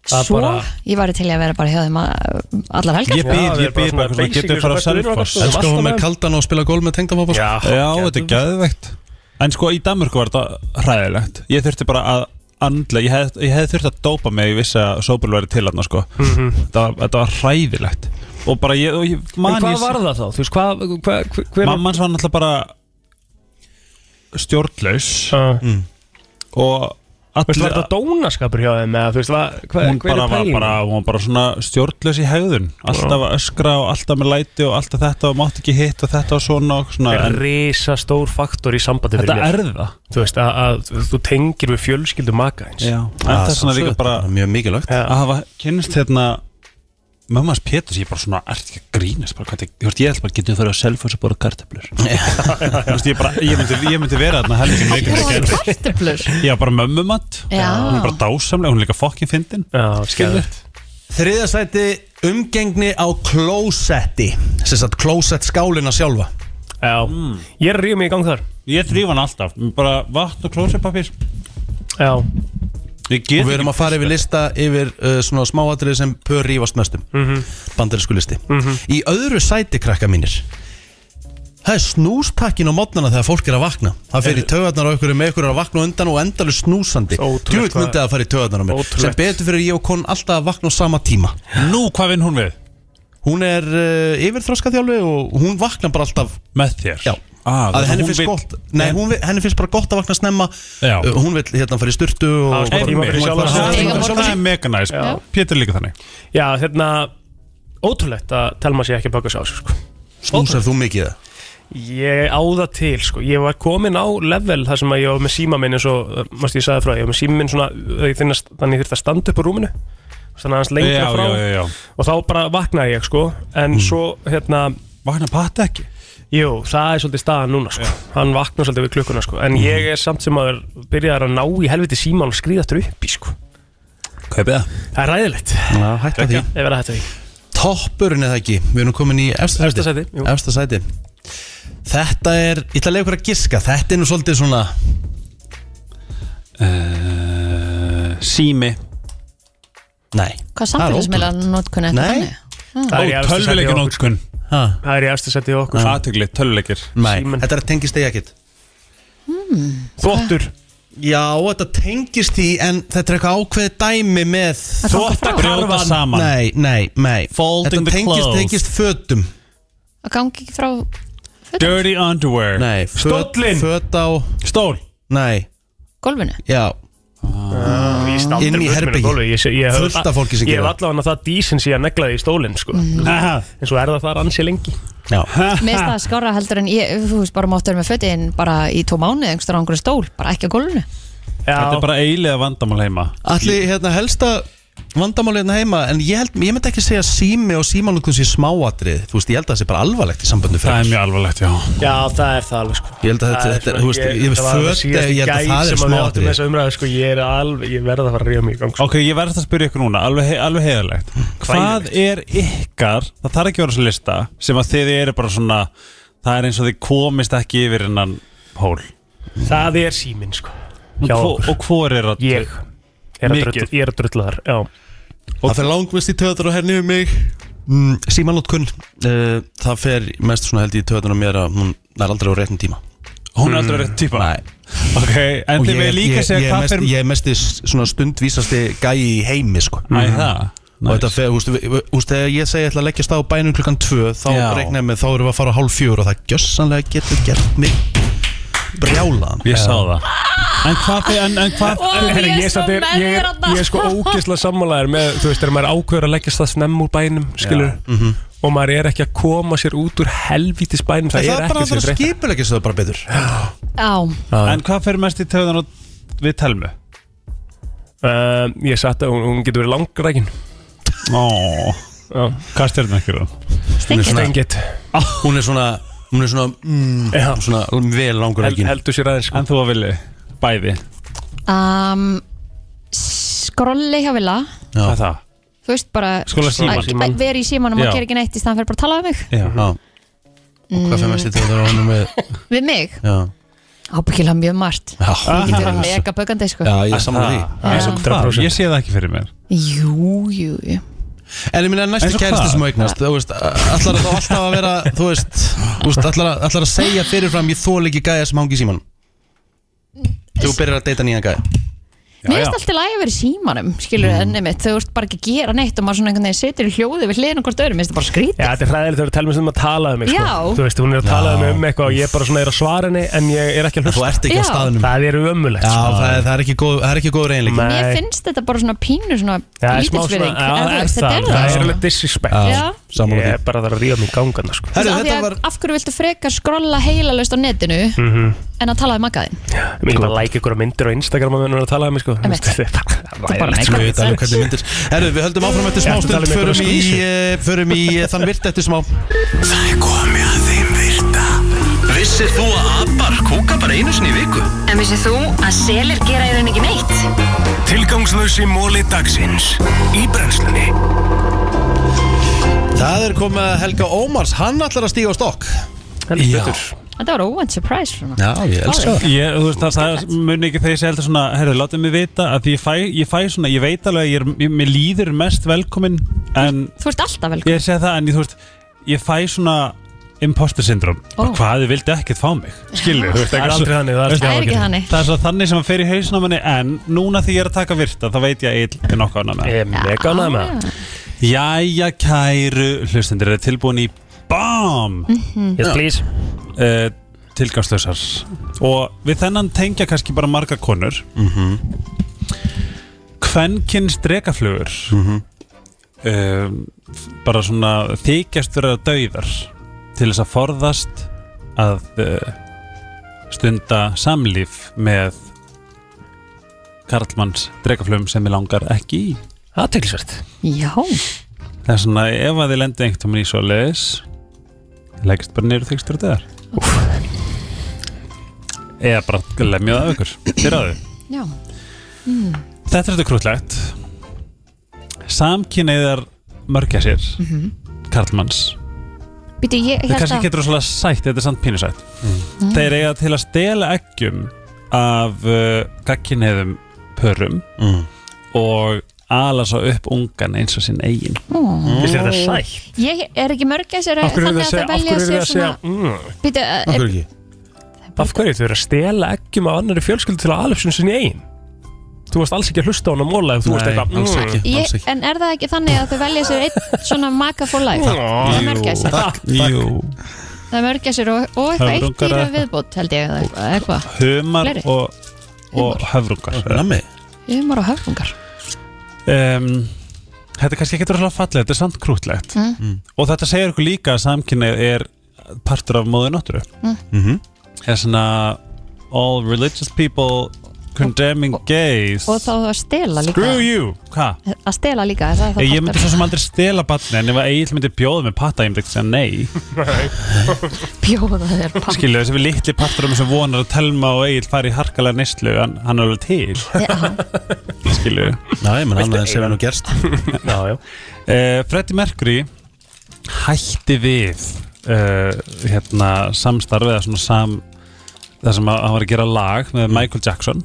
D: Það er
C: Svo,
D: bara-
C: ég var til í að vera bara hjá þeim að- allar helgar
K: Ég
D: Já,
K: býð, ég
D: við erum bara
K: býð
D: svona
K: bara svona
D: basic
K: Getur
D: eins og
K: farað á
D: bestu vinir okkar,
K: Selfoss
D: sko.
B: Elsku hún með
D: Vastamöður.
B: kaldan og spila gól með tengdapappa
D: Já,
K: Já, þetta er gæðvegt En sko, í Danmörku var þetta hræðilegt Ég þurfti bara að andla Ég hefði ég hefði þurft að dópa mig Ég vissi að sóbul væri til hann sko. þetta, var- þetta var hræðilegt Og bara ég, og ég
D: Mhm. En
K: man
D: hvað
K: ég
D: var það þá? Þú veist, hvað, hvað, hver- hver
K: Mamma hans var náttúrulega bara Stjórnlaus
D: Uh,
K: Og
D: Þú veist,
K: allir
D: var þetta dónaskapur hjá þeim eða þú veist, hvað, hvað,
K: hún
D: hver
K: bara var
D: er pælingin?
K: bara, hún var bara svona stjórnlaus í hegðun alltaf að öskra og alltaf með læti og alltaf þetta og mátt ekki hitt og þetta og svona, og svona.
D: er
K: En
D: risa stór faktor í sambandi
K: þetta
D: fyrir mér
K: er það
D: Þú veist, að, að þú tengir við fjölskyldu maka eins
K: en það er svona líka bara
B: Mjög mikilvægt
K: að hafa kynnist hérna mamma hans Péturs, ég er bara svona ert ekki að grínast bara, hvað, þetta- þú veist, ég held bara, getur þú fyrir að selfos og borða kartöflur Þú veist, ég, bara, ég, myndi, ég myndi vera þarna helgi sem leikur
C: Það
K: ekki
C: var
K: gerði.
C: kartöflur
K: ég var bara mömmumatt hún
C: Já.
K: er bara dásamlega, hún er líka fokkin fyndin
D: Já, skemmtilegt
B: Þriðja sæti umgengni á klósetti Sess að klósett skálina sjálfa
D: Já, ég er að ríða mig í gang þar
K: ég þrýf hann alltaf, bara vatn og klósipapir
D: Já,
K: ég get
B: Og við erum að fara yfir lista yfir uh, svona smáatrið sem pör rífast mestum mm Bandarísku listi Í öðru sæti krakka mínir Það er snústakkin á mótnana þegar fólk er að vakna Það fer í taugarnar á ykkur með ykkur er að vakna á undan og endalur snúsandi
D: Ótrúlegt
B: Djúvill
D: hvað-
B: myndi það að fara í taugarnar á mér
D: Ótrúlegt.
B: Sem betur fyrir ég og konun alltaf að vakna á sama tíma
K: nú, hvað vinn hún við?
B: Hún er uh, yfirþroskaþjálfi og hún vaknar bara alltaf
K: með þér
B: Já.
K: Ah,
B: að
K: þannig
B: henni
K: hún
B: finnst
K: vill-
B: gott Nei, hún, vill- henni finnst bara gott að vakna snemma
K: Já.
B: Uh, Hún vil hérna fara í styrtu og
D: sko,
B: bara-
D: tíma
B: hún
D: fyrir
B: vill
D: sjálfa
B: bara
D: sig.
B: hafa tíma fyrir sjálfa
K: Það
B: sig.
K: er mega næs
D: Já.
K: Pétur er líka þannig
D: Já, hérna Ótrúlegt að telma sér ekki að baka sér á sig sko.
B: Snúsar þú mikið það?
D: Ég áða til, sko Ég var komin á level þar sem að ég var með síma minn eins og, uh, mást ég sagði frá, ég var með síma minn svona uh, ég þinn að- þannig ég þurfti að standa upp á rúminu þannig að hans lengra
K: Já,
D: frá
K: já, já, Mm. já.
D: og þá bara vaknaði ég, sko en svo, hérna,
K: Vakna patti ekki
D: jú, það er svolítið staðan núna, sko hann vaknar svolítið við klukkuna, sko en
K: Mm.
D: ég er samt sem að byrjaði að ná í helviti síman og skrýða þurr upp í, sko
K: Kaupið það
D: Það er ræðilegt,
B: Já, hætta því
D: ef er að hætta því
B: Toppurinn er það ekki, við erum komin í efsta
D: Efsta
B: sæti.
D: sæti, jú.
B: efsta sæti Þetta er, ég ætla að leiða ykkur að giska Þetta er nú svolítið svona
K: Uh, Sími
B: Nei
C: Hvað
B: Það er
C: samfélagsmiðla notkun
B: Nei.
D: Það er í
K: Ó,
D: efsta sæti hjá
K: tölvuleikja
D: okkur, sko.
K: nótskun
B: ha,
D: Það er í efsta sæti hjá okkur sko.
K: Aðtökli, tölvuleikir
B: Nei,
D: Síminn.
B: þetta er tengist því ekkert
D: Þvottur
B: Já, þetta tengist því en þetta er eitthvað ákveðið dæmi með
K: Þú átt að brjóta saman
B: Nei, nei, nei
K: Folding
B: Þetta tengist,
K: clothes.
B: tengist fötum
C: Að gangi ekki frá
K: Dirty underwear
B: Nei, föt,
D: Stóllinn.
B: föt á
K: Stól
B: Nei,
C: gólfinu
B: já
D: Ég staldra
B: Inn í
D: við
B: herbergi.
D: minn á gólfi. Ég sé- ég hef-
B: Fullt af fólki sem
D: Ég hef
B: gerir
D: allavega það dísin sem ég neglaði í stólinn sko.
K: Aha.
D: En svo er það þar ansi lengi
B: Já,
C: Mér finnst það skára heldur en ég, þú veist, bara máttu vera með fötin bara í tvo mánuði, einhverstað á einhverju stól, bara ekki á gólfinu.
K: Þetta er
D: Já,
K: bara eilega vandamál heima
B: Allir hérna helsta vandamál hérna heima en ég, held, ég myndi ekki segja sími og símanlutun sé smáatrið þú veist ég held að það sé bara alvarlegt í samböndu
K: Það er
B: fyrir
K: mjög alvarlegt, já
D: já, það er það alveg sko.
B: Ég held að þetta-
D: Það er
B: þetta er,
D: svona-
B: þú veist, ég-
D: þetta var alveg
B: föt,
D: síðasti
B: ég held að
D: gæs
B: það er
D: sem að við
B: smá
D: áttum
B: atriði.
D: þessa umræðu, sko, Ég er alveg, ég verð að fara að ríða mig í gang sko.
K: Ok, ég verðist að spyrja ykkur núna, alveg, he- alveg heiðalegt Hvað er ykkar, það þarf ekki að vera svo lista sem að þið eru bara svona það er eins og þið komist ekki yfir innan hól
D: Það er síminn sko.
K: og,
D: Já,
K: hvo-
D: okkur.
K: og hvor er að
D: Ég er að
K: Mikið.
D: drulla- ég er að drulla þar Já,
B: Það fer langmest í töður og henni um mig mm, Símanlutun uh, það fer mest svona held ég í töður og mér að hún nær aldrei á réttum tíma
K: Hún er aldrei rétt típa
B: Nei.
K: Ok, en
B: og
K: þið
B: ég,
K: með
B: er-
K: líka
B: ég, ég,
K: segja
B: er
K: hvað
B: mest,
K: fyrir
B: ég er mest í s- svona stundvísasti gæi í heimi sko
K: Æ, það
B: Og
K: Nice.
B: þetta fer, húst, húst, þegar ég segi ég ætla að leggjast á bænum klukkan 2 þá
K: Já.
B: reiknaði með, þá erum við að fara á hálf fjör og það gjössanlega getur gert mig brjálaðan
K: Ég sá það En hvað fyrir, en, en hvað
C: Ó,
K: en-
D: Herra,
C: ég er
D: samt
C: svo
D: er-
C: með
D: ég,
C: þér
D: er-
C: þarna.
D: ég er sko ógeðslega sammálaður með, þú veist, þegar maður ákveður að leggjast það snemm úr bænum, skilur
B: Mhm.
D: og maður er ekki að koma sér út úr helvítis bænum, það,
B: Það
D: er
B: er bara
D: ekki
B: að vera
D: sem þreytt
B: skipulegja sig það bara betur
C: Á,
K: En hvað fyrir mest í töðan og við telmu?
D: uh, Ég satt að hún, hún getur verið langrækin
K: Ó,
D: Já.
K: hvað stjörnum ykkur á?
B: Hérna.
C: stengið það.
D: Stengið
B: Hún er svona, hún er svona, mm,
D: Já.
B: svona vel langur
D: Hel,
B: ekki
D: Heldur sér aðeins sko.
K: En þú að vilji, bæði
C: Um, skrolli hjá Villa,
K: Hvað er það?
C: þú veist bara
K: Skrolla símann.
C: að- að vera í símanum
K: Já.
C: og gera ekki neitt í staðan fyrir bara að tala við mig.
B: Já Og hvað fyrir mest í töður og hann er með
C: Við mig?
B: Já,
C: Ábyggilega mjög margt. Ég
B: já,
C: get verið mega bögandi, sko.
B: já ég er saman því
K: Það er
C: Já.
K: svo hvað, ég sé það ekki fyrir mér
C: Jú, jú, jú.
B: En ég minna
K: Eins
B: næstu
K: og hvað?
B: kæristi sem augnast Þú veist, allar að alltaf að vera Þú veist, þú veist, allar, að- allar að segja fyrirfram Ég þól ekki gæja sem hangi í síman Þú byrjar að deyta nýjan gæja
C: Mér finnst alltaf læg að vera í símanum, skilur mm. ennum mitt. Þú ert bara ekki að gera neitt og maður svona einhvern veginn setur í hljóði við hliðin og hvort öðrum, mér finnst það bara skrítið.
D: Já, þetta er hræðilegt þegar telma sem að tala um mig
C: Já.
D: sko. Þú veist, hún er að tala um mig um eitthvað og ég bara svona er að svara henni en ég er ekki að
B: Þú
D: hlusta
B: ert ekki á
C: Já.
B: staðnum
D: Það er ömulegt
B: Já,
D: sko.
B: það er, það er ekki góð, það er ekki góð reynleik
D: Nei.
C: Mér finnst þetta bara svona pínu svona
D: Já, er smá svona-
C: lítilsvirðing
D: Já,
C: En þú
D: er
C: veist, þetta
D: það
C: er
D: Það
C: það
D: er
C: sko.
D: alveg disrespect
C: Já.
B: Sammála
D: Ég
B: því
D: er bara þar að ríða mig í gangana sko.
B: Herru,
C: Af því
B: þetta
C: að
B: var
C: af hverju viltu frekar skrolla heilalaust á netinu
K: Mhm.
C: en að tala við maggaðinn
D: Ég vil bara læka ykkur myndir á Instagram að vera að tala um mig sko.
C: Einmitt.
D: Þetta er bara
C: bara
D: ræðilegt,
C: make
D: sko.
B: Við veit alveg hvernig myndir Herru, við höldum áfram eftir
D: Ég ætla að tala
B: smástund Förum
D: um einhverja
B: í,
D: skvísu.
B: eh, förum í eh, þann virt eftir smá
M: Það er komið að þeim virta Vissir þú að abar kúka bara einu sinni í viku?
N: En vissið þú að selir gera í rauninni ekki neitt?
M: Tilgangslösi móli dagsins Í brennslunni
B: Það er komið að Helga Ómars Hann ætlar að stíga á stokk
D: Heldur betur.
C: Þetta var óvænt surprise svona.
B: Já, ég elska það
K: Ég, þú veist, það, það mun ekki þegar ég segja alltaf svona Herðu, látið mig vita að því ég fæ, ég fæ svona Ég veit alveg að ég, er- ég, mér líður mest velkomin En
C: Þú ert alltaf vel
K: ég er að segja það, en ég, þú veist Ég fæ svona imposter syndrom
C: Ó.
K: oh. Hvað þið vildi ekkert fá mig Skilur, þú veist,
D: Það er
K: svo-
D: aldrei þannig Það er
C: Það er
D: aldrei
C: ekki
D: þannig.
C: þannig
K: Það er svo þannig sem að fer í hausnum manni En núna því ég er að taka virta, þá veit ég að Egill er nokkuð annað með
D: Ég er mega ánægð með það.
K: Jæja, kæru Hlustendur, er tilbúin í BAM
D: Yes, please
K: uh, tilgangslösar og við þennan tengja kannski bara marga konur mm -hmm. kvenkinn strekaflugur um, bara svona þykjast vera dauðar til þess að forðast að uh, stunda samlíf með karlmanns dregaflöfum sem við langar ekki í
D: Aðteglisvert
C: Já,
K: Það er svona, ef að þið lendir einhvern veginn í svo leiðis leggst bara niður þegstur og döðar Eða bara lemja það af ykkur Þér áður
C: já,
K: Mm. Þetta er þetta krútlegt Samkynniðar mörgja sér karlmanns
C: býtu ég
K: Þetta er kannski
C: Mhm. held Mm.
K: ekki rosalega sætt, þetta er samt pínusætt Þeir eiga til að stela eggjum af uh, gagkinniðum pörum og ala svo upp ungan eins og sinn eigin
D: Finnst þér þetta sætt?
C: að Ég er ekki mörg að sér
D: Af hverju eru
C: þannig að
D: það að
C: það
D: segja, af
C: velja
D: hverju
C: sér
D: eru það að segja
C: svona eh,
D: mm,
C: Býtu, er,
O: ekki?
D: Af hverju þau eru að stela eggjum af annari fjölskyldu til að ala upp sinni sinni eigin? Þú varst alls ekki að hlusta á hana að móla ef þú varst eitthvað "Mm."
O: alls ekki, alls
C: eh, ég,
O: ekki.
C: en er það ekki þannig að þau velja sér einn svona maka for life Það er mörg að sér
K: Jú,
C: Það er mörg að sér og, og eitthvað eitt
K: Höfrungar
C: dýra
K: eða-
C: viðbót held ég eða eitthvað, eitthvað.
K: humar
C: Fleiri?
K: og, og höfrungar
O: Nammi
C: Humar og höfungar
K: um, Þetta er kannski ekki rosalega fallið, þetta er samt krútlegt
C: Mm.
K: og þetta segir okkur líka að samkynnið er partur af móðu náttúru
C: Mm.
K: Það er svona all religious people condemning gays
C: Og þá að stela líka
K: Screw you, hvað?
C: Að stela líka, er það, það
K: Ég ég myndi
C: partur-
K: svo sem aldrei stela batni en ef að Egil myndi bjóða með patta ég myndi ekki segja nei
C: bjóða þér papp
K: skilja þessi við litli parturum sem vonar að Telma og Egil fari í harkalega neyslu hann, hann er alveg til
C: Já,
K: skilja
O: Næ, menn annað sem er nú gerst
D: Já, já
K: uh, Freddie Mercury hætti við uh, hérna samstarfið eða svona sam það sem að- hann var að gera lag með Michael Jackson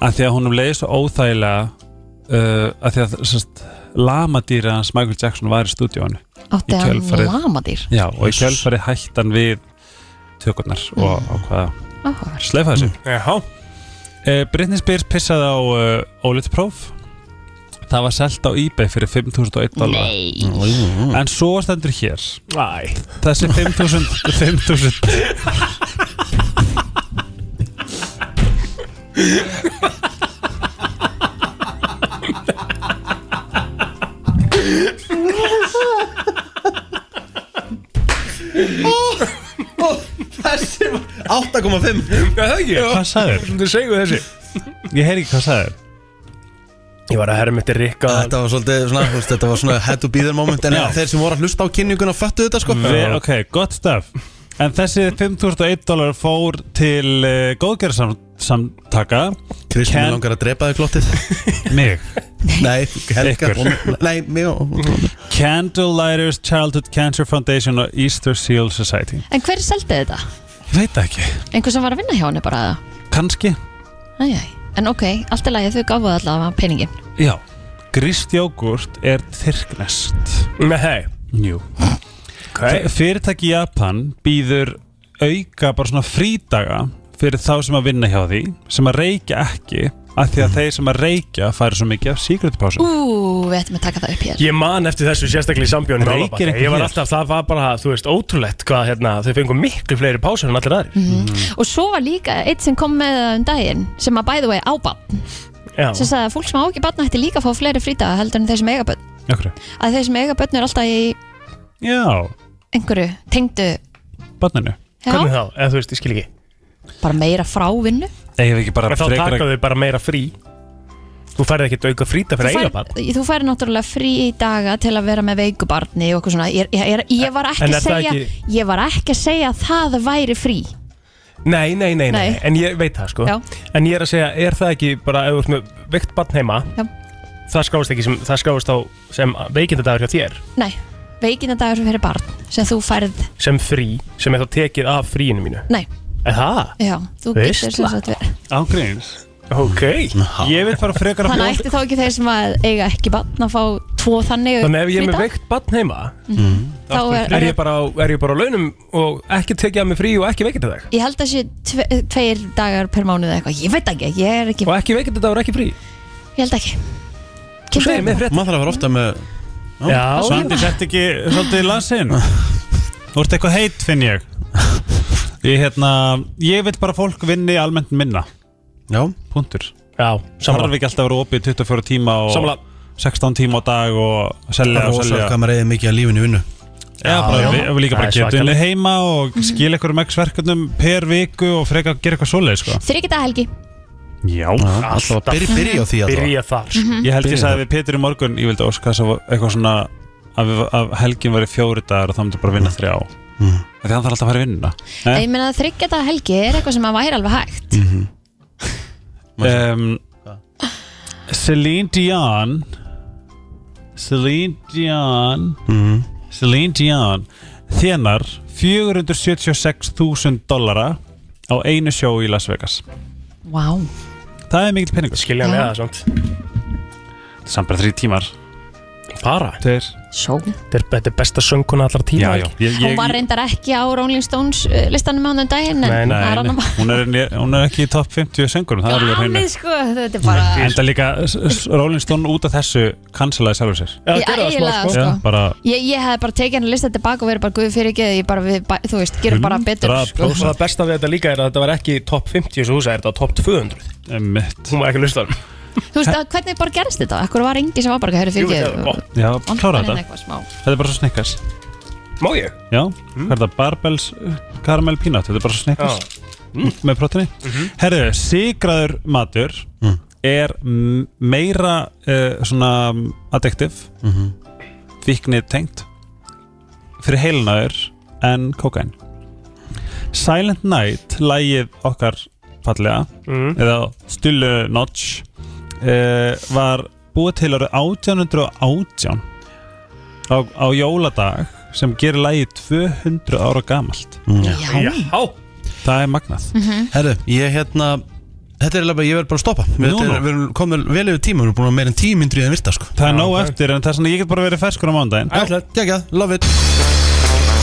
K: af því að honum leiði svo óþægilega uh, af því að sérst, lamadýra hans Michael Jackson var í stúdíónu
C: átti
K: Í
C: hann
K: kjölfarið.
C: lamadýr
K: Já, og í kjölfari hættan við tökurnar og ákvaða
C: Áhugaverð.
K: sleifa þessu.
D: Jaha
K: Mm. Britney Spears pissaði á uh, ólitpróf. Það var selt á eBay fyrir 5.001 dólar.
C: Nei,
K: En svo stendur hér.
D: Æ
K: Þessi 5.000... 5.000...
B: Þessi var 8,5
D: Það er ekki
K: Hvað sagður?
D: Þú segðu þessi
K: Ég heyri ekki hvað sagður.
D: Ég var að herra mitt er Rikka
B: Þetta var svolítið svona, þú veist, þetta var svona head to be there moment En þeir sem voru að hlusta á kynninguna föttu þetta sko
K: Ve- Ok, gott stöf. En þessi 5.001 dólar fór til uh, góðgerðarsamtaka.
B: Kristján
K: Ken-
B: Ken... langar að drepa þig klottið
K: Mig.
B: Nei, Helga
K: Ykkur.
B: hún- Nei, mig og
K: Candlelighters Childhood Cancer Foundation og Easter Seal Society
C: en hver seldi þetta?
K: Veit það ekki
C: Einhver sem var að vinna hjá henni bara það?
K: Kanski
C: Æj, æj. en ok, allt er lagið þau gafuð allavega peningin
K: Já Gríst jógurt er þyrknest
D: Nei
K: Jú okay. Fyrirtæki í Japan býður auka bara svona frídaga fyrir þá sem að vinna hjá því sem að reykja ekki af
D: Mhm.
K: því að þeir sem að reykja færi svo mikið af síkretipásum
C: Ú, við ættum að taka það upp hér
D: Ég man eftir þessu sérstaklega í sambjónu
K: Reykir ekki
D: Ég var
K: hér?
D: alltaf, það var bara, þú veist, ótrúlegt hvað hérna, þau fengu miklu fleiri pásar en allir aðrir
C: Mm. Og svo var líka eitt sem kom með það um daginn sem að bæðu vegi ábann
D: Já,
C: sem sagði að fólk sem á ekki bann ætti líka að fá fleiri frítaga heldur en þeir sem eiga bönn
K: Akkur
C: að þeir sem eiga bönn er alltaf í
K: Já,
C: einhverju tengdu
K: barninu
D: hvernig
C: já,
D: þá, eða þú veist, ég skil ekki
C: bara meira frávinnu
K: Eigum við ekki bara
D: En þá
K: frekar
D: taka þau bara meira frí Þú færði ekkert auka fríta
C: Þú
D: fyrir
C: færð-
D: eigabann
C: Þú færi náttúrulega frí í daga til að vera með veikubarni og okkur svona Ég, ég, ég, ég, var, ekki
D: En
C: að
D: er það
C: segja,
D: ekki-
C: ég var ekki að segja að það væri frí
D: nei, nei, nei, nei,
C: Nei.
D: en ég veit það sko
C: Já.
D: En ég er að segja, er það ekki bara ef þú ert með veikt barn heima
C: Já.
D: Það skráist ekki sem, það skráist á sem veikindadagur hjá þér
C: Nei, veikindadagur fyrir barn sem þú færð
D: sem frí, sem er þá tekið af fríinu mínu
C: Nei,
D: Er það?
C: já, þú
D: Veistla.
C: getur sem sagt verið
K: Ángríns
D: Ok
K: Ég vil fara frekar að
C: Þannig ætti þá ekki þeir sem að eiga ekki barn að fá tvo þannig
D: Þannig ef ég er með
C: frídag?
D: veikt barn heima
C: Þá er,
D: er ég bara á, er ég bara á launum og ekki tekið af mig frí og ekki veikindadag
C: Ég held að sé tve, tveir dagar per mánuð eða eitthvað Ég veit ekki, ég er ekki
D: og ekki veikindadagur ekki frí
C: Ég held ekki
D: Þú segir
C: Kemur-
D: mér frétt
O: Maður þarf að vera ofta með
D: Já,
K: Svandi, sett ekki svolítið í lasin Þú ert eitthvað heitt, finn ég Ég, hérna, ég vil bara að fólk vinni almennt minna
B: Já
K: Puntur
D: Já,
K: Það
D: sammála
K: þarf ekki alltaf að vera opið 24 tíma og
D: Sammála.
K: 16 tíma á dag og selja og
B: Rósa,
K: selja
B: hvað maður reyði mikið að lífinu í vinnu
K: Já, bara,
D: já.
K: við, við líka bara
D: Það er
K: getum
D: svakalegt.
K: við heima og
D: Mhm.
K: skilja ykkur um x verkefnum per viku og freka að gera eitthvað svoleið sko.
C: Þryggjada helgi
K: Já,
D: Alltaf
B: Byrja, byrja á því að
D: byrja þar sko.
C: Mhm.
K: ég held ég sagði við Petur í morgun ég vildi óska þess að eitthvað svona að, við, að helgin væri fjóri dagar og þá myndi bara vinna þrjá mm. Þannig hann þarf alltaf að fara í vinnuna
C: Ég meina að þryggjada helgi er eitthvað sem að væri alveg hægt
K: um, Celine Dion Celine Dion Celine Dion þjenar 476.000 dollara á einu sjó í Las Vegas
C: Vá
K: það er mikill peningur
D: Skilja hann eða samt
K: samt bara þrý tímar
D: Fara
K: Þeir,
C: Sjó
D: Þetta er- Þetta er besta sönguna allar tíma ekki?
K: ég,
C: Hún var reyndar ekki á Rolling Stones uh, listanum á þann daginn en
D: Nei, nei,
C: það er annar mál.
K: hún, er, hún er ekki í topp 50 söngurum það er alveg á hreinu
C: Galið sko, þetta er bara
K: enda líka s- s- Rolling Stone út af þessu cancelaði sjálfur sér
D: Já,
C: Já,
D: gerðu það smá,
C: eiginlega,
D: sko.
C: sko.
K: Já, bara
C: Ég, ég hef bara tekið hann að lista tilbaka og verið bara guð fyrir ekki ég bara, við, bæ- þú veist, gerum bara betur sko.
K: 100%
D: Og það besta við þetta líka er að þetta var ekki top 50 eins og þú sagði, þetta var top 200
K: mitt
D: Hún var ekki lustan
C: Þú veist, að, hvernig bara gerst þetta? Akkur var engi sem var bara, herru fyrir
D: Jú, þetta var
C: ekki
K: Já, klára þetta
C: eitthvað smá
K: Þetta er bara svo snikkars
D: Má ég?
K: Já, hvað er það? Barbells karamell peanut Þetta er bara svo snikkars Með prótini Herðu, sigraður matur Er m- meira uh, svona um, addictive mm tengt Fyrir heilnaður En kókain Silent Night Lægið okkar fallega
D: Mhm.
K: Eða Stullu Notch uh, Var búið til árið 1818 á, á jóladag sem gerir lagið 200 ára gamalt
C: Já,
D: Já
K: það er magnað
B: Herru, ég hérna Þetta er alveg, ég verð bara að stoppa Við,
K: Nú,
B: þetta er,
K: nú.
B: við erum komin vel yfir tíma Við erum búin að meira en tíu myndri en virta sko
K: það er nóg eftir en það er svona ég get bara verið ferskur á mándaginn
B: Já, geggjað, love it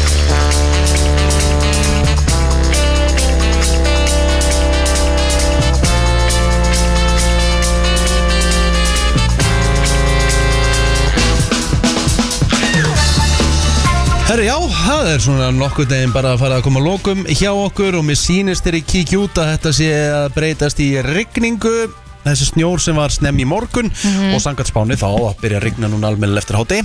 B: Herri, já, það er svona nokkuð neginn bara að fara að koma að lokum hjá okkur og mér sýnist þeirri kíkja út að þetta sé að breytast í rigningu þessi snjór sem var snemm í morgun og sangat spáni þá á að byrja að rigna núna almennilega eftir háti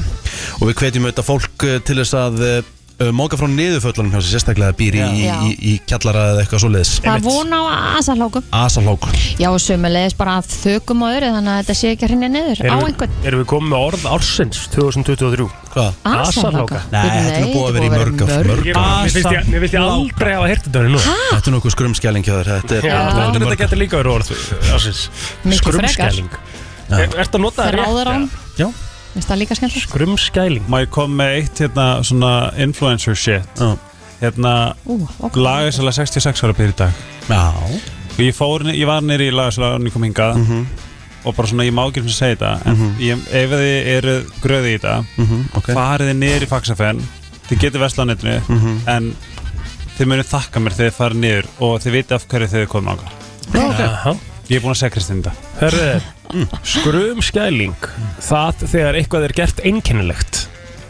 B: og við hvetjum auðvitað fólk eh, til þess að uh, móka frá niðurföllunum hjá sér sérstaklega býr í, í,
C: Já.
B: í, í kjallara eða eitthvað svo leiðis
C: það vona á asalóku
B: Asalók
C: Já, og sömulegis bara að þökum á öðru þannig að þetta sé ekki að hrinja niður á
D: Erum við-
C: einhvern
D: Erum við komið með orð ársins 2023
B: Hvað?
C: Ah.
D: Asalóka?
C: asalóka
B: Nei, þetta er nú búið að vera í mörg ár, mörg
D: Ég- Mér finnst ég- mér finnst ég aldrei hafa heyrt þetta nú
B: Þetta er nokkuð skrumskjæling hjá þér Þetta er
D: Já,
B: þetta er
D: þetta
B: mörg-
D: getur líka verið orð ársins
C: Mikið frekar
D: Skrumskæling Er þetta að nota það
C: Þráðarán
B: Já.
C: Mér það líka skemmt
D: Skrumskæling
K: má ég koma með eitt hérna svona influencer shit
B: Já.
K: hérna
C: Ú, ok
K: lagasala 66 ára byrja í dag
B: Já,
K: og ég, fór, ég var nýri í lagasala og ég kom hingað
B: Mhm.
K: og bara svona ég má ekki sem segja þetta en ég, ef þið eru gröði í þetta
B: mhm, ok
K: farið þið niður í faxafenn þið getur vesla á netinu
B: Mhm.
K: en þið munið þakka mér þegar þið farið niður og þið viti af hverju þið komið ánga
D: Jaha.
K: ég er búin að segja Kristinn þetta
D: Herðu, mm, skrumskæling Það þegar eitthvað er gert einkennilegt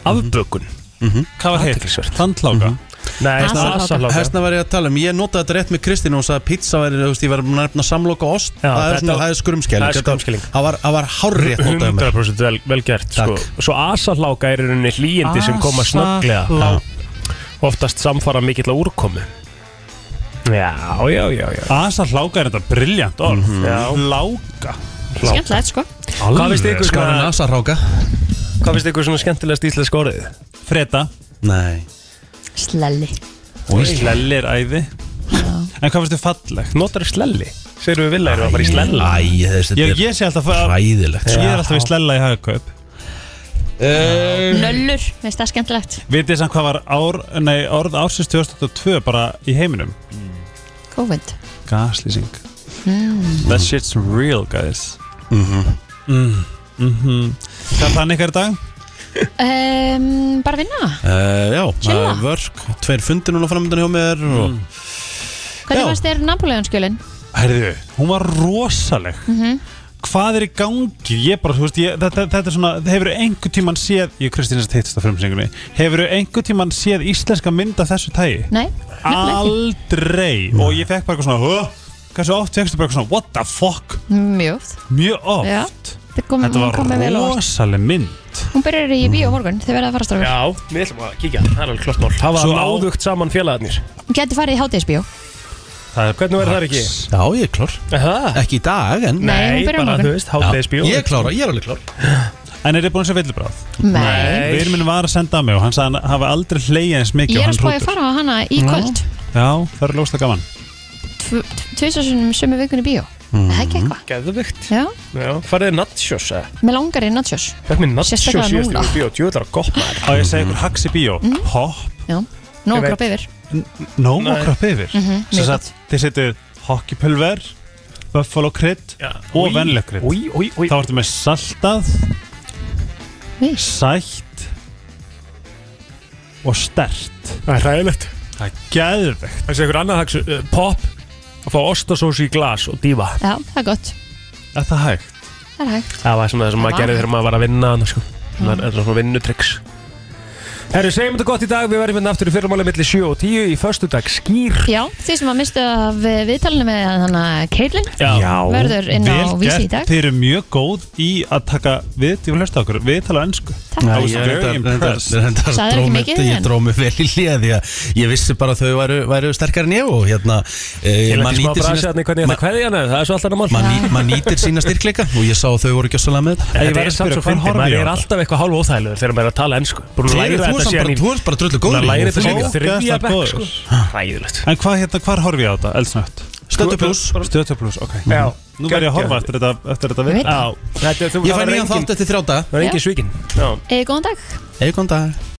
D: Afbökun
K: hvað var
D: Mhm. Athyglisvert.
K: heitt?
D: Mhm.
K: Tandláka
D: Nei,
C: Asalóka.
D: asalóka
B: Þessna var ég að tala um, ég notaði þetta rétt með Kristín og hún sagði að pizza væri, þú veist, ég var búin að nefna samloka og ost,
D: Já,
B: það, er
D: þetta-
B: svona, það er skrumskjæling
D: það er skrumskæling.
B: Þetta- Það var, það var hárrétt
K: um
B: notaði mér
D: 100% vel, vel gert sko. Svo asaláka er í rauninni hlýjindi sem koma snögglega
K: Asalá-
D: Oftast samfara mikill á úrkomu Já, já, já, já.
K: Asa hláka er þetta briljant orð Mhm. Láka
C: Skemmtilegt, sko
D: Hvað finnst ykkur
B: Skára
D: svona,
B: nasa ráka
D: hvað finnst ykkur svona skemmtilegast íslensk orðið?
K: Freda
B: Nei
C: Slelli
K: Slelli er æði En hvað finnst þið fallegt?
D: Notar slelli? Segir við villæri að fara í slella
B: Æ, þessi,
K: Ég,
B: þetta
K: ég sé alltaf
B: er
K: að
B: ræðilegt
K: Ég er alltaf í slella í hagakaup
B: Eh,
C: Nöllur, finnst það skemmtilegt
K: Vitið þið samt hvað var ár, nei, orð ársins 2002 bara í heiminum?
C: COVID
K: Gaslýsing That shit's real guys Mhm.
D: Mhm.
K: mm -hmm. Mm Hvað er þannig hver dag?
C: um, Bara vinna
B: Uh, já, það
C: Chilla.
B: er vörk, tveir fundir núna framöndan hjá mér
D: Mm.
B: og,
C: Hvernig
B: Já.
C: fannst þér Napoleon skjölin? Mhm.
K: Herðu, hún var rosaleg hvað er í gangi ég bara, þú veist, ég, þetta, þetta er svona hefur einhver tíman séð, ég og Kristín þess að hittist á frumsingunni, hefur einhver tíman séð íslenska mynd af þessu tægi
C: Nei,
K: aldrei og ég fekk bara eitthvað svona "Huh?" hversu oft fekstu bara eitthvað svona, what the fuck
C: Mm, mjög oft
K: mjög oft,
C: Já, þetta kom,
K: þetta
C: hún kom með
K: var
C: vel á óvart.
K: rosaleg mynd
C: Hún byrjar í bíó á morgun, þið verða að fara strákur
D: Já, við ætlum að kíkja, það er alveg klart mál Það var
K: Svo á-
D: náðugt saman félagarnir
C: Hún geti farið í hátegisbíó
D: Hvernig verður það ekki?
B: Já, ég er klár
D: Það?
B: Ekki í dag, en
C: Nei, hún byrjar á
D: bara
C: morgun.
D: þú veist, hátæðisbjó
B: Ég er klár, ég er alveg klár
K: en er þið búin að sjá villibráð?
C: Nei,
K: Við minn var að senda á mig og hann sagði hann hafa aldrei hleyja eins mikið og
C: ég er að
K: hann
C: spáði að
K: hrútur.
C: fara á hana í
K: Já.
C: kvöld
K: Já, það er lósta gaman
C: Tvisasunum sömu vikun í bíó mm. Það er ekki eitthvað
D: Geðvikt
K: Mm.
C: Já,
D: Já, farið natsjós eða?
C: með langar í nachos
D: Fekk mér natsjós
C: Sérstaklega
D: síðast
C: núna.
D: í bíó, djúðlar að gott
K: Á
D: maður
K: ég að segja ykkur hacks í bíó
C: Mhm.
K: Hopp,
C: Já, nóg
D: Ég veit.
C: kropp yfir
K: nóm og krapp yfir
C: Mhm,
K: Svo
C: mjög
K: satt, þið setjuð hockeypulver Buffalo krydd
D: Já.
K: og
D: Í-
K: venleg krydd
D: Új, új, új
K: Þá ertu með saltað
C: Vís.
K: Sætt Og stert
D: Það er ræðilegt
K: Það er geðvegt
D: Það sé ykkur annað hagsu, uh, pop að fá ostasósi í glas og dífa
C: Já, það er gott,
K: Er það hægt?
C: það er hægt
D: Það var svona það sem maður
C: Það var
D: gerði þegar maður var að vinna annars, sko. Það er- það er svona vinnutryggs Herri, segjum þetta gott í dag, við verðum hérna aftur í fyrramáli milli 7 og 10 í föstudag skýr
C: Já, því sem að mistu af eh, viðtalinu með hann að Caitlin
K: Já,
C: Verður inn á
K: vel
C: Vísi í
K: gert.
C: dag.
K: Þið eru mjög góð í að taka við, ég vil hlusta á okkur, við tala ennsku
C: Takk.
K: I was very impressed
C: Sagðir
B: Sagður
C: ekki mikið,
B: Ég
C: en-
B: dró mig vel í hlið því að ég vissi bara að þau væru, væru sterkar en ég og hérna eh, maður
D: Ég lenti í smá
B: nýtir
D: brasi
B: sína-
D: hérna í hvernig ég ætla að kveðja hana, það er svo alltaf annað mál
B: maður ný- maður nýtir sína styrkleika og ég sá að þau voru ekki að svolga með þetta.
K: Ég
D: Þetta
K: var að
D: er samt
K: spyrja,
D: svo
K: hvar
D: fyndið,
K: horfði
D: maður
K: ég á
D: er
K: það?
D: alltaf eitthvað hálf óþægilegur þegar maður er að tala ennsku Búin að
B: Þú
D: læra
B: ert
D: þetta
B: samt
D: síðan
B: bara,
D: í
B: þú ert bara drullu
D: Búin
B: góður
D: að læra þetta síðan í
K: Ógeðslega
D: þriðja bekk sko.
K: góður.
D: Hræðilegt
K: En hvað hérna, hvar horfi ég á þetta, eldsnögt?
B: Stötu pluss
K: Stötu pluss, ok
D: Já,
K: Nú verð ég að horfa eftir þetta, eftir þetta við
D: Já, þetta er þú
B: Ég fæ nýjan þátt eftir þrjá daga
D: Það er engin svíkin Já
C: Eh, Góðan dag
B: Eða góðan dag